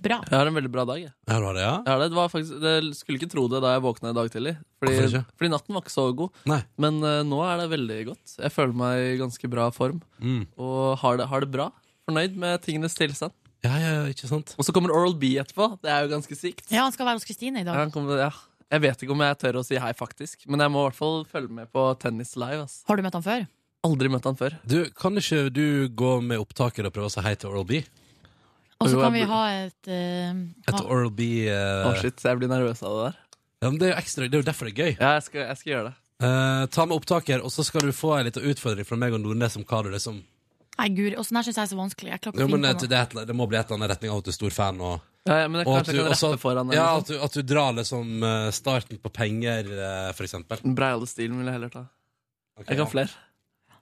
Speaker 3: Bra.
Speaker 5: Jeg har en veldig bra dag, jeg.
Speaker 2: Ja, du har det, ja?
Speaker 5: Jeg har det, det var faktisk, det skulle ikke tro det da jeg våkna i dag tidlig.
Speaker 2: Hvorfor
Speaker 5: Fordi,
Speaker 2: ikke?
Speaker 5: fordi natten var ikke så god.
Speaker 2: Nei.
Speaker 5: Men eh, nå er det veldig godt. Jeg føler meg i ganske bra form.
Speaker 2: Mm.
Speaker 5: Og har det, har det bra. Fornøyd med tingenes tilstand.
Speaker 2: Ja, ja, ikke sant
Speaker 5: Og så kommer Oral B etterpå. Det er jo ganske sykt.
Speaker 3: Ja, han skal være hos Kristine i
Speaker 5: Ja,
Speaker 3: dag.
Speaker 5: han kommer, ja. Jeg vet ikke om jeg tør å si hei, faktisk. Men jeg må i hvert fall følge med på Tennis Live. Ass.
Speaker 3: Har du møtt han før?
Speaker 5: Aldri møtt han før.
Speaker 2: Du, Kan ikke du gå med opptaker og prøve å si hei til Oral B?
Speaker 3: Og så
Speaker 2: Jo,
Speaker 3: kan vi
Speaker 2: jeg bur-
Speaker 3: ha et eh,
Speaker 2: Et
Speaker 3: ha-
Speaker 2: Oral B eh,
Speaker 5: Å, Ah. shit, jeg blir nervøs av det der.
Speaker 2: Ja, men det er jo ekstra, det er jo derfor det er gøy.
Speaker 5: Ja, jeg skal, jeg skal gjøre det.
Speaker 2: Eh, ta med opptaker, og så skal du få en liten utfordring fra meg og Nordnes om hva du liksom
Speaker 3: Nei, guri, åssen her syns jeg er så vanskelig. Jeg klarer ikke
Speaker 2: jo,
Speaker 3: å
Speaker 2: men,
Speaker 3: finne
Speaker 2: eh,
Speaker 3: på
Speaker 2: det,
Speaker 3: noe.
Speaker 2: er et eller- det må bli et eller annet retning av at du er stor fan. Og,
Speaker 5: Ja, ja, men jeg
Speaker 2: og
Speaker 5: kanskje jeg kan
Speaker 2: også-
Speaker 5: rette foran. liksom.
Speaker 2: ja, at, du, at du drar liksom eh, starten på penger, eh, for eksempel.
Speaker 5: Breilestilen vil jeg heller ta. jeg kan
Speaker 2: ja.
Speaker 5: flere.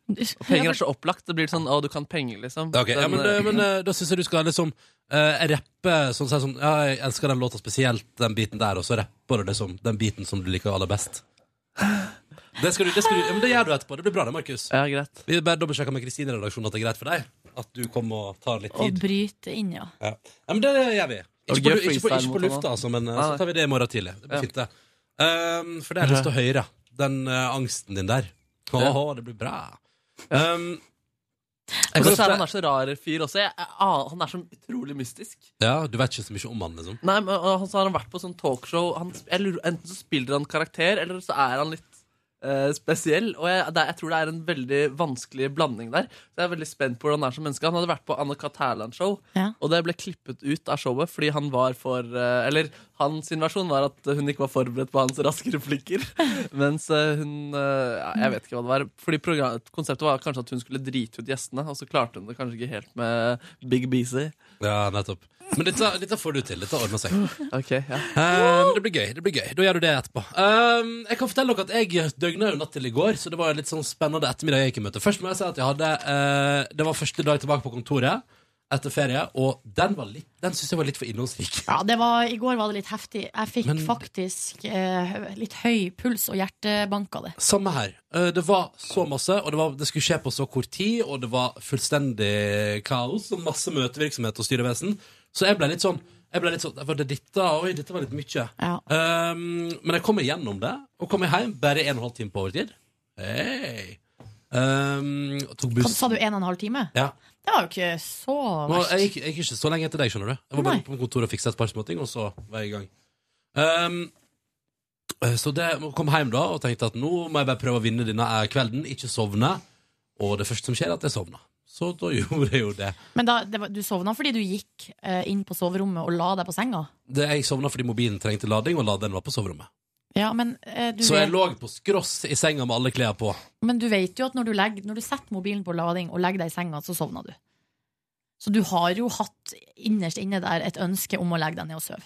Speaker 5: Og penger er så opplagt. Det blir sånn 'å, du kan penger', liksom.
Speaker 2: Ok, ja,
Speaker 5: Den,
Speaker 2: men,
Speaker 5: eh,
Speaker 2: eh, men eh, da syns jeg du skal liksom eh, rappe sånn, sånn, sånn ja, Jeg elsker den låta spesielt, den biten der, og så rapper du liksom den biten som du liker aller best. Det, skal du, det, skal du, ja, men det gjør du etterpå. Det blir bra, det, Markus.
Speaker 5: Ja, greit
Speaker 2: Vi bare dobbeltsjekker med Kristine i redaksjonen at det er greit for deg. At du kommer og tar litt
Speaker 3: Å
Speaker 2: tid.
Speaker 3: bryte inn, ja.
Speaker 2: Ja. ja, men det gjør vi.
Speaker 5: Og
Speaker 2: Ikke
Speaker 5: gøy
Speaker 2: på, ikke på,
Speaker 5: freestyle
Speaker 2: ikke
Speaker 5: mot
Speaker 2: på lufta,
Speaker 5: han,
Speaker 2: altså, men eh,
Speaker 5: Nei,
Speaker 2: så tar vi det i morgen tidlig. Det
Speaker 5: Ja.
Speaker 2: blir fint, det. Um, for det har jeg lyst til å høre. Den eh, angsten din der. Åh, det blir bra. Um, jeg kan
Speaker 5: Og så er
Speaker 2: ofte-
Speaker 5: han er så rar fyr også. Jeg, jeg, ah, han er så utrolig mystisk.
Speaker 2: ja, du vet ikke så mye om han, liksom.
Speaker 5: Nei, men og han, så har han vært på sånn talkshow. Han, sp- jeg lurer, enten så spiller han karakter, eller så er han litt eh, spesiell. Og jeg, det, er- jeg tror det er en veldig vanskelig blanding der. Så jeg er veldig spent på hvordan han er som menneske. Han hadde vært på Anne Cath. Hærland-show,
Speaker 3: Ja.
Speaker 5: og det ble klippet ut av showet fordi han var for eh, Eller han sin versjon var at hun ikke var forberedt på hans raske replikker. Mens eh, hun eh, ja, Jeg vet ikke hva det var. Fordi program- konseptet var kanskje at hun skulle drite ut gjestene, og så klarte hun det kanskje ikke helt med Big Beezy.
Speaker 2: Ja, nettopp. Men dette, dette får du til. Dette ordner seg.
Speaker 5: Ok, ja
Speaker 2: Um, det blir gøy. det blir gøy Da gjør du det etterpå. Um, jeg kan fortelle dere at jeg døgna jo natt til i går, så det var en litt sånn spennende ettermiddag jeg gikk i møte. Først må jeg si at jeg hadde eh, Det var første dag tilbake på kontoret etter ferie, og den, var litt- den syns jeg var litt for innholdsrik.
Speaker 3: ja det var, I går var det litt heftig. Jeg fikk
Speaker 2: Men-
Speaker 3: faktisk eh, litt høy puls og hjertebank av det.
Speaker 2: Samme her. Eh, Det var så masse, og det, var, det skulle skje på så kort tid, og det var fullstendig kaos og masse møtevirksomhet og styrevesen. Så jeg ble litt sånn jeg ble litt sånn, Var det dette? Oi, dette var litt mye. Um, men jeg kom igjennom det, og kom hjem bare en og en halv time på overtid. Hei! Um, og tok
Speaker 3: Hva,
Speaker 2: buss.
Speaker 3: sa du en og en halv time?
Speaker 2: Ja.
Speaker 3: Det var jo ikke så
Speaker 2: Nå,
Speaker 3: verst.
Speaker 2: jeg, gikk, jeg gikk ikke så lenge etter deg, skjønner du. Jeg var bare på kontoret og fiksa et par småting, og så var jeg i gang. Um, eh, så det, jeg kom hjem da og tenkte at nå må jeg bare prøve å vinne denne eh, kvelden, ikke sovne. Og det første som skjer, er at jeg sovna. Så da <laughs> gjorde jeg jo det.
Speaker 3: Men da, det var, du sovna fordi du gikk eh, inn på soverommet og la deg på senga?
Speaker 2: det jeg sovna fordi mobilen trengte lading, og laderen var på soverommet.
Speaker 3: Ja, men, eh, du
Speaker 2: Så jeg
Speaker 3: vet-
Speaker 2: lå på skross i senga med alle klær på.
Speaker 3: men du vet jo at når du, legger, når du setter mobilen på lading og legger deg i senga, så sovner du. Så du har jo hatt innerst inne der et ønske om å legge deg ned og sove.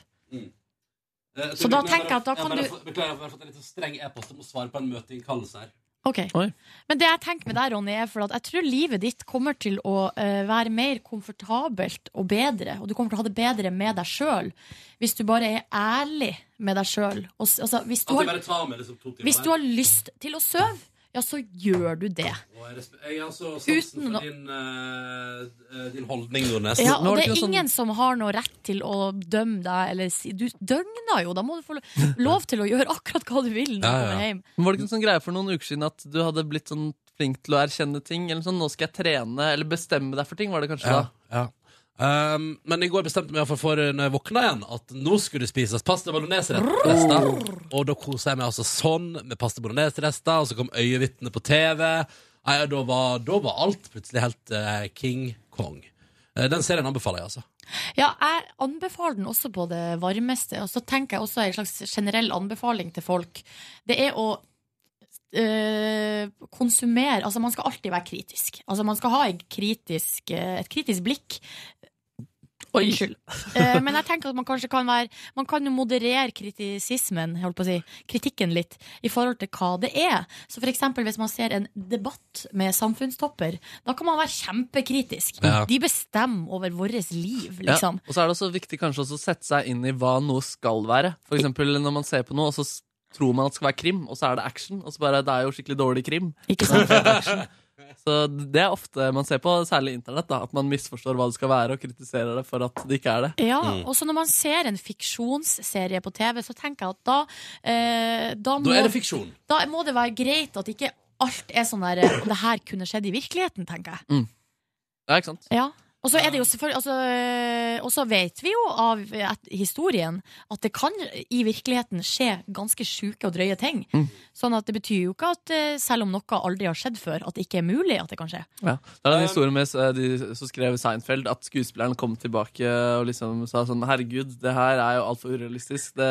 Speaker 3: Så da tenker jeg at da kan du-
Speaker 2: Beklager, jeg har fått en litt sånn streng e-post. Jeg må svare på en møteinnkallelse her.
Speaker 3: Ok. Men det jeg tenker med deg, Ronny, er for at jeg tror livet ditt kommer til å eh, være mer komfortabelt og bedre, og du kommer til å ha det bedre med deg sjøl hvis du bare er ærlig med deg sjøl. Altså, hvis, du
Speaker 2: At jeg
Speaker 3: har-
Speaker 2: bare tar med liksom to timer
Speaker 3: hvis du har lyst til å sove, ja, så gjør du det.
Speaker 2: Og jeg, respe- jeg har altså sansen for din, eh, eh, din holdning, Nordnes.
Speaker 3: Ja, og det er
Speaker 2: sånn-
Speaker 3: ingen som har noe rett til å dømme deg eller si Du døgner jo, da må du få lo- lov til å gjøre akkurat hva du vil når du kommer hjem.
Speaker 5: Men Var det ikke en sånn greie for noen uker siden at du hadde blitt sånn flink til å erkjenne ting? Eller sånn, nå skal jeg trene, eller bestemme deg for ting, var det kanskje
Speaker 2: Ja,
Speaker 5: da?
Speaker 2: sånn- ja. Um, men i går bestemte jeg meg for, for eh, når jeg våkna igjen, at nå skulle det spises pasta bolognese-rester. Og da kosa jeg meg altså sånn med pasta bolognese-rester, og så kom Øyevitnet på TV. Nei, og da, var, da var alt plutselig helt eh, King Kong. Eh, den serien anbefaler jeg, altså.
Speaker 3: Ja, jeg anbefaler den også på det varmeste, og så tenker jeg også en slags generell anbefaling til folk. Det er å øh, konsumere Altså, man skal alltid være kritisk. Altså, man skal ha en kritisk, øh, et kritisk blikk. Unnskyld. Eh, men jeg tenker at man kanskje kan være Man kan jo moderere kritisismen, holdt på å si, kritikken litt, i forhold til hva det er. Så for eksempel hvis man ser en debatt med samfunnstopper, da kan man være kjempekritisk.
Speaker 5: Ja.
Speaker 3: De bestemmer over vårt liv,
Speaker 5: Ja,
Speaker 3: liksom.
Speaker 5: Og så er det også viktig kanskje også å sette seg inn i hva noe skal være. For eksempel når man ser på noe, og så s- tror man at det skal være krim, og så er det action. Og så bare, det er jo skikkelig dårlig krim.
Speaker 3: <laughs> Ikke sant?
Speaker 5: Det er action. Så det er ofte man ser på, særlig internett, da, at man misforstår hva det skal være, og kritiserer det for at det ikke er det.
Speaker 3: Ja,
Speaker 2: Mm.
Speaker 3: og så når man ser en fiksjonsserie på TV, så tenker jeg at da eh, Da, må,
Speaker 2: Da er det fiksjon.
Speaker 3: Da må det være greit at ikke alt er sånn der eh, Og det her kunne skjedd i virkeligheten, tenker jeg.
Speaker 5: Ja, ikke sant?
Speaker 3: Ja. Og så er det jo selvfølgelig altså, eh, Og så vet vi jo av eh, at- historien at det kan i virkeligheten skje ganske sjuke og drøye ting. Sånn at det betyr jo ikke at eh, selv om noe aldri har skjedd før, at det ikke er mulig at det kan skje.
Speaker 5: Ja. Det er en historie med eh, de som skrev Seinfeld, at skuespilleren kom tilbake og liksom sa sånn Herregud, det her er jo altfor urealistisk. Det,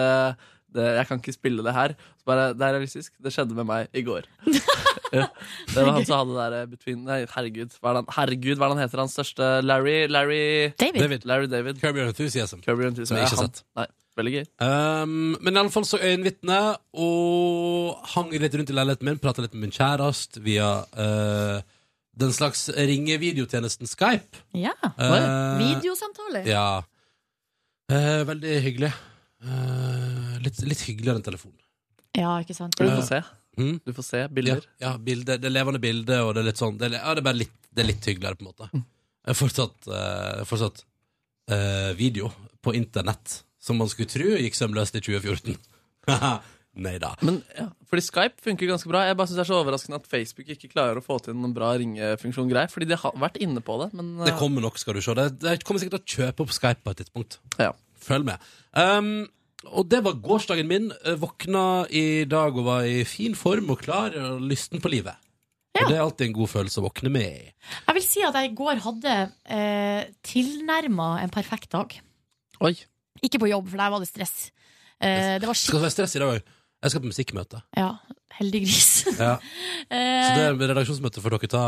Speaker 5: det, jeg kan ikke spille det her. Så bare, det er realistisk. Det skjedde med meg i går. ja. Det var han som hadde det der eh, between Nei, herregud. Hva er det han, herregud, hva er det han heter? Hans største Larry Larry
Speaker 3: David.
Speaker 5: Larry David.
Speaker 2: Kirby Enthusiasm.
Speaker 5: Kirby Enthusiasm.
Speaker 2: Som jeg ikke har
Speaker 5: Ja, han-
Speaker 2: sett.
Speaker 5: Nei, veldig gøy.
Speaker 2: Um, men iallfall så øyenvitne og hang litt rundt i leiligheten min, prata litt med min kjæreste via eh, den slags ringevideotjenesten Skype.
Speaker 3: Ja.
Speaker 2: Eh,
Speaker 3: Videosamtaler.
Speaker 2: Ja. Eh, veldig hyggelig. Eh, litt, litt hyggeligere enn telefon.
Speaker 3: Ja, ikke sant?
Speaker 5: Du får se.
Speaker 2: Mm.
Speaker 5: Du får se bilder.
Speaker 2: Ja, bilder, det er levende bilder, og det er litt sånn Det er, ja, det er bare litt, det er litt hyggeligere, på en måte. Jeg er fortsatt, eh, fortsatt eh, video på internett, som man skulle tro gikk sømløst i <laughs> 2014. Nei da.
Speaker 5: Men ja, fordi Skype funker ganske bra. Jeg bare synes det er så overraskende at Facebook ikke klarer å få til noen bra ringefunksjon. greier, Fordi de har vært inne på det. Men
Speaker 2: Det
Speaker 5: eh,
Speaker 2: kommer nok, skal du se. Det, det kommer sikkert til å kjøpe opp Skype på et tidspunkt.
Speaker 5: Ja.
Speaker 2: Følg med. Um, og det var gårsdagen min. Eh, Våkna i dag og var i fin form og klar og lysten på livet. Og det er alltid en god følelse å våkne med i.
Speaker 3: Jeg vil si at jeg i går hadde eh, tilnærma en perfekt dag.
Speaker 5: Oi.
Speaker 3: Ikke på jobb, for der var det stress. Eh, det var
Speaker 2: Skal det
Speaker 3: skikkelig
Speaker 2: være stress i dag òg? Jeg skal på musikkmøte.
Speaker 3: ja, Heldig gris.
Speaker 2: Ja. Så
Speaker 3: Eh,
Speaker 2: det redaksjonsmøtet får dere ta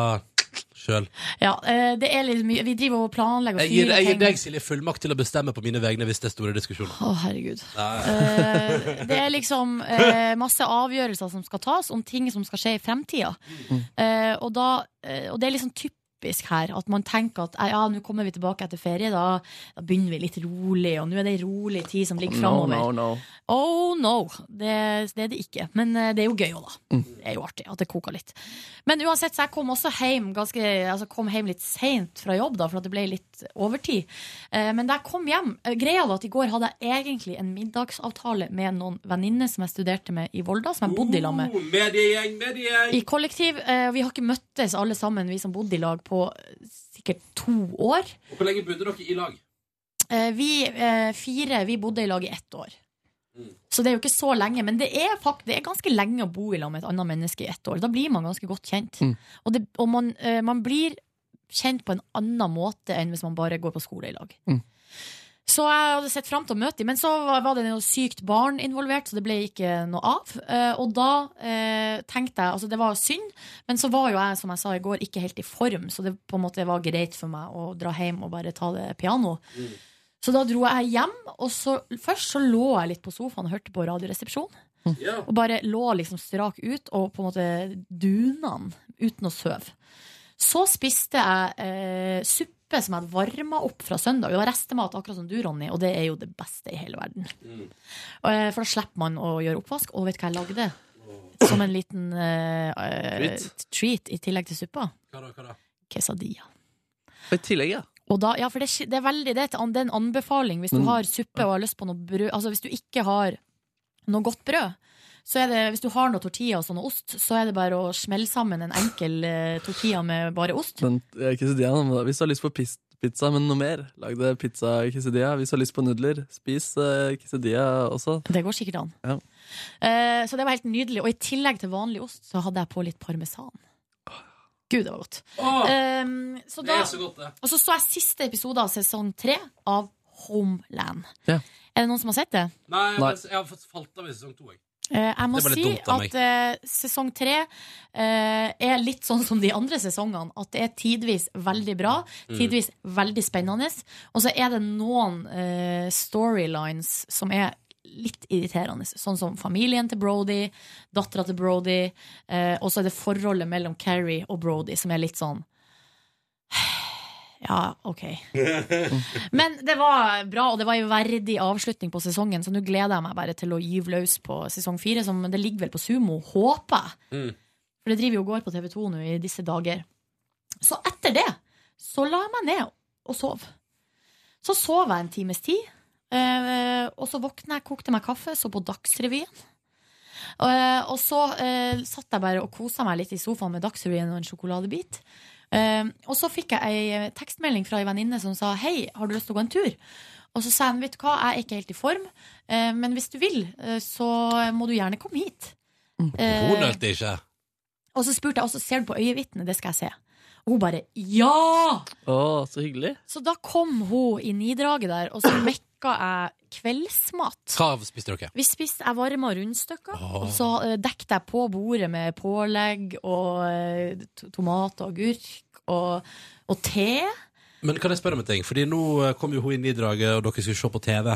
Speaker 2: sjøl.
Speaker 3: <laughs> ja, eh, det er litt mye. Vi driver og planlegger
Speaker 2: Jeg,
Speaker 3: og
Speaker 2: gir- jeg
Speaker 3: fyrer
Speaker 2: gir
Speaker 3: ting.
Speaker 2: deg, Silje, fullmakt til å bestemme på mine vegne hvis det er store diskusjoner.
Speaker 3: Å, herregud.
Speaker 2: Ja, ja.
Speaker 3: Eh, det er liksom eh, masse avgjørelser som skal tas om ting som skal skje i fremtida. Eh, og, da, eh, og det er liksom typisk her at man tenker at eh, ja, nå kommer vi tilbake etter ferie, da, da begynner vi litt rolig, og nå er det ei rolig tid som ligger
Speaker 5: No,
Speaker 3: framover.
Speaker 5: no, no.
Speaker 3: Oh no, det, det er det ikke. Men eh, det er jo gøy òg, da. Det er jo artig at det koker litt. Men uansett, så jeg kom også hjem, ganske, altså kom hjem litt seint fra jobb, da, for at det ble litt overtid. Eh, men da jeg kom hjem eh, Greia var at i går hadde jeg egentlig en middagsavtale med noen venninner som jeg studerte med i Volda, som jeg bodde i lag med.
Speaker 2: Oh, Mediegjeng, mediegjeng!
Speaker 3: I kollektiv. eh, Vi har ikke møttes alle sammen, vi som bodde i lag, på eh, sikkert to år.
Speaker 2: Og hvor lenge bodde dere i lag?
Speaker 3: Eh, Vi eh, fire vi bodde i lag i ett år. Så det er jo ikke så lenge, men det er, fakt, det er ganske lenge å bo i lag med et annet menneske i ett år. Da blir man ganske godt kjent. Og, det, og man, eh, man blir kjent på en annen måte enn hvis man bare går på skole i lag.
Speaker 5: Mm.
Speaker 3: Så jeg hadde sett fram til å møte dem, men så var var det noe sykt barn involvert, så det ble ikke noe av. Eh, Og da eh, tenkte jeg Altså, det var synd, men så var jo jeg, som jeg sa i går, ikke helt i form, så det på en måte var greit for meg å dra hjem og bare ta det piano. Så da dro jeg hjem, og så, først så lå jeg litt på sofaen og hørte på Radioresepsjonen. Og bare lå liksom strak ut og på en måte duna den uten å sove. Så spiste jeg eh, suppe som jeg hadde varma opp fra søndag. Det var restemat, akkurat som du, Ronny, og det er jo det beste i hele verden.
Speaker 2: Mm.
Speaker 3: Eh, For da slipper man å gjøre oppvask. Og vet du hva jeg lagde? Som en liten eh, eh,
Speaker 5: Treat?
Speaker 3: treat i tillegg til suppa.
Speaker 2: Hva da, hva da?
Speaker 3: Quesadilla.
Speaker 5: Og i tillegg, ja.
Speaker 3: Og da, ja, for det, er ikke- det, er veldig, det, er et an- det er en anbefaling hvis du
Speaker 5: Men-
Speaker 3: har suppe og har lyst på noe brød Altså hvis du ikke har noe godt brød, så er det, hvis du har noe tortilla og sånn og ost, så er det bare å smelle sammen en enkel eh, tortilla med bare ost.
Speaker 5: Den, eh, quesadillaen, hva- hvis du har lyst på pis- pizza, men noe mer, lag det pizza quesadilla. Hvis du har lyst på nudler, spis eh, quesadilla også.
Speaker 3: Det går sikkert an.
Speaker 5: Ja.
Speaker 3: Eh, så det var helt nydelig. Og i tillegg til vanlig ost, så hadde jeg på litt parmesan. Gud, det var godt.
Speaker 2: Åh,
Speaker 3: Ehm, så
Speaker 2: Ah. det
Speaker 3: da-
Speaker 2: er så godt, det.
Speaker 3: Og så så jeg siste episode av sesong tre av Homeland.
Speaker 5: Ja.
Speaker 3: Er det noen som har sett det?
Speaker 2: Nei,
Speaker 3: Nei.
Speaker 2: men jeg har fått falt av i sesong to, jeg.
Speaker 3: Eh, jeg må
Speaker 2: Det var litt
Speaker 3: si
Speaker 2: dumt av meg.
Speaker 3: at eh, sesong tre eh, er litt sånn som de andre sesongene. At det er tidvis veldig bra,
Speaker 7: Mm.
Speaker 3: tidvis veldig spennende. Og så er det noen eh, storylines som er litt irriterende. Sånn som familien til Brody, dattera til Brody, eh, og så er det forholdet mellom Carrie og Brody som er litt sånn <sighs> Ja, OK. Men det var bra, og det var en verdig avslutning på sesongen, så nå gleder jeg meg bare til å gyve løs på sesong fire, som det ligger vel på Sumo, håper jeg. For det driver jo og går på TV2 nå i disse dager. Så etter det så la jeg meg ned og sov. Så sov jeg en times tid, eh, og så våkna jeg, kokte meg kaffe, så på Dagsrevyen. Eh, og så eh, satt jeg bare og kosa meg litt i sofaen med Dagsrevyen og en sjokoladebit. Eh, og så fikk jeg ei eh, tekstmelding fra ei venninne som sa Hei, har du lyst til å gå en tur? Og så sa hun, vet du hva, jeg er ikke helt i form, eh, men hvis du vil, eh, så må du gjerne komme hit.
Speaker 2: Hun
Speaker 3: Eh,
Speaker 2: nølte ikke.
Speaker 3: og så spurte jeg, og så ser du på øyevitnet, det skal jeg se. Og hun bare, ja!
Speaker 5: Å, så hyggelig.
Speaker 3: Så da kom hun i nidraget der, og så mekka jeg kveldsmat.
Speaker 2: Hva spiste dere?
Speaker 3: Vi spiste, jeg varma rundstykker,
Speaker 2: Åh.
Speaker 3: og så uh, dekket jeg på bordet med pålegg og eh, to- tomat og agurk og, og te.
Speaker 2: Men kan jeg spørre om en ting? Fordi nå eh, kom jo hun inn i draget, og dere skulle se på TV.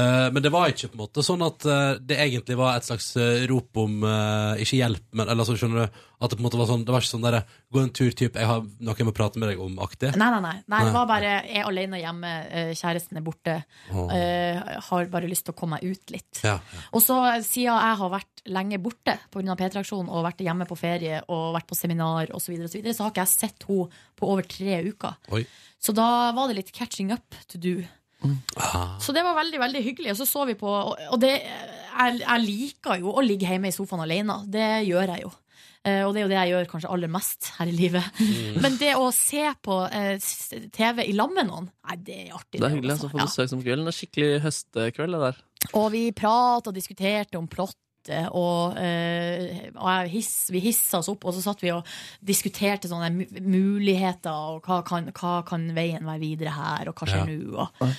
Speaker 2: Eh, men det var ikke på en måte sånn at eh, det egentlig var et slags eh, rop om eh, ikke hjelp, men eller så skjønner du at det på en måte var sånn Det var ikke sånn derre gå en tur, type, jeg har noe jeg må prate med deg om-aktig.
Speaker 3: Nei, nei, nei. nei
Speaker 2: Nei.
Speaker 3: det var bare jeg er alene hjemme, eh, kjæresten er borte.
Speaker 2: Åh.
Speaker 3: eh, har bare lyst til å komme meg ut litt.
Speaker 2: Ja.
Speaker 3: Og så eh, siden jeg har vært lenge borte pga. P3-aksjonen og vært hjemme på ferie og vært på seminar osv., så, videre, og så, videre, så har ikke jeg sett henne på over tre uker.
Speaker 2: Oi.
Speaker 3: Så da var det litt catching up to do. Så det var veldig veldig hyggelig. Og så så vi på Og og det, jeg, jeg liker jo å ligge hjemme i sofaen alene. Det gjør jeg jo. Eh, og det er jo det jeg gjør kanskje aller mest her i livet.
Speaker 5: Mm.
Speaker 3: Men det å se på eh, s- TV i lag med noen, nei, det altså. er artig.
Speaker 5: Det er hyggelig. Så får du besøk om kvelden. Det er skikkelig høstekveld, det der.
Speaker 3: Og vi pratet og diskuterte om plottet, og, eh, og jeg hiss, vi hissa oss opp, og så satt vi og diskuterte sånne mu- muligheter, og hva kan, hva kan veien være videre her, og hva skjer
Speaker 2: Ja.
Speaker 3: nå? Og,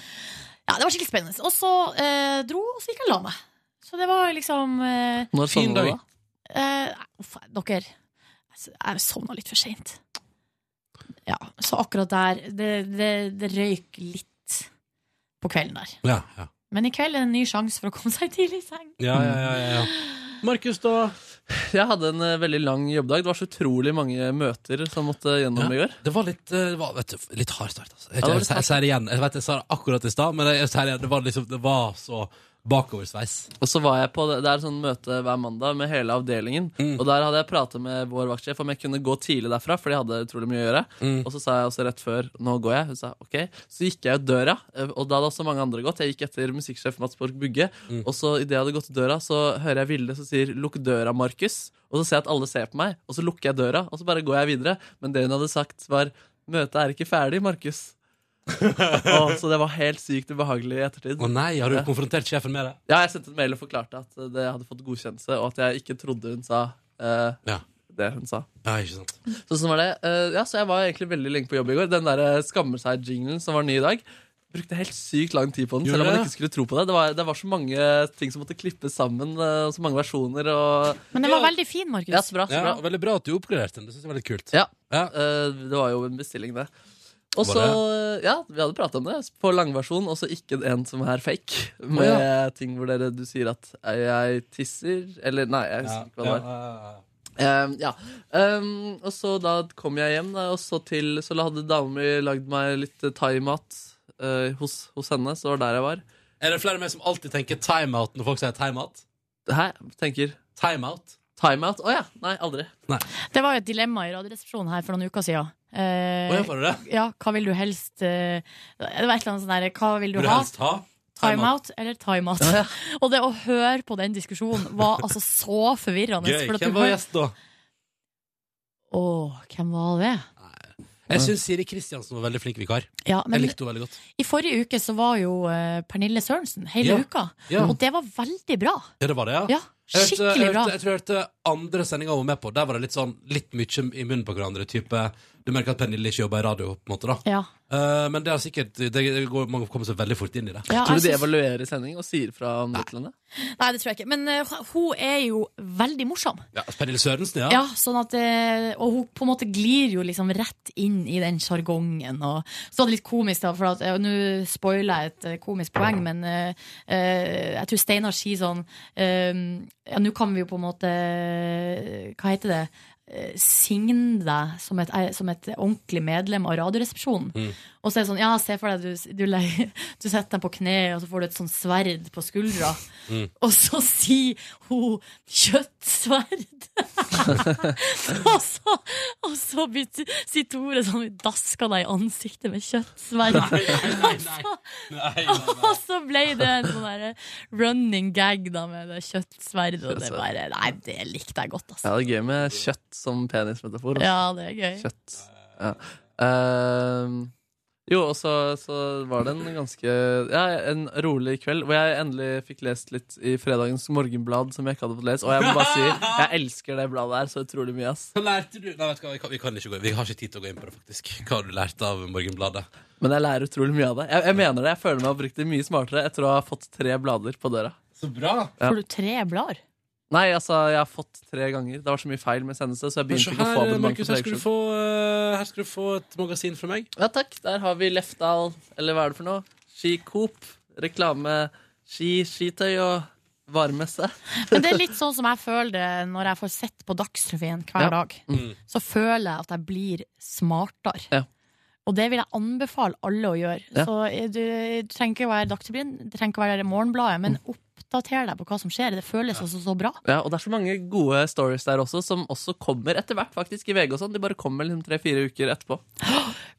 Speaker 3: ja, det var skikkelig spennende. Og så eh, dro, og så gikk jeg og la meg. Så det var liksom eh,
Speaker 5: Når sovna du, da?
Speaker 3: Eh, uff, dere, jeg jeg sovna litt for seint. Ja, så akkurat der Det, det, det røyk litt på kvelden der.
Speaker 2: Ja, ja.
Speaker 3: Men i kveld er det en ny sjanse for å komme seg tidlig i seng.
Speaker 2: Ja, ja, ja, ja, ja. Markus, da?
Speaker 5: Jeg hadde en eh, veldig lang jobbdag. Det var så utrolig mange møter som måtte gjennom i går.
Speaker 2: Det var litt, eh, det var, vet du, litt hard start. Altså. Jeg,
Speaker 5: Ja, det var
Speaker 2: jeg,
Speaker 5: litt
Speaker 2: jeg,
Speaker 5: hard
Speaker 2: sier det igjen. Jeg, vet, jeg sa det akkurat i stad, men jeg, jeg sier det igjen. Det var, liksom, det var så bakoversveis.
Speaker 5: Og så var jeg på, Det er sånn møte hver mandag med hele avdelingen. Og Der hadde jeg pratet med vår vaktsjef om jeg kunne gå tidlig derfra. Fordi jeg hadde utrolig mye å gjøre Og så sa jeg også rett før nå går jeg. Hun sa ok. Så gikk jeg ut døra, eh, og da hadde også mange andre gått. Jeg gikk etter musikksjef Mats Borg Bugge. Og så idet jeg hadde gått ut døra, så hører jeg Vilde som sier 'lukk døra, Markus'. Og så ser jeg at alle ser på meg, og så lukker jeg døra, og så bare går jeg videre. Men det hun hadde sagt, var 'møtet er ikke ferdig, Markus'. Å, så det var helt sykt ubehagelig i ettertid.
Speaker 2: Å nei, har du
Speaker 5: Ja.
Speaker 2: konfrontert sjefen med det?
Speaker 5: Ja, jeg sendte en mail og forklarte at det hadde fått godkjennelse, og at jeg ikke trodde hun sa eh, det hun sa.
Speaker 2: Ja, ikke sant.
Speaker 5: Så sånn var det. Eh, ja, så jeg var egentlig veldig lenge på jobb i går. Den der eh, skammer seg-jinglen som var ny i dag. Brukte helt sykt lang tid på den,
Speaker 2: Gjorde
Speaker 5: selv om man
Speaker 2: det?
Speaker 5: ikke skulle tro på det. Det var, det var så mange ting som måtte klippes sammen, eh, så mange versjoner og
Speaker 3: Men den var veldig fin, Markus.
Speaker 5: Ja, så bra, så
Speaker 2: Ja,
Speaker 5: bra.
Speaker 2: veldig bra at du oppgraderte den. Det synes jeg var litt kult.
Speaker 5: Ja, eh, det var jo en bestilling, det. Og
Speaker 2: Var
Speaker 5: så, ja, Vi hadde prata om det på langversjon, og så ikke en som er fake. Med
Speaker 2: Å,
Speaker 5: ting hvor dere, du sier at «Er jeg tisser Eller nei, jeg
Speaker 2: Ja,
Speaker 5: husker ikke hva
Speaker 2: ja,
Speaker 5: det var.
Speaker 2: ja, ja.
Speaker 5: Ehm, ja. Ehm, og så da kom jeg hjem, da, og så, til, så hadde dama mi lagd meg litt eh, thaimat eh, hos, hos henne. Så det var der jeg var.
Speaker 2: Er det flere av meg som alltid tenker timeout når folk sier timeout?
Speaker 5: Hæ? Tenker?
Speaker 2: Timeout.
Speaker 5: Timeout? Å ja. Nei, aldri.
Speaker 3: Det var jo et dilemma i Radioresepsjonen her for noen uker siden. Eh,
Speaker 2: Å, ja, var det
Speaker 3: Ja, hva vil du helst eh, Det var et eller annet sånn der Hva vil du,
Speaker 2: Vil du
Speaker 3: ha?
Speaker 2: helst ha?
Speaker 3: Timeout eller timeout? <laughs> Og det å høre på den diskusjonen var altså så forvirrende.
Speaker 2: Gøy.
Speaker 3: for at
Speaker 2: Hvem
Speaker 3: du
Speaker 2: var
Speaker 3: hør-
Speaker 2: gjest da?
Speaker 3: Å, hvem var det?
Speaker 2: Jeg syns Siri Kristiansen var veldig flink vikar.
Speaker 3: Ja, men-
Speaker 2: jeg likte henne veldig godt.
Speaker 3: I forrige uke så var jo eh, Pernille Sørensen hele
Speaker 2: Ja.
Speaker 3: uka,
Speaker 2: Ja.
Speaker 3: og det var veldig bra.
Speaker 2: Ja, det var det, ja.
Speaker 3: Ja,
Speaker 2: Jeg hørte-
Speaker 3: skikkelig
Speaker 2: jeg
Speaker 3: bra.
Speaker 2: hørte- Jeg tror jeg hørte andre sendinga hun var med på. Der var det litt sånn litt mye i munnen på hverandre. Type, du merker at Pernille ikke jobber i radio, på en måte. da
Speaker 3: Ja.
Speaker 2: Eh, Men det er sikkert det- det går, man kommer seg veldig fort inn i det.
Speaker 3: Ja, Tror du jeg de synes-
Speaker 5: evaluerer sending og sier fra om det til henne?
Speaker 3: Nei, det tror jeg ikke. Men eh, hun er jo veldig morsom.
Speaker 2: Ja, altså Pernille Sørensen, ja.
Speaker 3: Ja, sånn at eh, Og hun på en måte glir jo liksom rett inn i den sjargongen. og Så var det litt komisk, da, for at eh, nå spoiler jeg et eh, komisk poeng, men eh, eh, jeg tror Steinar sier sånn eh, Ja, nå kan vi jo på en måte Hva heter det? Eh, Signe deg som et, eh, som et ordentlig medlem av Radioresepsjonen. Og så er det sånn, ja, se for deg du, du, le- <laughs> du setter deg på kne, og så får du et sånn sverd på skuldra.
Speaker 2: Mm.
Speaker 3: Og så sier hun 'kjøttsverd'. <laughs> og så, og så blir t- sier Tore sånn 'daska deg i ansiktet med kjøttsverd'. <laughs> Altså, <laughs> Og så ble det en sånn derre running gag da med det kjøttsverdet. Og det bare, nei, det likte jeg godt, altså.
Speaker 5: Ja, det er gøy med kjøtt som penismetafor. altså.
Speaker 3: Ja, det er gøy.
Speaker 5: Kjøtt. Ja. Ehm, jo, og så, så var det en ganske ja, en rolig kveld hvor jeg endelig fikk lest litt i fredagens Morgenblad, som jeg ikke hadde fått lest. Og jeg må bare si, jeg elsker det bladet her så utrolig mye, ass.
Speaker 2: Hva lærte du? Nei, vet du hva, vi, kan, vi, kan ikke gå, vi har ikke tid til å gå inn på det, faktisk. Hva har du lært av Morgenbladet?
Speaker 5: Men jeg lærer utrolig mye av det. Jeg, jeg mener det, jeg føler meg oppriktig mye smartere etter å ha fått tre blader på døra.
Speaker 2: Så bra!
Speaker 5: Ja.
Speaker 3: Får du tre blader?
Speaker 5: Nei, altså, jeg har fått tre ganger. Det var så mye feil med sendelse, så jeg
Speaker 2: Men se
Speaker 5: begynte ikke å få
Speaker 2: her,
Speaker 5: abonnement.
Speaker 2: Markus,
Speaker 5: på
Speaker 2: her
Speaker 5: Fredagsjobb.
Speaker 2: skal, du få, eh, her skal du få et magasin fra meg.
Speaker 5: Ja takk, der har vi Lefdal, eller hva er det for noe? Ski Coop, reklame, ski, skitøy og varemesse.
Speaker 3: Men det er litt sånn som jeg føler det når jeg får sett på Dagsrevyen hver
Speaker 5: Ja.
Speaker 3: dag.
Speaker 5: Mm.
Speaker 3: Så føler jeg at jeg blir smartere.
Speaker 5: Ja.
Speaker 3: Og det vil jeg anbefale alle å gjøre.
Speaker 5: Ja.
Speaker 3: Så eh, du, du trenger ikke å være Dagsrevyen, du trenger ikke å være Morgenbladet, men oppdater deg på hva som skjer. Det føles også så bra.
Speaker 5: Mm. Ja, og det er så mange gode stories der også, som også kommer etter hvert faktisk i VG og sånn. De bare kommer liksom tre-fire uker etterpå.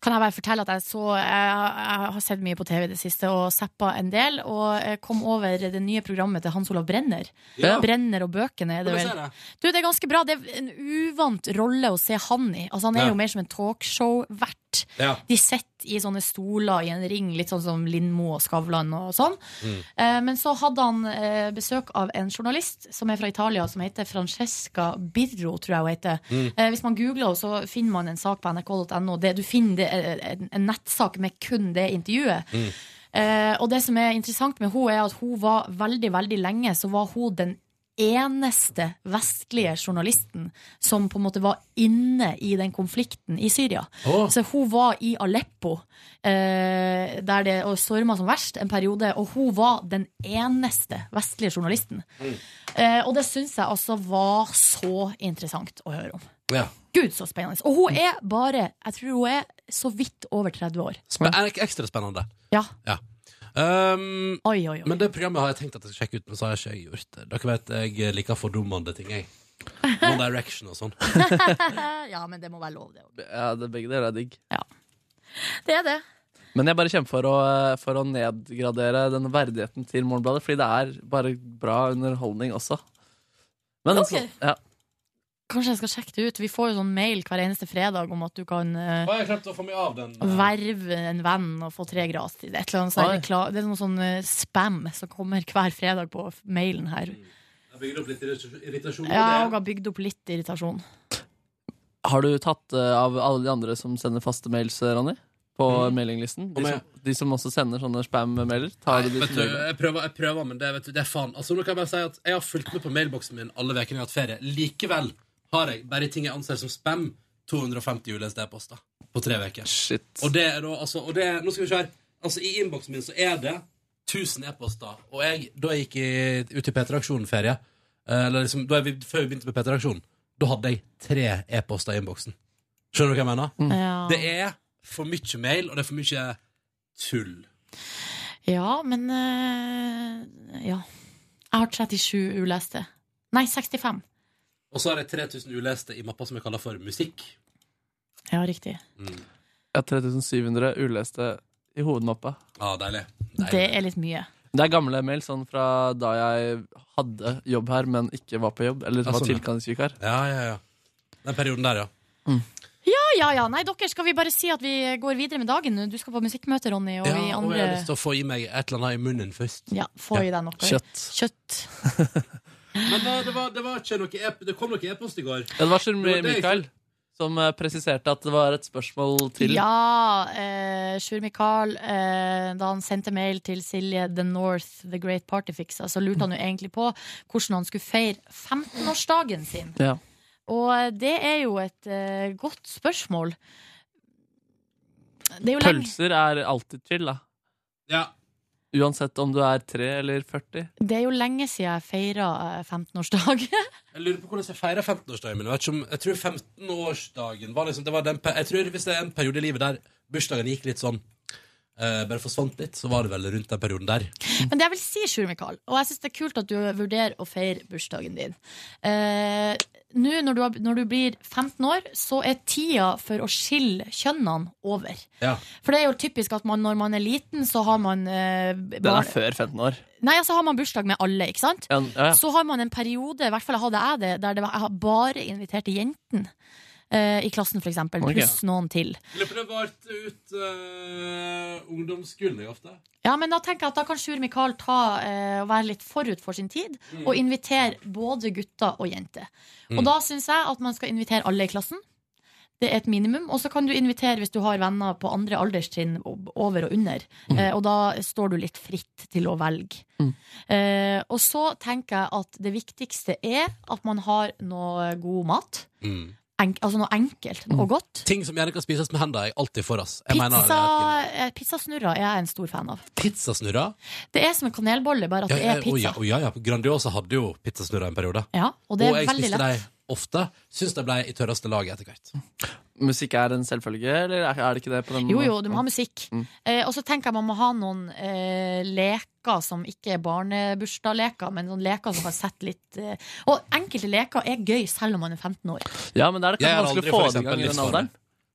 Speaker 3: Kan jeg bare fortelle at jeg, så, jeg, jeg har sett mye på TV i det siste og zappa en del. Og jeg kom over det nye programmet til Hans Olav Brenner.
Speaker 5: Ja.
Speaker 3: Brenner og bøkene er det
Speaker 2: Hvordan
Speaker 3: vel.
Speaker 2: er det?
Speaker 3: Du, det er ganske bra. Det er en uvant rolle å se han i. Altså, han er
Speaker 2: Ja.
Speaker 3: jo mer som en talkshow-vert.
Speaker 2: Ja.
Speaker 3: De sitter i sånne stoler i en ring, litt sånn som Lindmo og Skavlan og sånn. Eh, Men så hadde han eh, besøk av en journalist som er fra Italia, som heter Francesca Birro, tror jeg hun heter.
Speaker 13: Mm.
Speaker 3: Eh, Hvis man googler henne, så finner man en sak på nrk.no. Det- Du finner det, eh, en- en nettsak med kun det intervjuet. Eh, og det som er interessant med henne, er at hun var veldig, veldig lenge så var hun den eneste vestlige journalisten som på en måte var inne i den konflikten i Syria.
Speaker 13: Åh.
Speaker 3: Så hun var i Aleppo, eh, der det storma som verst en periode, og hun var den eneste vestlige journalisten.
Speaker 2: Mm.
Speaker 3: Eh, og det syns jeg altså var så interessant å høre om.
Speaker 2: Ja.
Speaker 3: Gud, så spennende. Og hun er bare, jeg tror hun er så vidt over 30 år.
Speaker 2: Spen er det ikke ekstra spennende.
Speaker 3: Ja.
Speaker 2: Um,
Speaker 3: oi, oi, oi.
Speaker 2: Men det programmet har jeg tenkt at jeg skal sjekke ut, men så har jeg ikke gjort det. Dere vet jeg liker fordummende ting, jeg. One Direction og sånn.
Speaker 3: ja, men det må være lov, det òg.
Speaker 5: Ja, det, begge deler er digg.
Speaker 3: Det er det.
Speaker 5: Men jeg bare kjemper for å, for å nedgradere den verdigheten til Morgenbladet, fordi det er bare bra underholdning også. Men
Speaker 3: Ok.
Speaker 5: så- ja.
Speaker 3: Kanskje jeg skal sjekke det ut. Vi får jo sånn mail hver eneste fredag om at du kan eh,
Speaker 2: Å, jeg glemte å få meg av den. eh,
Speaker 3: verve en venn og få tre gratis. Et eller annet sånn
Speaker 2: Oi.
Speaker 3: rekla- det er noe sånn eh, spam som kommer hver fredag på f- mailen her.
Speaker 2: Jeg bygde opp litt irritasjon.
Speaker 3: Jeg har bygd opp litt irritasjon.
Speaker 5: Har du tatt eh, av alle de andre som sender faste mails, eh, Ronny? På mailinglisten?
Speaker 2: Mm.
Speaker 5: De
Speaker 2: Om jeg-
Speaker 5: som, de som også sender sånne spam-mailer? Tar
Speaker 2: Nei,
Speaker 5: du de
Speaker 2: vet
Speaker 5: som
Speaker 2: du,
Speaker 5: mailer?
Speaker 2: jeg prøver, jeg prøver men det, vet du, det er faen. Altså, nå kan jeg bare si at jeg har fulgt med på mailboksen min alle ukene jeg har hatt ferie. Likevel har jeg, bare i ting jeg anser som spam, 250 ULSD-poster på tre uker. Og det er da, altså, og det, nå skal vi se her. Altså, i innboksen min så er det 1000 e-poster, og jeg, da jeg gikk i, ut i P3-aksjonen ferie, eh, eller liksom, da jeg, før vi begynte med P3-aksjonen, da hadde jeg tre e-poster i innboksen. Skjønner du hva jeg mener?
Speaker 3: Ja.
Speaker 2: Mm. Det er for mye mail, og det er for mye tull.
Speaker 3: Ja, men eh, Ja. Jeg har 37 uleste. Nei, 65.
Speaker 2: Og så har jeg 3000 uleste i mappa som jeg kaller for musikk.
Speaker 3: Ja, riktig.
Speaker 5: Jeg har 3700 uleste i hovedmappa.
Speaker 2: Ja, Ah, deilig.
Speaker 3: Det er litt mye.
Speaker 5: Det er gamle mail, sånn fra da jeg hadde jobb her, men ikke var på jobb. Eller
Speaker 2: Ja,
Speaker 5: var
Speaker 2: sånn, ja.
Speaker 5: tilkallingssyk her.
Speaker 2: Ja, ja, ja. Den perioden der, ja.
Speaker 3: Ja, Ah, ja, ja. Nei, dere skal vi bare si at vi går videre med dagen. nå? Du skal på musikkmøte, Ronny, og
Speaker 2: ja Og
Speaker 3: vi
Speaker 2: jeg har lyst
Speaker 3: andre
Speaker 2: til å få i meg et eller annet i munnen først.
Speaker 3: Ja, få i deg noe. Kjøtt.
Speaker 2: Men det, det, var, det var ikke noe e Det kom noe e-post i går.
Speaker 5: Ja, Det var Sir
Speaker 2: Det var det jeg-
Speaker 5: Mikael som eh, presiserte at det var et spørsmål til.
Speaker 3: Ja, eh, Sjur Mikael, eh, da han sendte mail til Silje The North, The Great Party Fixer, så lurte han jo egentlig på hvordan han skulle feire 15-årsdagen sin.
Speaker 5: Ja.
Speaker 3: Og det er jo et eh, godt spørsmål. Det er jo lenge
Speaker 5: Pølser er alltid chill, da.
Speaker 2: Ja.
Speaker 5: Uansett om du er 3 eller 40.
Speaker 3: det er jo lenge siden jeg eh, feira 15-årsdag.
Speaker 2: Jeg lurer på hvordan jeg feira 15-årsdagen min. Jeg, vet ikke om, jeg tror 15-årsdagen var liksom det var den, pe- Jeg tror Hvis det er en periode i livet der bursdagen gikk litt sånn eh, Bare forsvant litt, så var det vel rundt den perioden der.
Speaker 3: <laughs> Men det jeg vil si, Sjur Mikael, og jeg syns det er kult at du vurderer å feire bursdagen din eh, Nå når, du har- når du blir 15 år, så er tida for å skille kjønnene over.
Speaker 2: Ja.
Speaker 3: For det er jo typisk at man, når man er liten, så har man eh,
Speaker 5: Den
Speaker 3: bar-
Speaker 5: er før 15 år.
Speaker 3: Nei, altså har man bursdag med alle, ikke sant?
Speaker 5: Ja, ja, ja.
Speaker 3: Så har man en periode, i hvert fall hadde jeg det, der det var, jeg har bare inviterte jentene. eh, I klassen, for eksempel.
Speaker 2: Ok.
Speaker 3: Pluss noen til.
Speaker 2: Jeg lurer på det varte ut uh, ungdomsskolen jeg ofte.
Speaker 3: Ja, men Da tenker jeg at da kan Sjur Mikael ta, eh, og være litt forut for sin tid
Speaker 2: Mm.
Speaker 3: og invitere både gutter og jenter. Og
Speaker 2: Mm.
Speaker 3: Da syns jeg at man skal invitere alle i klassen. Det er et minimum. Og så kan du invitere hvis du har venner på andre alderstrinn, ob- over og under.
Speaker 2: Mm.
Speaker 3: Eh, og da står du litt fritt til å velge. Eh, og så tenker jeg at det viktigste er at man har noe god mat.
Speaker 2: Mm.
Speaker 3: Enk, altså noe enkelt og godt.
Speaker 2: Ting som gjerne kan spises med hendene, er jeg alltid for oss. Mm. Jeg mener,
Speaker 3: Pizza, eh, pizzasnurrer er jeg en stor fan av.
Speaker 2: Pizzasnurra?
Speaker 3: Det er som en kanelbolle, bare at det
Speaker 2: Å,
Speaker 3: er pizza.
Speaker 2: ja, å, ja, ja. Grandiosa hadde jo pizzasnurra en periode.
Speaker 3: Ja, og det er
Speaker 2: jeg
Speaker 3: veldig
Speaker 2: spiste
Speaker 3: lett.
Speaker 2: de ofte. Syns de ble i tørreste laget etter hvert.
Speaker 5: Musikk er en selvfølge, eller er er det ikke det? på den
Speaker 3: Jo, jo,
Speaker 5: måten?
Speaker 3: du må ha musikk.
Speaker 5: Mm.
Speaker 3: Eh, og så tenker jeg man må ha noen eh, leker som ikke er barnebursdagsleker, men sånne leker som har sett litt eh, Og enkelte leker er gøy selv om man er 15 år.
Speaker 5: Ja, men det er det
Speaker 2: Jeg
Speaker 5: kanskje
Speaker 2: har aldri,
Speaker 5: vanskelig å få
Speaker 2: for
Speaker 5: det i gang
Speaker 2: eksempel,
Speaker 5: i den
Speaker 2: livsform.
Speaker 5: alderen.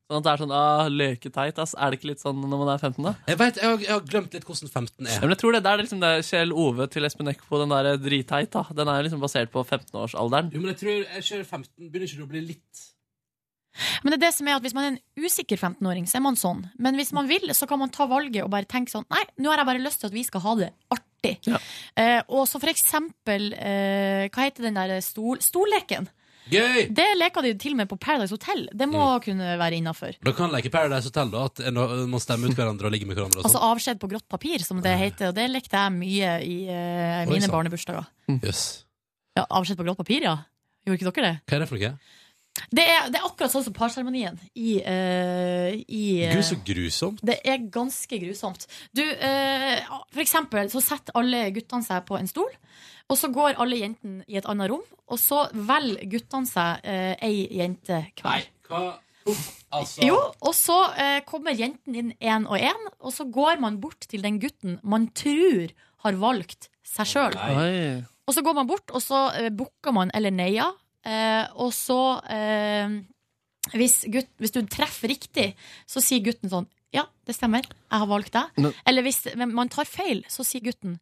Speaker 5: Sånn at det er sånn, ah, leketeit, ass. Er det ikke litt sånn når man er 15, da?
Speaker 2: Jeg vet, jeg har, jeg har glemt litt hvordan 15
Speaker 5: Ja,
Speaker 2: er.
Speaker 5: men jeg tror det, det er liksom det er Kjell Ove til Espen Eckbo, den der dritteit, da. Den er jo liksom basert på 15-årsalderen.
Speaker 2: Jo, men jeg tror jeg kjører 15. Begynner ikke du å bli litt
Speaker 3: Men det er det som er at hvis man er en usikker 15-åring, så er man sånn. Men hvis man vil, så kan man ta valget og bare tenke sånn Nei, nå har jeg bare lyst til at vi skal ha det artig. Eh, og så for eksempel eh, Hva heter den der stol, stolleken?
Speaker 2: Gøy!
Speaker 3: Det leker de jo til og med på Paradise Hotel. Det må kunne være innafor.
Speaker 2: Da kan leke Paradise Hotel, da. At en- man stemmer ut hverandre og ligger med hverandre. Og
Speaker 3: Altså
Speaker 2: sånn.
Speaker 3: avskjed på grått papir, som det heter. Og det lekte jeg mye i eh,
Speaker 2: Oi,
Speaker 3: mine
Speaker 2: sant.
Speaker 3: barnebursdager.
Speaker 2: Jøss.
Speaker 3: Ja, avskjed på grått papir, ja. Gjorde ikke dere det?
Speaker 2: Hva er det for noe?
Speaker 3: Det er, det er akkurat sånn som parseremonien i, eh, i eh,
Speaker 2: Gud, så grusomt.
Speaker 3: Det er ganske grusomt. Du, eh, for eksempel så setter alle guttene seg på en stol, og så går alle jentene i et annet rom, og så velger guttene seg eh, ei jente hver.
Speaker 2: Hva? Uff, altså.
Speaker 3: Jo, og så eh, kommer jenten inn én og én, og så går man bort til den gutten man tror har valgt seg sjøl.
Speaker 5: Oi.
Speaker 3: Og så går man bort, og så eh, booker man eller neia. Eh, og så eh, hvis, gutt, hvis du treffer riktig, så sier gutten sånn Ja, det stemmer. Jeg har valgt deg.
Speaker 5: Men-
Speaker 3: eller hvis men man tar feil, så sier gutten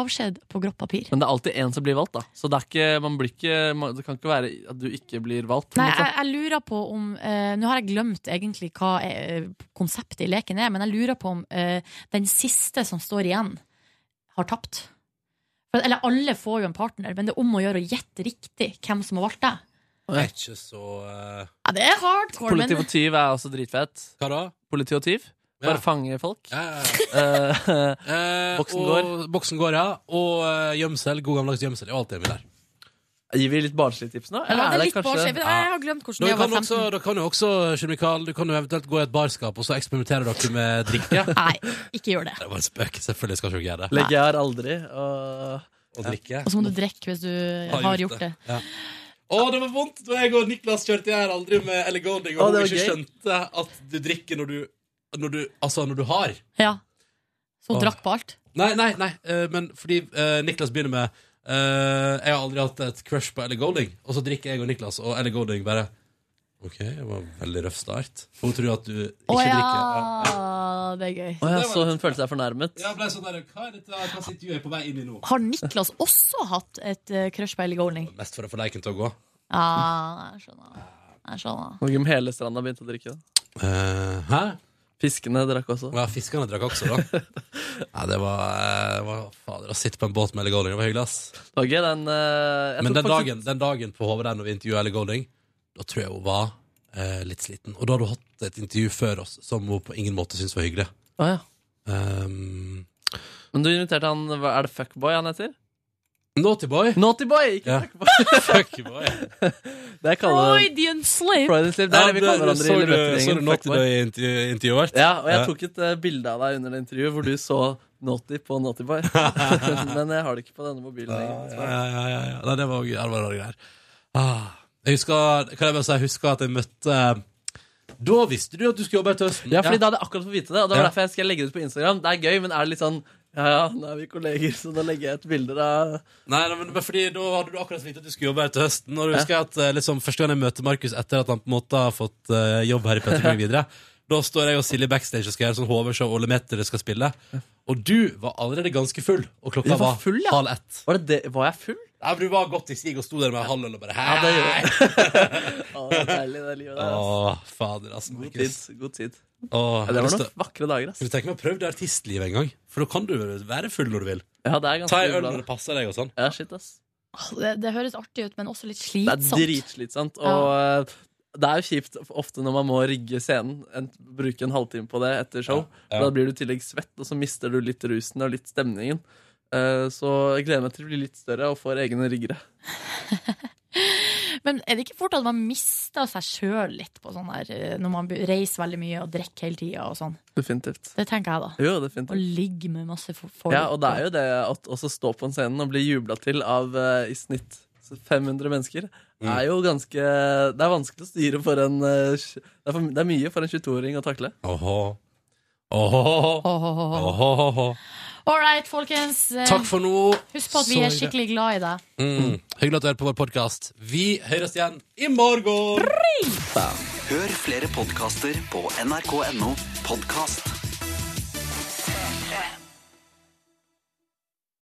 Speaker 3: avskjed på grått papir.
Speaker 5: Men det er alltid én som blir valgt, da. Så det, er ikke, man blir ikke, man, det kan ikke være at du ikke blir valgt. på en
Speaker 3: Nei, eh,
Speaker 5: måte.
Speaker 3: jeg, jeg lurer på om eh, Nå har jeg glemt egentlig hva eh, konseptet i leken er, men jeg lurer på om eh, den siste som står igjen, har tapt. For, eller alle får jo en partner, men det er om å gjøre å gjette riktig hvem som har valgt deg.
Speaker 2: er ikke så eh,
Speaker 3: Ja, det er hardcore,
Speaker 5: Politi
Speaker 3: men
Speaker 5: og tyv er også dritfett.
Speaker 2: Hva da?
Speaker 5: Politi og tyv. Bare
Speaker 2: Ja.
Speaker 5: fange folk.
Speaker 2: eh,
Speaker 5: Boksen
Speaker 2: og-
Speaker 5: går.
Speaker 2: Boksen går, ja. Og eh, gjemsel. God gammeldags gjemsel. Det er alltid vi der.
Speaker 5: Gir vi litt barnslige tips nå?
Speaker 3: Ja, det er litt barnslig. men Jeg har glemt hvordan
Speaker 2: Dere
Speaker 3: jeg var
Speaker 2: kan, også,
Speaker 3: 15.
Speaker 2: dere kan jo også eh, Kjell Mikael, du kan jo eventuelt gå i et barskap og så eksperimenterer dere med <laughs> drikke.
Speaker 3: Nei, ikke gjør det.
Speaker 2: Det var en spøk. Selvfølgelig skal ikke dere gjøre det.
Speaker 5: Legger jeg her aldri. Og,
Speaker 2: Og drikke.
Speaker 3: Og så må du drikke hvis du har gjort det.
Speaker 2: Ja. Å, det var vondt da jeg og Niklas kjørte jeg her aldri med Elegoning,
Speaker 5: Å,
Speaker 2: og
Speaker 5: det
Speaker 2: hun
Speaker 5: var
Speaker 2: ikke
Speaker 5: gøy.
Speaker 2: skjønte at du drikker når du, når du Altså, når du har.
Speaker 3: Ja. Så hun
Speaker 2: Åh.
Speaker 3: drakk på alt.
Speaker 2: Nei, nei, nei, eh, men fordi eh, Niklas begynner med eh, Jeg har aldri hatt et crush på Ellie Golding. Og så drikker jeg og Niklas, og Ellie Golding bare OK, det var en veldig røff start. For Hun tror at du ikke
Speaker 3: Å ja,
Speaker 2: drikker. Ja.
Speaker 3: det er gøy.
Speaker 5: Å ja, så hun følte seg fornærmet?
Speaker 2: Ja, ble sånn der, Hva er dette Hva slags intervju er jeg på vei inn i nå?
Speaker 3: Har Niklas også hatt et eh, crush på Ellie Golding?
Speaker 2: Mest for å få leiken til å gå.
Speaker 3: Ja, jeg skjønner. Jeg skjønner.
Speaker 5: Når Gym hele stranda begynte å drikke. Da.
Speaker 2: Eh, hæ?
Speaker 5: Fiskene drakk også.
Speaker 2: Ja, fiskene drakk også,
Speaker 3: <laughs>
Speaker 2: da. Nei, det var, eh, det var Fader, å sitte på en båt med Ellie Golding, det var hyggelig, ass.
Speaker 5: Det var gøy, den eh, jeg
Speaker 2: Men
Speaker 5: tror
Speaker 2: den
Speaker 5: faktisk-
Speaker 2: dagen, den dagen på HVD når vi intervjuet Ellie Golding, da tror jeg hun var eh, litt sliten. Og da hadde hun hatt et intervju før oss som hun på ingen måte syntes var hyggelig.
Speaker 5: Å, ja.
Speaker 2: Um,
Speaker 5: Men du inviterte han hva- Er det Fuckboy han heter?
Speaker 2: Naughty Boy.
Speaker 5: <laughs> Naughty Boy, ikke
Speaker 2: Ja. <laughs>
Speaker 5: Fuckboy.
Speaker 2: Fuckboy.
Speaker 5: Det kaller det
Speaker 3: Freudian slip!
Speaker 5: Freudian slip. Det er det vi kaller
Speaker 2: så
Speaker 5: hverandre i
Speaker 2: du, så du
Speaker 5: Løvetteringen.
Speaker 2: Naughty
Speaker 5: Fuckboy.
Speaker 2: Boy-intervjuet vårt?
Speaker 5: Ja, og jeg tok et eh, bilde av deg under det intervjuet hvor du så Naughty på Naughty
Speaker 2: <laughs>
Speaker 5: Boy. Men jeg har det ikke på denne mobilen lenger. altså.
Speaker 2: Ja, ja, ja, ja, ja. Nei, det var, ja, det var rare greier. Ah, jeg husker, kan jeg bare si, jeg husker at jeg møtte Da visste du at du skulle jobbe her til høsten.
Speaker 5: Ja, fordi da hadde jeg akkurat fått vite det, og det
Speaker 2: Ja.
Speaker 5: var derfor jeg skal legge det ut på Instagram. Det er gøy, men er det litt sånn Ja, ja, nå er vi kolleger, så da legger jeg ut bilder av
Speaker 2: Nei, nei, men men fordi da hadde du akkurat fått vite at du skulle jobbe her til høsten. Og du husker jeg at eh, liksom, Første gang jeg møter Markus etter at han på en måte har fått eh, jobb her i Petter Morgen videre, da står jeg og Silje backstage og skal gjøre sånn HV-show og Lemeter skal spille. Og du var allerede ganske full, og klokka
Speaker 5: Jeg var
Speaker 2: var
Speaker 5: full, ja.
Speaker 2: halv ett.
Speaker 5: Var, det det, var jeg full?
Speaker 2: Nei, men Du var godt i stig og sto der med halvøl og bare Hei!
Speaker 5: Ja, det gjør jeg. <laughs> Å, det er deilig, det livet der. ass.
Speaker 2: Å, fader, altså.
Speaker 5: God
Speaker 2: Markus.
Speaker 5: tid. god tid
Speaker 2: Åh, jeg
Speaker 5: ja,
Speaker 2: har
Speaker 5: Det var
Speaker 2: lyst
Speaker 5: noen vakre dager, ass.
Speaker 2: Skal du tenke meg å prøve det artistlivet en gang? For da kan du være full når du vil.
Speaker 5: Ja, det er ganske
Speaker 2: Ta en øl
Speaker 5: bra.
Speaker 2: når det passer deg og sånn.
Speaker 5: Ja, shit, ass.
Speaker 3: Åh, Det, det høres artig ut, men også litt
Speaker 5: Det er
Speaker 3: slitsomt.
Speaker 5: dritslitsomt. Og eh, det er jo kjipt ofte når man må rigge scenen, en, bruke en halvtime på det etter show.
Speaker 2: Ja, ja.
Speaker 5: Da blir du i tillegg svett, og så mister du litt rusen og litt stemningen. Eh, så jeg gleder meg til å bli litt større og får egne riggere.
Speaker 3: Men er det ikke fort at man mister seg sjøl litt på sånn der, eh, når man be- reiser veldig mye og drikker hele tida og sånn?
Speaker 5: Definitivt.
Speaker 3: Det tenker jeg, da.
Speaker 5: Jo, definitivt.
Speaker 3: Å ligge med masse fo- folk.
Speaker 5: Ja, og det er jo det at også stå på en scene og bli jubla til av eh, i snitt 500 mennesker, er jo ganske Det er vanskelig å styre for en eh, tj- Det er, for, det er mye for en 22-åring å takle.
Speaker 2: Åhå. Åhå.
Speaker 3: Åhåhå.
Speaker 2: Åhåhåhå.
Speaker 3: All right, folkens. eh,
Speaker 2: Takk for nå.
Speaker 3: Husk på at vi
Speaker 2: Så
Speaker 3: er skikkelig glad i deg.
Speaker 2: Mm. Hyggelig at du hører på vår podkast. Vi høres igjen i morgen!
Speaker 9: Hør flere podkaster på nrk.no podkast.